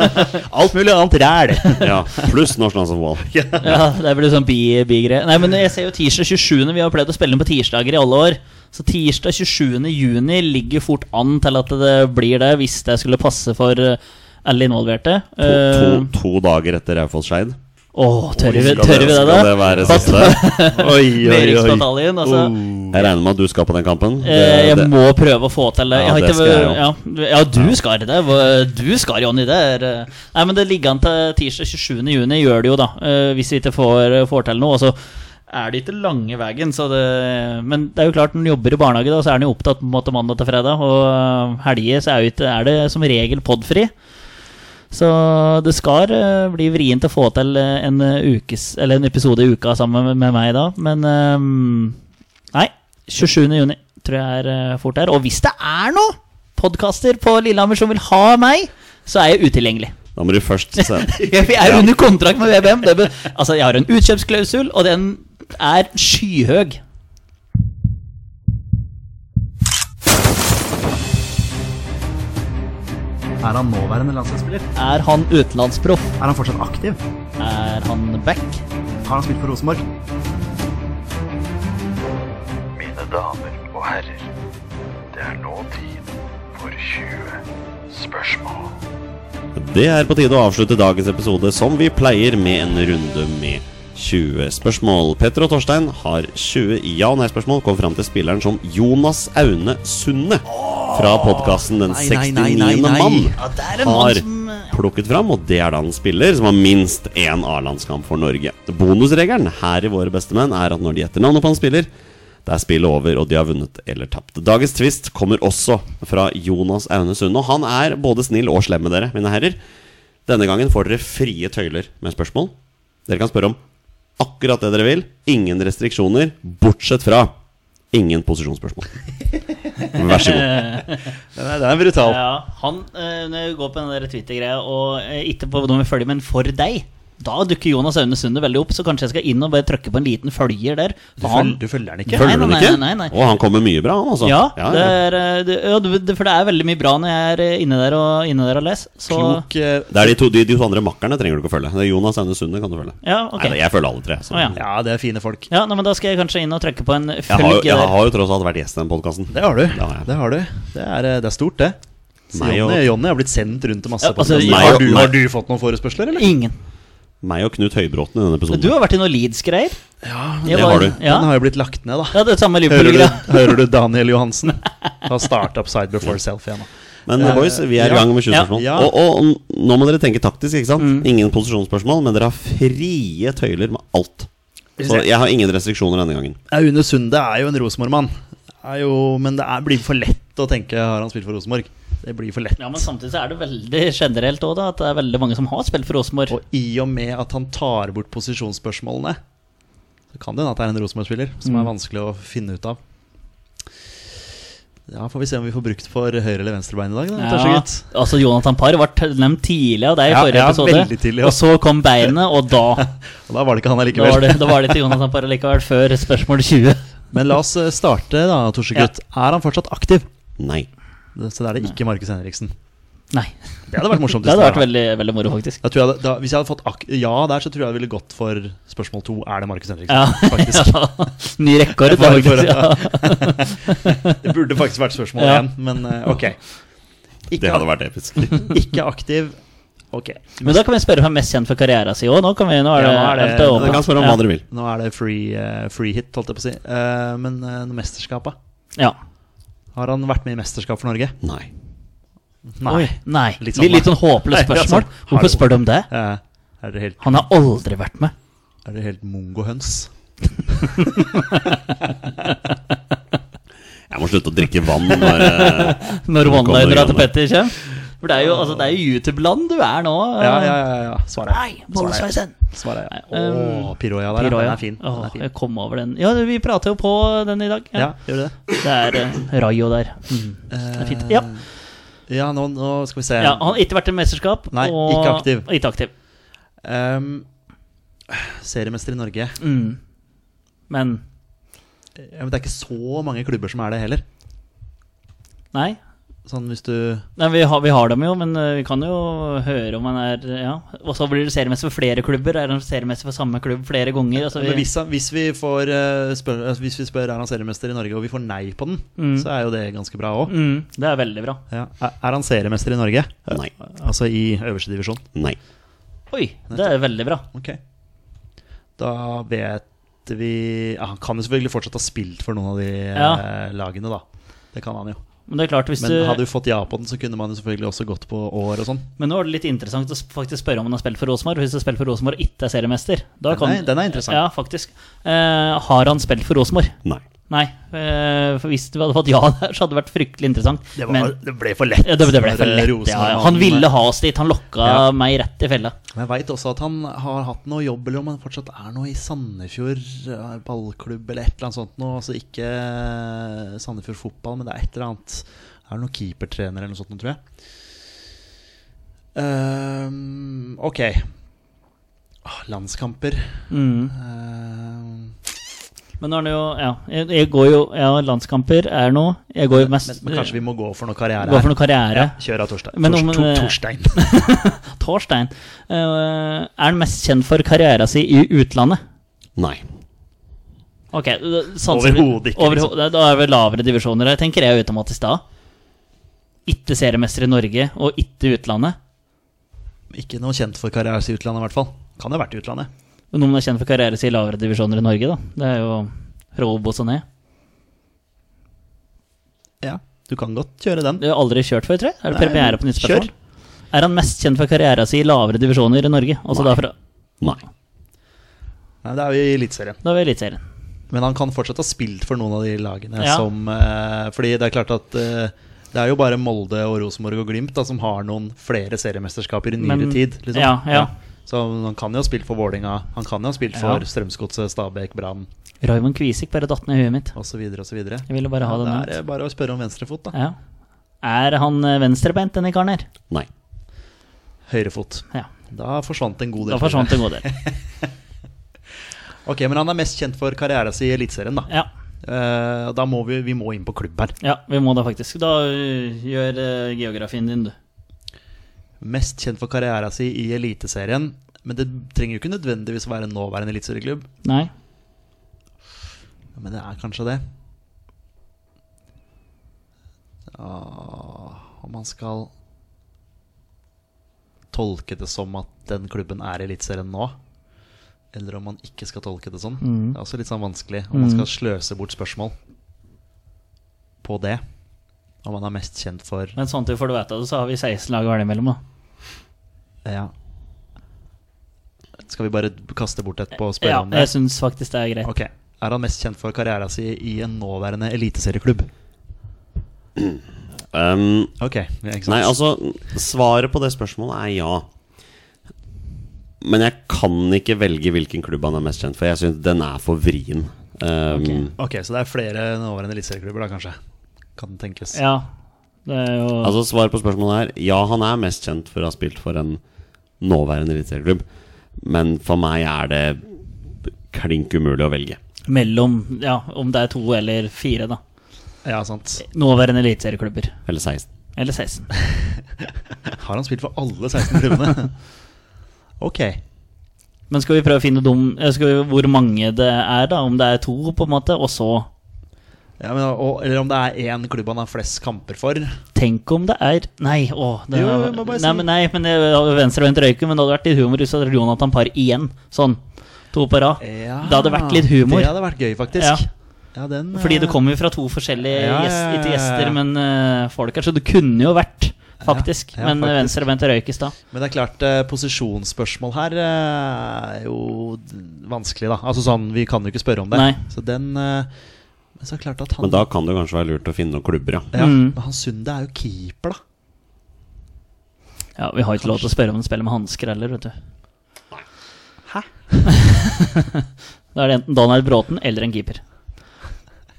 S3: Alt mulig annet ræl.
S2: ja, Pluss norsk landsfotball.
S1: Ja, det blir sånn bi- bi-greie. Nei, men jeg ser jo tirsdag 27. Vi har pleid å spille inn på tirsdager i alle år. Så tirsdag 27. juni ligger fort an til at det blir det, hvis det skulle passe for eh, alle involverte.
S2: To,
S1: Eh,
S2: to, to dager etter Raufoss-Skeid.
S1: Åh, tør vi,
S2: Skal
S1: tør vi det,
S2: skal
S1: da?
S2: det være siste?
S3: Oi,
S1: Neringsbataljen, altså.
S2: Oh. Jeg regner med at du skal på den kampen.
S1: Eh, jeg må prøve å få til det.
S2: Ja,
S1: Jeg har
S2: det
S1: ikke,
S2: skal jeg
S1: ja, ja, du skal det. Hva- Du skal, Jonny. Det er eh. Nei, men det ligger an til tirsdag 27. juni, gjør det jo, da. eh, Hvis vi ikke får, får til noe. Og så er det ikke lange veien, så det Men det er jo klart, når han jobber i barnehage, da, så er han jo opptatt på en måte mandag til fredag. Og eh, helger så er, jo ikke, er det som regel podfri. Så det skal eh, bli vrient å få til eh, en, eh, ukes, eller en episode i uka sammen med, med meg da, men eh, Nei, 27. juni tror jeg er eh, fort der. Og hvis det er noe podkaster på Lillehammer som vil ha meg, så er jeg utilgjengelig.
S2: Da må du først se.
S1: Jeg er under kontrakt med VBM. Det be altså, jeg har en utkjøpsklausul, og den er skyhøg.
S3: Er han nåværende landslagsspiller?
S1: Er han utenlandsproff?
S3: Er han fortsatt aktiv?
S1: Er han back?
S3: Har han spilt for Rosenborg?
S5: Mine damer og herrer, det er nå tid for 20 spørsmål.
S2: Det er på tide å avslutte dagens episode som vi pleier med en runde med 20 spørsmål. Petter og Torstein har 20 ja- og nei-spørsmål. Kom fram til spilleren som Jonas Aune Sunde fra podkasten Den
S3: Nei, nei, nei,
S2: 69.
S3: nei, nei.
S2: mann
S1: Ja, det er en mann
S2: har
S1: som eh,
S2: plukket fram, og det er da en spiller som har minst én A-landskamp for Norge. Bonusregelen her i Våre bestemenn er at når de gjetter navnet på en spiller, det er spillet over, og de har vunnet eller tapt. Dagens twist kommer også fra Jonas Aune Sunde, og han er både snill og slem med dere, mine herrer. Denne gangen får dere frie tøyler med spørsmål. Dere kan spørre om akkurat det dere vil. Ingen restriksjoner, bortsett fra ingen posisjonsspørsmål. Vær så god.
S3: Den er, den er brutal.
S1: Ja, han eh, når jeg går på den der Twitter-greia, og eh, ikke på hvordan vi følger, men for deg, Da dukker Jonas Aune Sunde veldig opp, så kanskje jeg skal inn og bare trykke på en liten følger der.
S3: Du, følger, du følger den ikke?
S1: Nei,
S2: Følger du
S1: nei,
S2: den ikke?
S1: nei, nei, nei.
S2: Og han kommer mye bra, han altså.
S1: Ja, det
S2: ja.
S1: er, eh, det, ja, du- det- for det er veldig mye bra når jeg er eh, inne der og, inne der og leser. Så
S3: Klok eh,
S2: Det er de to, de, de to andre makkerne trenger du ikke å følge. Det er Jonas Aune Sunde kan du følge.
S1: Ja, ok.
S2: Nei, jeg følger alle tre. Så.
S1: Å, ja.
S3: Ja, det er fine folk.
S1: Ja, nei, men da skal jeg kanskje inn og trykke på en
S2: Jeg, har jo,
S1: følge
S2: jeg
S1: der.
S2: har jo tross alt vært gjest i den podkasten.
S3: Det har du.
S2: Ja, ja.
S3: Det, har du. det, er, eh, det er stort, det. Så
S2: Meg
S3: Jonny,
S2: og-
S3: Jonny har blitt sendt rundt til masse.
S1: Ja,
S3: podcaster.
S1: altså, jeg-
S2: Meg og-
S3: har, du,
S2: meg-
S3: har du fått noen forespørsler, eller?
S1: Ingen.
S2: Meg og Knut Høybråten i denne episoden.
S1: Du har vært i noe Leeds-greier. Ja,
S2: det har du.
S3: Den
S1: Ja.
S3: Ah, har jo blitt lagt ned, da.
S1: ja, det er samme
S3: Hører du,
S1: Liverpool-greia.
S3: hører du Daniel Johansen? Har starta opp Side Before Self igjen. da.
S2: Men eh, boys, vi er i
S3: ja,
S2: gang med 20
S1: ja,
S2: spørsmål.
S3: ja.
S2: Og, og n- nå må dere tenke taktisk, ikke sant? Ingen posisjonsspørsmål, men dere har frie tøyler med alt. Så jeg har ingen restriksjoner denne gangen.
S3: Aune Sunde er jo en Rosenborg-mann. Er jo- Men det er, blir for lett å tenke har han spilt for Rosenborg. Det blir for lett.
S1: Ja, men samtidig så er det veldig generelt òg, da. At det er veldig mange som har spilt for Rosenborg.
S3: Og i og med at han tar bort posisjonsspørsmålene, så kan det hende at det er en Rosenborg-spiller som
S1: Mm.
S3: er vanskelig å finne ut av. Ja, får vi se om vi får brukt for høyre- eller venstrebein i dag. Da,
S1: Ja,
S3: ja.
S1: altså Jonathan Parr var t- nevnt tidlig av deg i
S3: Ja,
S1: forrige
S3: ja, veldig
S1: episode.
S3: tidlig, ja.
S1: Og så kom beinet, og da,
S3: Og da var det ikke han
S1: da, var
S3: allikevel.
S1: det, da var det til Jonathan Parr likevel, før spørsmål 20.
S3: Men la oss eh, starte, da, Torsegutt. Er han fortsatt aktiv?
S2: Nei.
S3: Så da er det ikke Markus Henriksen.
S1: Nei.
S3: Det hadde vært morsomt.
S1: Det hadde vært veldig, veldig moro, faktisk.
S3: Da tror jeg, hadde- da, hvis jeg hadde fått ak ja der, så tror jeg jeg ville gått for spørsmål to. Er det Markus Henriksen?
S1: Ja,
S3: Faktisk.
S1: ja. Ny rekord.
S3: Bare for
S1: faktisk, ja.
S3: Det burde faktisk vært spørsmål
S1: Ja.
S3: én, men eh, ok. Ikke,
S2: Det hadde vært episk.
S3: ikke aktiv. Ok.
S1: Men da kan vi spørre hvem er mest kjent for karrieren sin òg. Nå, kan vi- nå er det,
S3: Ja, nå er det-
S1: alt er åpent.
S2: Dere kan spørre om
S1: ja.
S2: hva dere vil.
S3: Nå er det free, eh, free hit, holdt jeg på å si. Eh, men uh, mesterskapet
S1: Ja.
S3: Har han vært med i mesterskap for Norge?
S2: Nei.
S1: Nei. Nei.
S3: Litt
S1: Litt,
S3: sånn,
S1: sånn, litt sånn håpløst
S3: Nei, ja,
S1: spørsmål.
S3: sånn. Har
S1: Hvorfor
S3: du-
S1: spør du om det?
S3: Eh, er dere helt,
S1: Han har aldri vært med.
S3: er dere helt mongohøns?
S2: Jeg må slutte å drikke vann når eh,
S1: Når
S2: Nå kommer
S1: one-linera til
S2: Jonny.
S1: Petter kommer. For det er jo, altså, det er jo YouTube-land du er nå.
S3: Ja, ja, ja. ja. Svaret.
S1: Eh, Nei, bollesveisen!
S3: Svaret, ja.
S1: Nei, um,
S3: Åh, Piroja der, ja.
S1: Piroja.
S3: Den er fin. Den
S1: Åh,
S3: er fin.
S1: jeg kom over den. Ja, vi prater jo på den i dag.
S3: Ja, gjør du det?
S1: Det er eh, Rayo der. Mm. Det er fint. Ja,
S3: Eh, Ja, nå, nå skal vi se.
S1: ja Han har ikke vært i mesterskap.
S3: Nei,
S1: og,
S3: ikke aktiv.
S1: og Ikke aktiv.
S3: Ehm, seriemester i Norge.
S1: Mm. Men
S3: Ja, men det er ikke så mange klubber som er det heller.
S1: nei.
S3: Sånn hvis du
S1: Nei, vi har, vi har dem jo, men eh, vi kan jo høre om han er Ja. Og så blir det seriemester for flere klubber. Er han seriemester for samme klubb flere ganger? Altså,
S3: Men
S1: vi,
S3: hvis, han- hvis vi får eh, spør, altså, Hvis vi spør er han seriemester i Norge, og vi får nei på den,
S1: Mm.
S3: så er jo det ganske bra òg.
S1: mm, det er veldig bra.
S3: Ja. Er er han seriemester i Norge?
S2: Nei.
S3: Altså i øverste divisjon?
S2: Nei.
S1: Oi, det er veldig bra.
S3: Ok. Da vet vi ja, Han kan jo selvfølgelig fortsatt ha spilt for noen av de eh,
S1: Ja.
S3: lagene, da. Det kan han jo.
S1: Men det er klart, hvis
S3: Men
S1: du
S3: hadde du fått ja på den, så kunne man jo selvfølgelig også gått på år og sånn.
S1: Men nå er det litt interessant å sp- faktisk spørre om han har spilt for Rosenborg. Hvis han har spilt for Rosenborg og ikke er seriemester da
S3: Den
S1: kan,
S3: er- den er interessant.
S1: Ja, faktisk. Eh, har han spilt for Rosenborg?
S2: Nei.
S1: Nei. eh, for hvis du hadde fått ja der, så hadde det vært fryktelig interessant.
S3: Det, var,
S1: Men
S3: det ble for lett.
S1: ja, det, det ble for
S3: Den der
S1: lett. Ja,
S3: Rosenborg-
S1: ja. Han ville ha oss dit. Han lokka
S3: Ja.
S1: meg rett i fella.
S3: Men Jeg veit også at han har hatt noe jobb, eller om han fortsatt er noe i Sandefjord eh, ballklubb eller et eller annet sånt noe. Altså ikke eh, Sandefjord fotball, men det er et eller annet Er det noen keepertrener eller noe sånt noe, tror jeg. Ehm, ok. Ah, landskamper
S1: Mm.
S3: Ehm,
S1: Men nå er det jo Ja, jeg, jeg går jo Ja, landskamper er noe. Jeg går jo
S3: men,
S1: mest
S3: men kanskje vi må gå for noe karriere
S1: går for noe karriere.
S3: Ja, kjør av Torstein.
S1: Men om-
S3: Tors- Tor- Torstein.
S1: Torstein. eh, er han mest kjent for karrieren sin i utlandet?
S2: Nei.
S1: Ok, eh, da- sanser-
S3: Overhodet ikke, liksom.
S1: overho- Da er det vel lavere divisjoner her, tenker jeg automatisk da. Ikke seriemester i Norge, og ikke utlandet.
S3: Ikke noe kjent for karriere i utlandet, i hvert fall. Kan det ha vært i utlandet.
S1: Men noen er kjent for karriere sin i lavere divisjoner i Norge, da. Det er jo fra Obos og ned.
S3: Ja, du kan godt kjøre den.
S1: Du har aldri kjørt før, tror jeg? Er det
S3: Nei,
S1: premiere på nytt
S3: kjør.
S1: spørsmål? Er han mest kjent for karrieren sin i lavere divisjoner i Norge? Altså da fra
S2: Nei.
S3: Nei, det er jo i Eliteserien.
S1: Da er vi i Eliteserien.
S3: Men han kan fortsatt ha spilt for noen av de lagene
S1: Ja.
S3: som eh, Fordi det er klart at eh, det er jo bare Molde og Rosenborg og Glimt da, som har noen flere seriemesterskaper i nyere
S1: Men-
S3: tid. Liksom.
S1: ja, ja.
S3: Så han kan jo ha spilt for Vålinga han kan jo ha spilt for Strømsgodset, Stabæk, Brann
S1: Raymond Kvisik bare datt ned i huet mitt.
S3: osv. osv.
S1: Jeg ville bare ha det
S3: Det
S1: nevnt.
S3: er eh, bare å spørre om venstrefot, da.
S1: Ja. Er han eh, venstrebeint, denne karen her?
S2: Nei.
S3: Høyrefot.
S1: Ja.
S3: Da forsvant en god del.
S1: Da forsvant en god del.
S3: Ok, Men han er mest kjent for karrieren sin i Eliteserien, da.
S1: Ja.
S3: Eh, da må vi, vi må inn på klubb her.
S1: ja, vi må da faktisk. Da øh, gjør øh, geografien din, du.
S3: Mest kjent for karrieren sin i Eliteserien. Men det trenger jo ikke nødvendigvis være nåværende eliteserieklubb.
S1: Nei.
S3: Men det er kanskje det. Ah, Om man skal tolke det som at den klubben er i Eliteserien nå, eller om man ikke skal tolke det sånn. Det er også litt sånn vanskelig om man skal sløse bort spørsmål på det. Om man er mest kjent for
S1: Men samtidig får du vite det, så har vi 16 lag å velge mellom, da.
S3: ja. Skal vi bare kaste bort etterpå og spørre
S1: Ja,
S3: om det?
S1: jeg syns faktisk det er greit.
S3: Ok, Er han mest kjent for karrieren sin i en nåværende eliteserieklubb?
S2: Um,
S3: Ok, ja, ikke sant?
S2: Nei, altså, svaret på det spørsmålet er ja. Men jeg kan ikke velge hvilken klubb han er mest kjent for. Jeg syns den er for vrien. Um,
S3: Ok, så det er flere nåværende eliteserieklubber da, kanskje? Kan tenkes.
S1: Ja, det er jo
S2: Altså, svaret på spørsmålet er ja, han er mest kjent for å ha spilt for en nåværende eliteserieklubb, men for meg er det klink umulig å velge.
S1: mellom Ja, om det er to eller fire, da.
S3: Ja, sant.
S1: Nåværende eliteserieklubber.
S2: Eller 16.
S1: Eller 16.
S3: Har han spilt for alle 16 klubbene? ok.
S1: Men skal vi prøve å finne dem, eh, skal vi, hvor mange det er, da? Om det er to, på en måte, og så
S3: Ja, men, og, eller om det er én klubb han har flest kamper for.
S1: Tenk om det er Nei, å det
S3: Jo,
S1: er-
S3: jeg må bare
S1: nei,
S3: si-
S1: men, nei, men det- venstrevendt røyker, men det hadde vært litt humor hvis det hadde vært Jonathan Parr igjen. Sånn. To på rad. det hadde vært litt humor.
S3: Det hadde vært gøy, faktisk.
S1: Ja.
S3: Ja, den,
S1: Fordi det
S3: eh,
S1: kommer jo fra to forskjellige
S3: Ja, ja,
S1: gjest,
S3: ja, ja,
S1: ikke
S3: ja.
S1: gjester, men eh, folk her, så det kunne jo vært, faktisk.
S3: Ja, ja,
S1: men
S3: faktisk.
S1: venstrevendt røyk i stad.
S3: Men det er klart, eh, posisjonsspørsmål her eh, er jo d- vanskelig, da. Altså sånn, vi kan jo ikke spørre om det.
S1: Nei.
S3: Så den eh, Men så er det klart at han
S2: Men da kan det kanskje være lurt å finne noen klubber, ja.
S3: ja,
S1: Mm.
S3: Men han Sunde er jo keeper, da.
S1: Ja, vi har ikke lov til å spørre om han spiller med hansker heller, vet du.
S3: Hæ?
S1: Da er det enten Donald Bråten eller en keeper.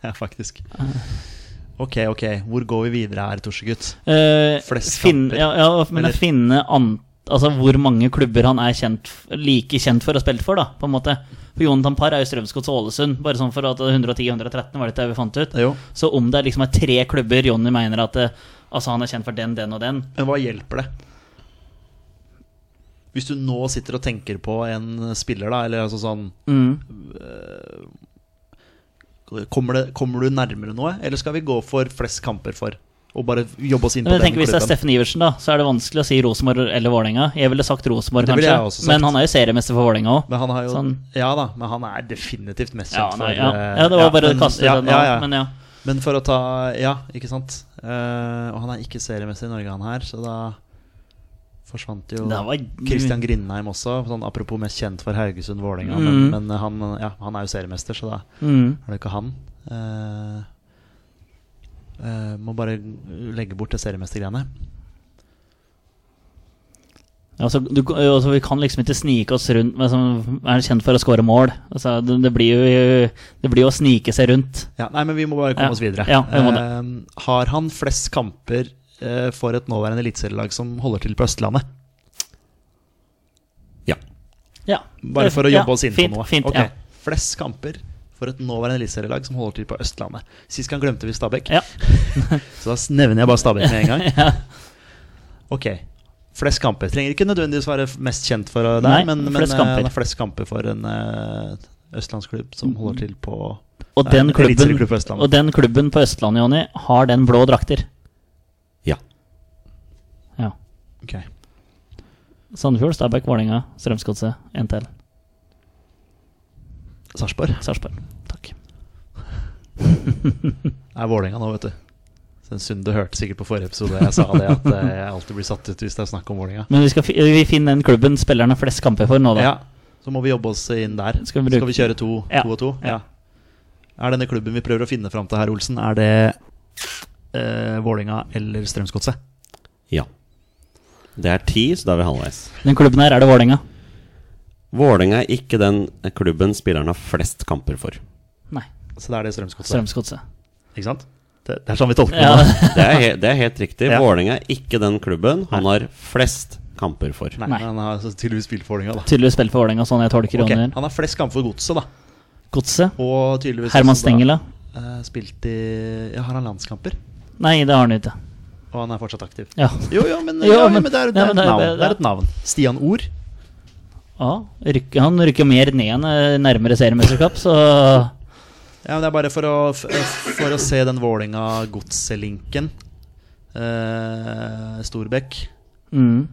S3: Ja, faktisk.
S1: Ah.
S3: Ok, ok. Hvor går vi videre her, Torsegutt?
S1: Eh,
S3: Flest
S1: finne-
S3: kamper.
S1: Ja, ja, men
S3: Eller-
S1: finne an, altså hvor mange klubber han er kjent, f- like kjent for å spille for, da, på en måte. For Jonathan Parr er jo Strømsgods og Ålesund, bare sånn for at 110-113 var dette vi fant ut.
S3: Jo.
S1: Så om det liksom er tre klubber Jonny mener at eh, altså han er kjent for den, den og den,
S3: Men hva hjelper det? Hvis du nå sitter og tenker på en spiller, da, eller altså sånn øh, kommer, det, kommer du nærmere noe, eller skal vi gå for flest kamper for? Og bare jobbe oss inn på
S1: Men jeg
S3: den
S1: tenker Hvis det er
S3: klubben?
S1: Steffen Iversen, da så er det vanskelig å si Rosenborg eller Vålerenga. Jeg ville sagt Rosenborg,
S3: Det ville
S1: kanskje.
S3: jeg også sagt.
S1: Men han er jo seriemester for Vålerenga òg.
S3: Men han har jo,
S1: Sånn.
S3: Ja da, men han er definitivt mest
S1: Ja,
S3: kjent
S1: nei,
S3: for
S1: ja.
S3: øh,
S1: ja, det var
S3: ja,
S1: bare
S3: men-
S1: å kaste
S3: ja,
S1: den av.
S3: ja, ja.
S1: Men ja.
S3: Men for å ta Ja, ikke sant. Eh, og han er ikke seriemester i Norge, han her, så da forsvant jo
S1: Det var
S3: Christian Grindheim også. Sånn, apropos mest kjent for Haugesund Vålerenga,
S1: Mm.
S3: men, men han, ja, han er jo seriemester, så da
S1: Mm.
S3: er det ikke han. Eh, eh, må bare legge bort det seriemestergreiene.
S1: Altså, du, altså, vi kan liksom ikke snike oss rundt med som er kjent for å score mål. Altså, det, det, blir jo, det blir jo å snike seg rundt.
S3: Ja, nei, men vi må bare
S1: Ja.
S3: komme oss videre.
S1: Ja, vi må
S3: Eh, har han flest kamper eh, for et nåværende eliteserielag som holder til på Østlandet?
S2: ja.
S1: Ja.
S3: Bare for å
S1: Ja,
S3: jobbe oss inn
S1: fint,
S3: på noe.
S1: Fint,
S3: Ok.
S1: ja.
S3: Flest kamper for et nåværende eliteserielag som holder til på Østlandet. Sist gang glemte vi Stabæk,
S1: Ja.
S3: så da nevner jeg bare Stabæk med en gang. Ok, Flest kamper. Trenger ikke nødvendigvis være f- mest kjent for eh, der,
S1: Nei,
S3: men, men
S1: flest
S3: eh,
S1: kamper.
S3: det er flest kamper for en eh, østlandsklubb som holder til på
S1: Og, den
S3: Nei,
S1: klubben,
S3: eliteserieklubb på Østlandet.
S1: og den klubben på Østlandet, Jonny, har den blå drakter.
S2: ja.
S1: Ja.
S3: Ok,
S1: Sandefjord, Stabæk, Vålerenga, Strømsgodset, NTL,
S3: Sarpsborg.
S1: Sarpsborg. Takk.
S3: Det er Vålerenga nå, vet du. Så Sunde hørte sikkert på forrige episode jeg sa det, at eh, jeg alltid blir satt ut hvis det er snakk om Vålerenga.
S1: Men vi, skal, fi- vi finner den klubben spillerne flest kamper for nå, da.
S3: Ja, så må vi jobbe oss inn der.
S1: Skal vi bruke-
S3: Skal vi kjøre to,
S1: Ja.
S3: to og to? Ja. Er denne klubben vi prøver å finne fram til her, Olsen, er det eh, Vålinga eller Strømsgodset?
S2: Ja. Det er ti, så da er vi halvveis.
S1: Den klubben her er det Vålerenga.
S2: Vålerenga er ikke den klubben spilleren har flest kamper for.
S1: Nei,
S3: Så da er det Strømsgodset.
S1: Strømsgodset.
S3: Ikke sant? Det, det er sånn vi tolker
S1: Ja.
S3: det. nå.
S2: Det er, he det er helt riktig.
S3: Ja.
S2: Vålerenga er ikke den klubben han har flest kamper for.
S3: Nei,
S1: Nei.
S3: men han har altså tydeligvis spilt for Vålerenga, da.
S1: Tydeligvis spilt for Vålerenga, sånn jeg tolker
S3: Ok,
S1: Ronny.
S3: Han har flest kamper for Godset, da.
S1: Godset.
S3: Og tydeligvis
S1: Herman
S3: også da,
S1: Stengela.
S3: eh, Spilt i ja, Har han landskamper?
S1: Nei, det har han ikke.
S3: Og han er fortsatt aktiv.
S1: Ja.
S3: Jo, jo, men,
S1: Jo,
S3: ja,
S1: men-
S3: men det er, det
S1: ja,
S3: er
S1: men
S3: et
S1: det er-
S3: navn.
S1: det er-
S3: Det er et navn. Stian Ord.
S1: Ja, rykker, han rykker mer ned enn eh, nærmere seriemesterskap, så
S3: Ja, men det er bare for å, f- for å se den Vålerenga-godselinken. Eh, Storbekk
S1: mm.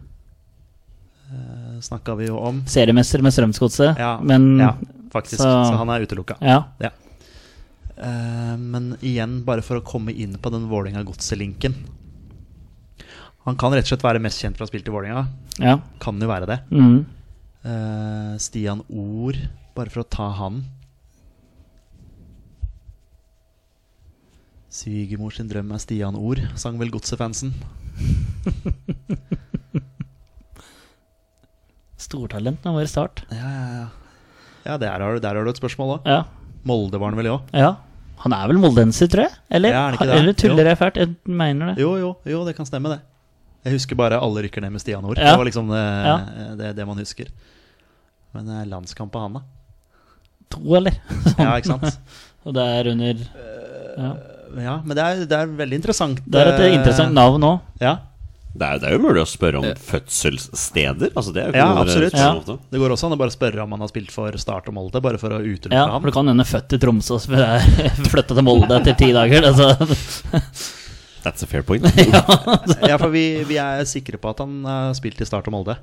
S3: eh, snakka vi jo om.
S1: Seriemester med Strømsgodset.
S3: Ja,
S1: men
S3: ja faktisk. Så,
S1: så-
S3: han er utelukka.
S1: ja.
S3: Eh, men igjen, bare for å komme inn på den Vålerenga-godselinken. Han kan rett og slett være mest kjent for å ha spilt i Vålerenga.
S1: ja.
S3: Kan jo være det.
S1: Mm.
S3: Eh, Stian Ord, bare for å ta han. Svigermor sin drøm er Stian Ord, sang vel Godset-fansen.
S1: Stortalent nå var det start.
S3: Ja, ja, ja. ja der, har du, der har du et spørsmål òg.
S1: Ja.
S3: Molde var han vel òg?
S1: ja. Han er vel moldenser, tror jeg? Eller,
S3: Ja, er han ikke det?
S1: eller
S3: Jo.
S1: tuller jeg fælt? Jeg mener det.
S3: Jo, jo, jo, det kan stemme, det. Jeg husker bare alle rykker ned med Stian Ord.
S1: Ja.
S3: Det var liksom det,
S1: Ja.
S3: det, det man husker. Men eh, landskamp av han, da?
S1: To, eller?
S3: Ja, ikke sant?
S1: Og det er under ja.
S3: Ja, men det er, det er veldig interessant.
S1: Det er et
S3: eh,
S1: interessant navn òg.
S3: Ja,
S2: Det er, det er jo mulig å spørre om fødselssteder. Altså, det er jo ikke
S3: Ja,
S2: noe dere
S3: absolutt.
S2: spør om
S1: Ja.
S2: ofte.
S3: Det går også an å bare spørre om han har spilt for Start og Molde, bare for å utelukke
S1: Ja,
S3: ham.
S1: for det kan hende født i Tromsø og flytta til Molde etter ti dager. Altså.
S2: That's a fair point.
S3: ja, for vi, vi er sikre på at han har spilt i Start og Molde.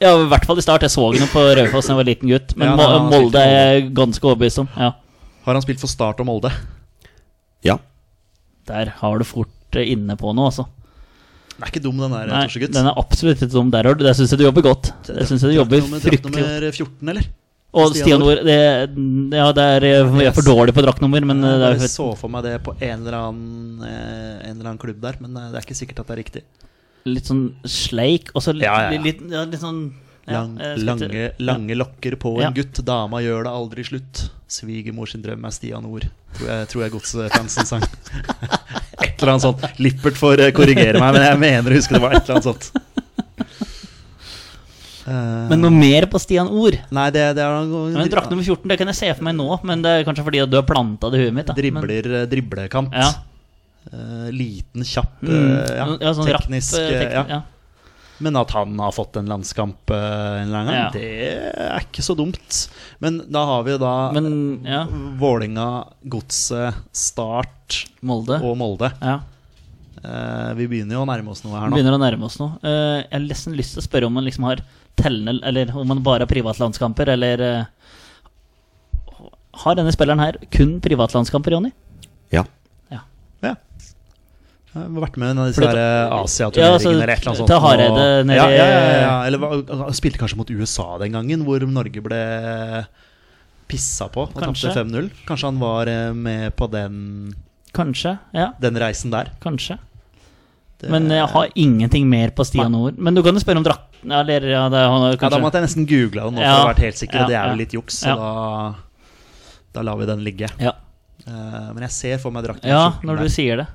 S1: Ja, I hvert fall i start. Jeg så henne på Raufoss da jeg var liten gutt.
S3: Ja,
S1: Men Mo-
S3: da han
S1: Molde
S3: spilte
S1: er jeg ganske overbevist om. Ja,
S3: Har han spilt for Start og Molde?
S2: Ja.
S1: Der har du fort eh, inne på noe, altså.
S3: Den er ikke dum, den der,
S1: Nei,
S3: Torsegutt.
S1: den er absolutt ikke dum der, Ord. Der syns jeg du jobber godt. Der synes jeg du jobber
S3: Nummer-
S1: fryktelig godt.
S3: Nummer 14, eller?
S1: Og
S3: eh, Stian
S1: Stian Ord det, Ja, det er, eh, jeg er for dårlig på draktnummer, men eh, det er
S3: jeg
S1: jo
S3: bare så for meg det på en eller, annen, eh, en eller annen klubb der, men eh, det er ikke sikkert at det er riktig.
S1: litt sånn sleik, og så litt,
S3: Ja, ja, ja.
S1: litt, ja, litt sånn ja,
S3: Lang,
S1: jeg skal ikke-
S3: lange, lange lokker på en
S1: Ja.
S3: gutt, dama gjør det aldri slutt. Svigermor sin drøm er Stian Ord, tror jeg, tror jeg Godset-fansen sang. et eller annet sånt. Lippert får eh, korrigere meg, men jeg mener å huske det var et eller annet sånt. Eh,
S1: Men noe mer på Stian Ord?
S3: Nei, det, det er
S1: Men Drakt nummer 14 det kan jeg se for meg nå, men det er kanskje fordi at du har planta det i huet mitt. Da. Men,
S3: Dribler, eh, driblekant.
S1: ja.
S3: Eh, liten, kjapp, eh, ja,
S1: Mm. ja, sånn
S3: teknisk.
S1: rapp, eh,
S3: eh,
S1: teknisk
S3: ja.
S1: ja.
S3: Men at han har fått en landskamp eh, en eller annen gang,
S1: Ja.
S3: det er ikke så dumt. Men da har vi jo da
S1: Men ja,
S3: Vålinga, Godset, Start
S1: Molde
S3: og Molde.
S1: ja.
S3: Eh, vi begynner jo å nærme oss noe her nå.
S1: Vi begynner å nærme oss noe. Eh, jeg har nesten lyst til å spørre om man liksom har tellende Eller om man bare har privatlandskamper, eller eh, Har denne spilleren her kun privatlandskamper, Jonny?
S2: ja.
S3: Ja. Jeg har vært med i en av disse
S1: Fordi-
S3: der, eh,
S1: Ja, altså,
S3: Asia-turneringene eller et eller annet sånt.
S1: til Hareide
S3: og-
S1: nede
S3: ja,
S1: i-
S3: ja, ja, ja. Eller hva- han spilte kanskje mot USA den gangen, hvor Norge ble pissa på og
S1: Kanskje.
S3: tapte 5-0. Kanskje han var eh, med på den,
S1: Kanskje. Ja,
S3: den reisen der.
S1: kanskje.
S3: Det-
S1: Men jeg har ingenting mer på Stian Ord. Men du kan jo spørre om drakt... Ja, eller, ja, det, han, har
S3: Ja, da
S1: kanskje-
S3: måtte jeg nesten googla det nå for
S1: Ja.
S3: å være helt sikker.
S1: Ja,
S3: og det er
S1: ja.
S3: jo litt juks, så
S1: Ja.
S3: da, da lar vi den ligge.
S1: ja.
S3: Eh, men jeg ser for meg drakten.
S1: ja,
S3: skjorten
S1: når du
S3: der.
S1: sier det.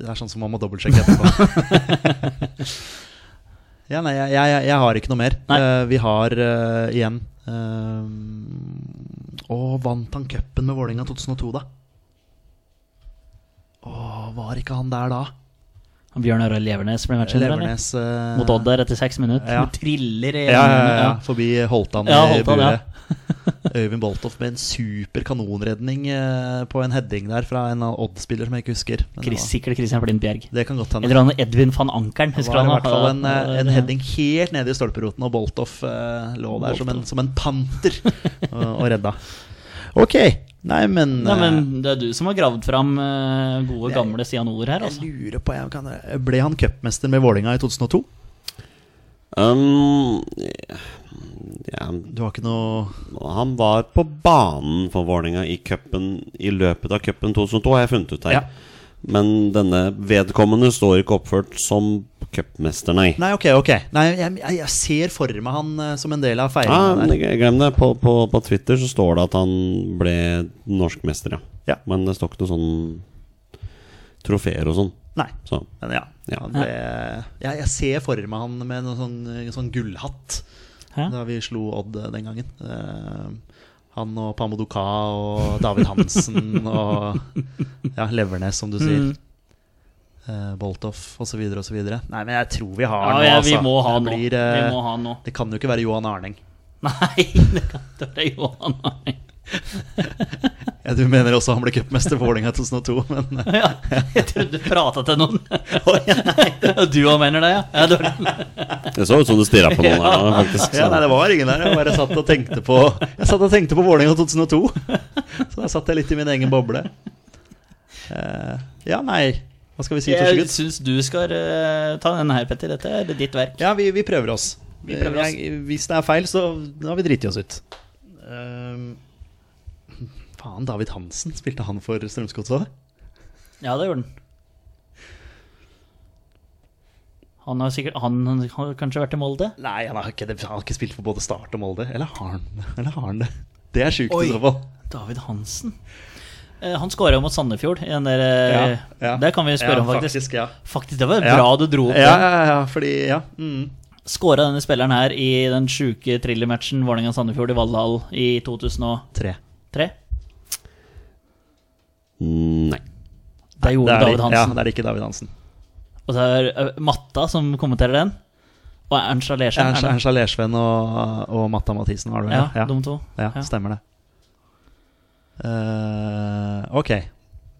S3: Det er sånn som man må dobbeltsjekke etterpå. ja, nei, jeg, jeg, jeg har ikke noe mer.
S1: Nei.
S3: Eh, vi har eh, igjen eh, Å, vant han cupen med Vålerenga 2002, da? Å, var ikke han der da?
S1: Bjørn Arild Levernes ble matchvinner, eller?
S3: Levernes eh,
S1: Mot Odd der etter seks minutter.
S3: Ja.
S1: Du Triller i
S3: Ja, ja, ja, ja. Forbi Holtan
S1: Ja,
S3: i
S1: Holtan, ja.
S3: buret. Øyvind Boltoff med en super kanonredning eh, på en heading der fra en av Odd-spiller som jeg ikke husker. Men det
S1: Chris,
S3: var-
S1: sikkert Christian Flint Bjerg.
S3: Det kan godt hende.
S1: Eller han Edvin van Ankeren.
S3: Det
S1: Husker
S3: var i
S1: han
S3: hvert fall en,
S1: Ja,
S3: eh, en
S1: ja.
S3: heading helt nede i stolperoten, og Boltoff eh, lå der som en, som en panter og, og redda. Ok. Nei, men,
S1: Nei, men
S3: eh,
S1: Det er du som har gravd fram eh, gode,
S3: Jeg-
S1: gamle Stian Ord her,
S3: jeg
S1: altså.
S3: lurer på jeg kan, Ble han cupmester med Vålinga i 2002?
S2: Um, ja,
S3: Du har ikke noe
S2: han var på banen for Vålerenga i, cupen- i løpet av cupen 2002, har jeg funnet ut her.
S3: Ja.
S2: Men denne vedkommende står ikke oppført som cupmester, nei.
S3: Nei, ok, ok. Nei, jeg, jeg, jeg ser for meg han eh, som en del av
S2: Ja,
S3: feiringen
S2: men
S3: der.
S2: ikke- glem det. På, på, på Twitter så står det at han ble norsk mester, ja.
S3: Ja.
S2: Men det står ikke noe sånn trofeer og sånn.
S3: Nei.
S2: Så
S3: Men ja.
S2: Ja.
S3: Han ble, jeg, jeg ser for meg han med noen sånn, sånn gullhatt
S1: Hæ?
S3: da vi slo Odd eh, den gangen. Eh, han og Pamodoka og David Hansen og ja, Levernes, som du sier.
S1: Mm.
S3: Eh, Boltoff osv. osv. Nei, men jeg tror vi har
S1: Ja,
S3: nå,
S1: ja, vi
S3: altså.
S1: må ha
S3: Det
S1: nå.
S3: blir, eh,
S1: Vi må ha nå.
S3: Det kan jo ikke være Johan Arning.
S1: Nei, det kan ikke være Johan Arning.
S3: Ja, du mener også han ble cupmester for Vålerenga i 2002, men eh,
S1: Ja, jeg trodde du prata til noen. Nei, du òg mener det, ja? ja det var,
S2: Det så ut som du stirra på noen der, faktisk.
S3: ja, nei, det var ingen der. Jeg bare satt og tenkte på Jeg satt og tenkte på Vålerenga 2002. Så da satt jeg litt i min egen boble. Eh, ja, nei Hva skal vi si,
S1: jeg
S3: Torsegutt?
S1: syns du skal eh, ta denne her, Petter. Dette er ditt verk.
S3: Ja, vi, vi prøver oss.
S1: Vi prøver oss.
S3: Jeg, hvis det er feil, så da har vi driti oss ut. Ehm. Eh, faen, David Hansen. Spilte han for Strømsgodset òg?
S1: Ja, det gjorde den. Han har sikkert han, han har kanskje vært i Molde?
S3: Nei, han har, ikke, det- han har ikke spilt for både Start og Molde. Eller har han, eller har han det? Det er sjukt
S1: Oi.
S3: i så fall.
S1: David Hansen. Eh, Han skåra jo mot Sandefjord. I den der, eh,
S3: Ja, ja.
S1: Det kan vi spørre
S3: Ja,
S1: om, faktisk.
S3: faktisk, ja.
S1: Faktisk, Det var
S3: Ja.
S1: bra du dro opp
S3: Ja,
S1: det.
S3: ja, ja, fordi ja. Mm.
S1: Skåra denne spilleren her i den sjuke thrillermatchen Vålerenga-Sandefjord i Valhall i 2003?
S3: Tre.
S2: Mm, Nei.
S1: Der gjorde
S3: det,
S1: David Hansen.
S3: Ja, det er ikke David Hansen.
S1: Og så er eh, Matta som kommenterer den. Og Ernst Alersen. er
S3: Ernst,
S1: det?
S3: Ernst Lersven og, og Matta Mathisen, var det vel?
S1: Ja, de to.
S3: Ja,
S1: Ja.
S3: stemmer det. Eh, ok.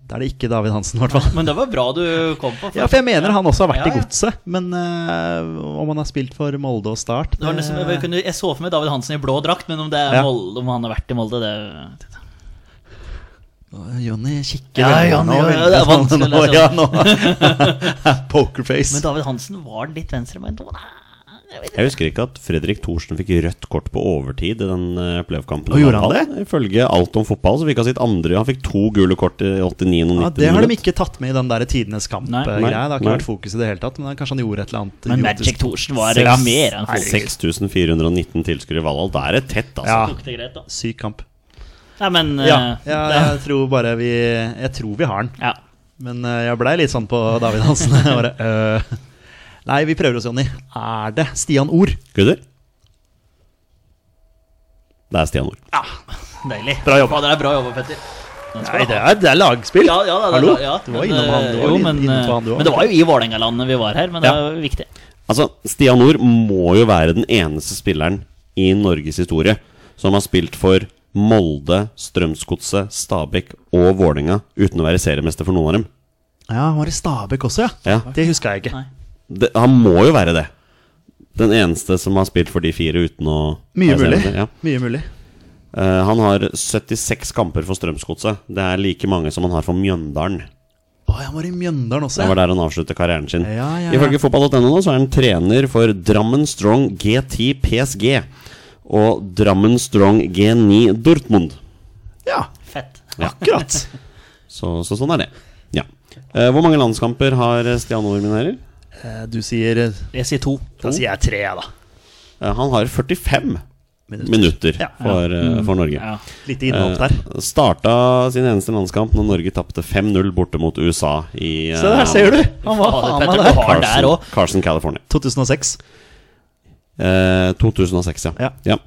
S3: Da er det ikke David Hansen, i hvert fall.
S1: Men det var bra du kom på.
S3: Ja, for jeg mener han også har vært
S1: Ja, ja.
S3: i Godset, men eh, om han har spilt for Molde og Start
S1: det var nesten, jeg, kunne, jeg så for meg David Hansen i blå drakt, men om, det er
S3: Ja.
S1: Molde, om han har vært i Molde, det
S3: Å, Jonny eh, kikker
S1: Ja,
S3: veldig
S1: Jonny,
S3: nå,
S1: ja,
S3: veldig
S1: det er
S3: sånn,
S1: vanskelig,
S3: nå,
S1: det er
S3: ja, nå. Pokerface.
S1: Men David Hansen var litt venstrebeint. Å, nei, jeg vet ikke.
S2: Jeg husker ikke at Fredrik Thorsen fikk rødt kort på overtid i den eh, playoff-kampen.
S3: Og gjorde han det?
S2: Ifølge Alt om fotball så fikk han sitt andre Han fikk to gule kort i 89 og 90
S3: Ja, Det har de
S2: minutt.
S3: ikke tatt med i den der tidenes
S1: Nei.
S3: kamp-greia. Det har ikke
S2: Nei.
S3: vært fokus i det hele tatt. Men kanskje han gjorde et eller annet
S1: Men
S3: idiotisk.
S1: Magic Thorsen var
S3: Seks.
S1: mer enn
S3: Nei,
S1: folk.
S2: 6419 tilskuere i Valhall. Da er det tett, altså.
S3: Ja.
S1: Tok det greit, da.
S3: Syk kamp.
S1: Nei, men eh,
S3: Ja, ja, jeg tror bare vi Jeg tror vi har den.
S1: ja.
S3: Men eh, jeg blei litt sånn på David Hansen. Jeg bare, øh. Nei, vi prøver oss, Jonny. Er det Stian Ord?
S2: Gutter? Det er Stian Ord.
S1: Deilig.
S3: Bra jobba.
S1: Ja, det er bra jobba, Petter. Den skal
S3: Nei,
S1: du
S3: det
S1: ha.
S3: er, det er lagspill!
S1: Ja, ja, det er
S3: Hallo?
S1: bra, ja.
S3: Du var
S1: Men,
S3: innom han, du
S1: eh,
S3: var
S1: jo,
S3: inn-
S1: men,
S3: innom på han, du
S1: eh,
S3: også.
S1: Men det var jo i Vålerenga-landet vi var her, men det
S3: Ja.
S1: er jo viktig.
S2: Altså, Stian Nord må jo være den eneste spilleren i Norges historie som har spilt for Molde, Strømsgodset, Stabæk og Vålerenga uten å være seriemester for noen av dem.
S3: Ja, han var i Stabæk også, ja.
S2: Ja.
S3: Det huska jeg ikke.
S1: Nei.
S2: Det, han må jo være det. Den eneste som har spilt for de fire uten å være
S3: Mye mulig.
S2: seriemester, Ja.
S3: Mye mulig.
S2: Eh, han har 76 kamper for Strømsgodset. Det er like mange som han har for Mjøndalen.
S3: Å, han var i Mjøndalen også,
S2: Det var
S3: ja.
S2: der han avsluttet karrieren sin.
S3: Ja, ja, ja.
S2: Ifølge fotball.no nå så er han trener for Drammen Strong G10 PSG og Drammen Strong G9 Dortmund.
S3: ja.
S1: Fett.
S3: Akkurat.
S2: Så, så sånn er det. Ja. Eh, hvor mange landskamper har Stian Orminerer?
S3: Eh, Du sier
S1: Jeg sier to.
S3: Da sier jeg tre, jeg, da.
S2: Eh, han har 45
S3: Minutter.
S2: minutter,
S3: Ja. Mm.
S2: For, eh, for Norge.
S1: Ja.
S3: Litt innhopp der.
S2: Eh, starta sin eneste landskamp når Norge tapte 5-0 borte mot USA i eh,
S3: Se der, ser du! Han var
S1: Fader,
S3: faen meg der.
S1: Petter, du har den der
S2: Carson,
S1: òg.
S2: Carson, California.
S3: 2006.
S2: Eh, 2006, ja.
S3: Ja.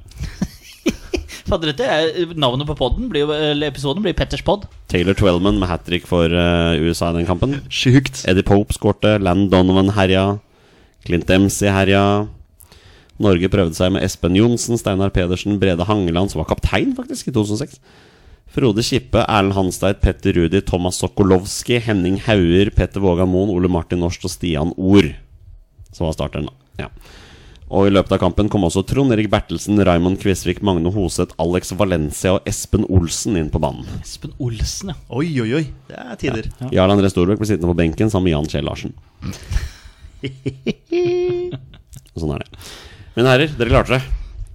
S1: Fader, dette er- eh, Navnet på podden blir jo, eller episoden blir Petters pod.
S2: Taylor Twelman med hat trick for eh, USA i den kampen.
S3: Sjukt.
S2: Eddie Pope skårte, Land Donovan herja, Clint Dempsey herja. Norge prøvde seg med Espen Johnsen, Steinar Pedersen, Brede Hangeland, som var kaptein faktisk i 2006. Frode Kippe, Erlend Hansteid, Petter Rudi, Thomas Sokolowski, Henning Hauger, Petter Vågan Moen, Ole Martin Norst og Stian Ord. Som var starteren, da. Ja. Og i løpet av kampen kom også Trond Erik Bertelsen, Raymond Kvisvik, Magne Hoseth, Alex Valencia og Espen Olsen inn på banen.
S1: Espen Olsen, ja.
S3: Oi, oi, oi. Det er tider.
S2: Jarl André Storbekk ble sittende på benken sammen med Jan Kjell Larsen. Og sånn er det. Mine herrer, dere klarte det.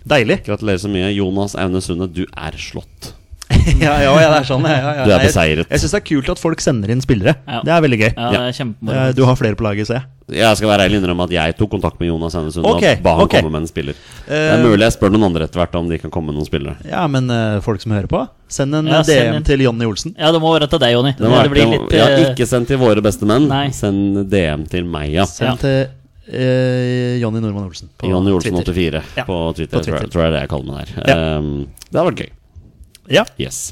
S3: Deilig.
S2: Gratulerer så mye. Jonas Aune Sunde, du er slått.
S3: ja, ja, ja, det er sånn. Ja, ja, ja.
S2: Du er
S3: Jeg-
S2: beseiret.
S3: Jeg syns det er kult at folk sender inn spillere.
S1: Ja.
S3: Det er veldig gøy.
S1: Ja, det er kjempemoro.
S3: Eh, Du har flere på laget, ser jeg.
S2: Jeg skal være ærlig innrømme at jeg tok kontakt med Jonas Hennesund
S3: Ok,
S2: og ba han
S3: ok. Eh,
S2: komme med en spiller. Det er mulig jeg spør noen andre etter hvert om de kan komme med noen spillere.
S3: Ja, men eh, folk som hører på, send en
S1: Ja,
S3: eh,
S1: send
S3: DM
S1: en.
S3: til Jonny Olsen.
S1: Ja, det må være til deg, Jonny.
S2: Den har
S1: det blir
S2: vært-
S1: litt
S2: ja,
S1: eh,
S2: ikke send til våre beste menn.
S1: Nei.
S2: Send DM til meg, ja.
S3: Send
S1: Ja.
S3: til eh, Jonny Normann Olsen på
S2: Jonny Olsen
S3: Twitter.
S2: 84
S3: Ja,
S2: på Twitter,
S3: på Twitter.
S2: Tror, jeg, tror jeg det er jeg kaller meg der.
S3: Ja.
S2: Ehm, det har vært gøy.
S3: Ja.
S2: Yes.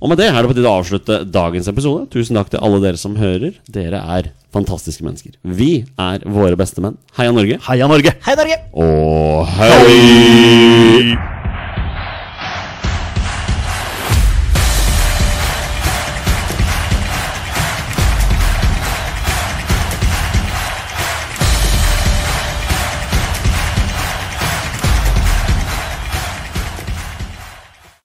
S2: Og med det er det på tide å avslutte dagens episode. Tusen takk til alle dere som hører. Dere er fantastiske mennesker. Vi er våre beste menn. Heia Norge.
S3: Heia Norge!
S1: Hei, Norge!
S2: Og hei!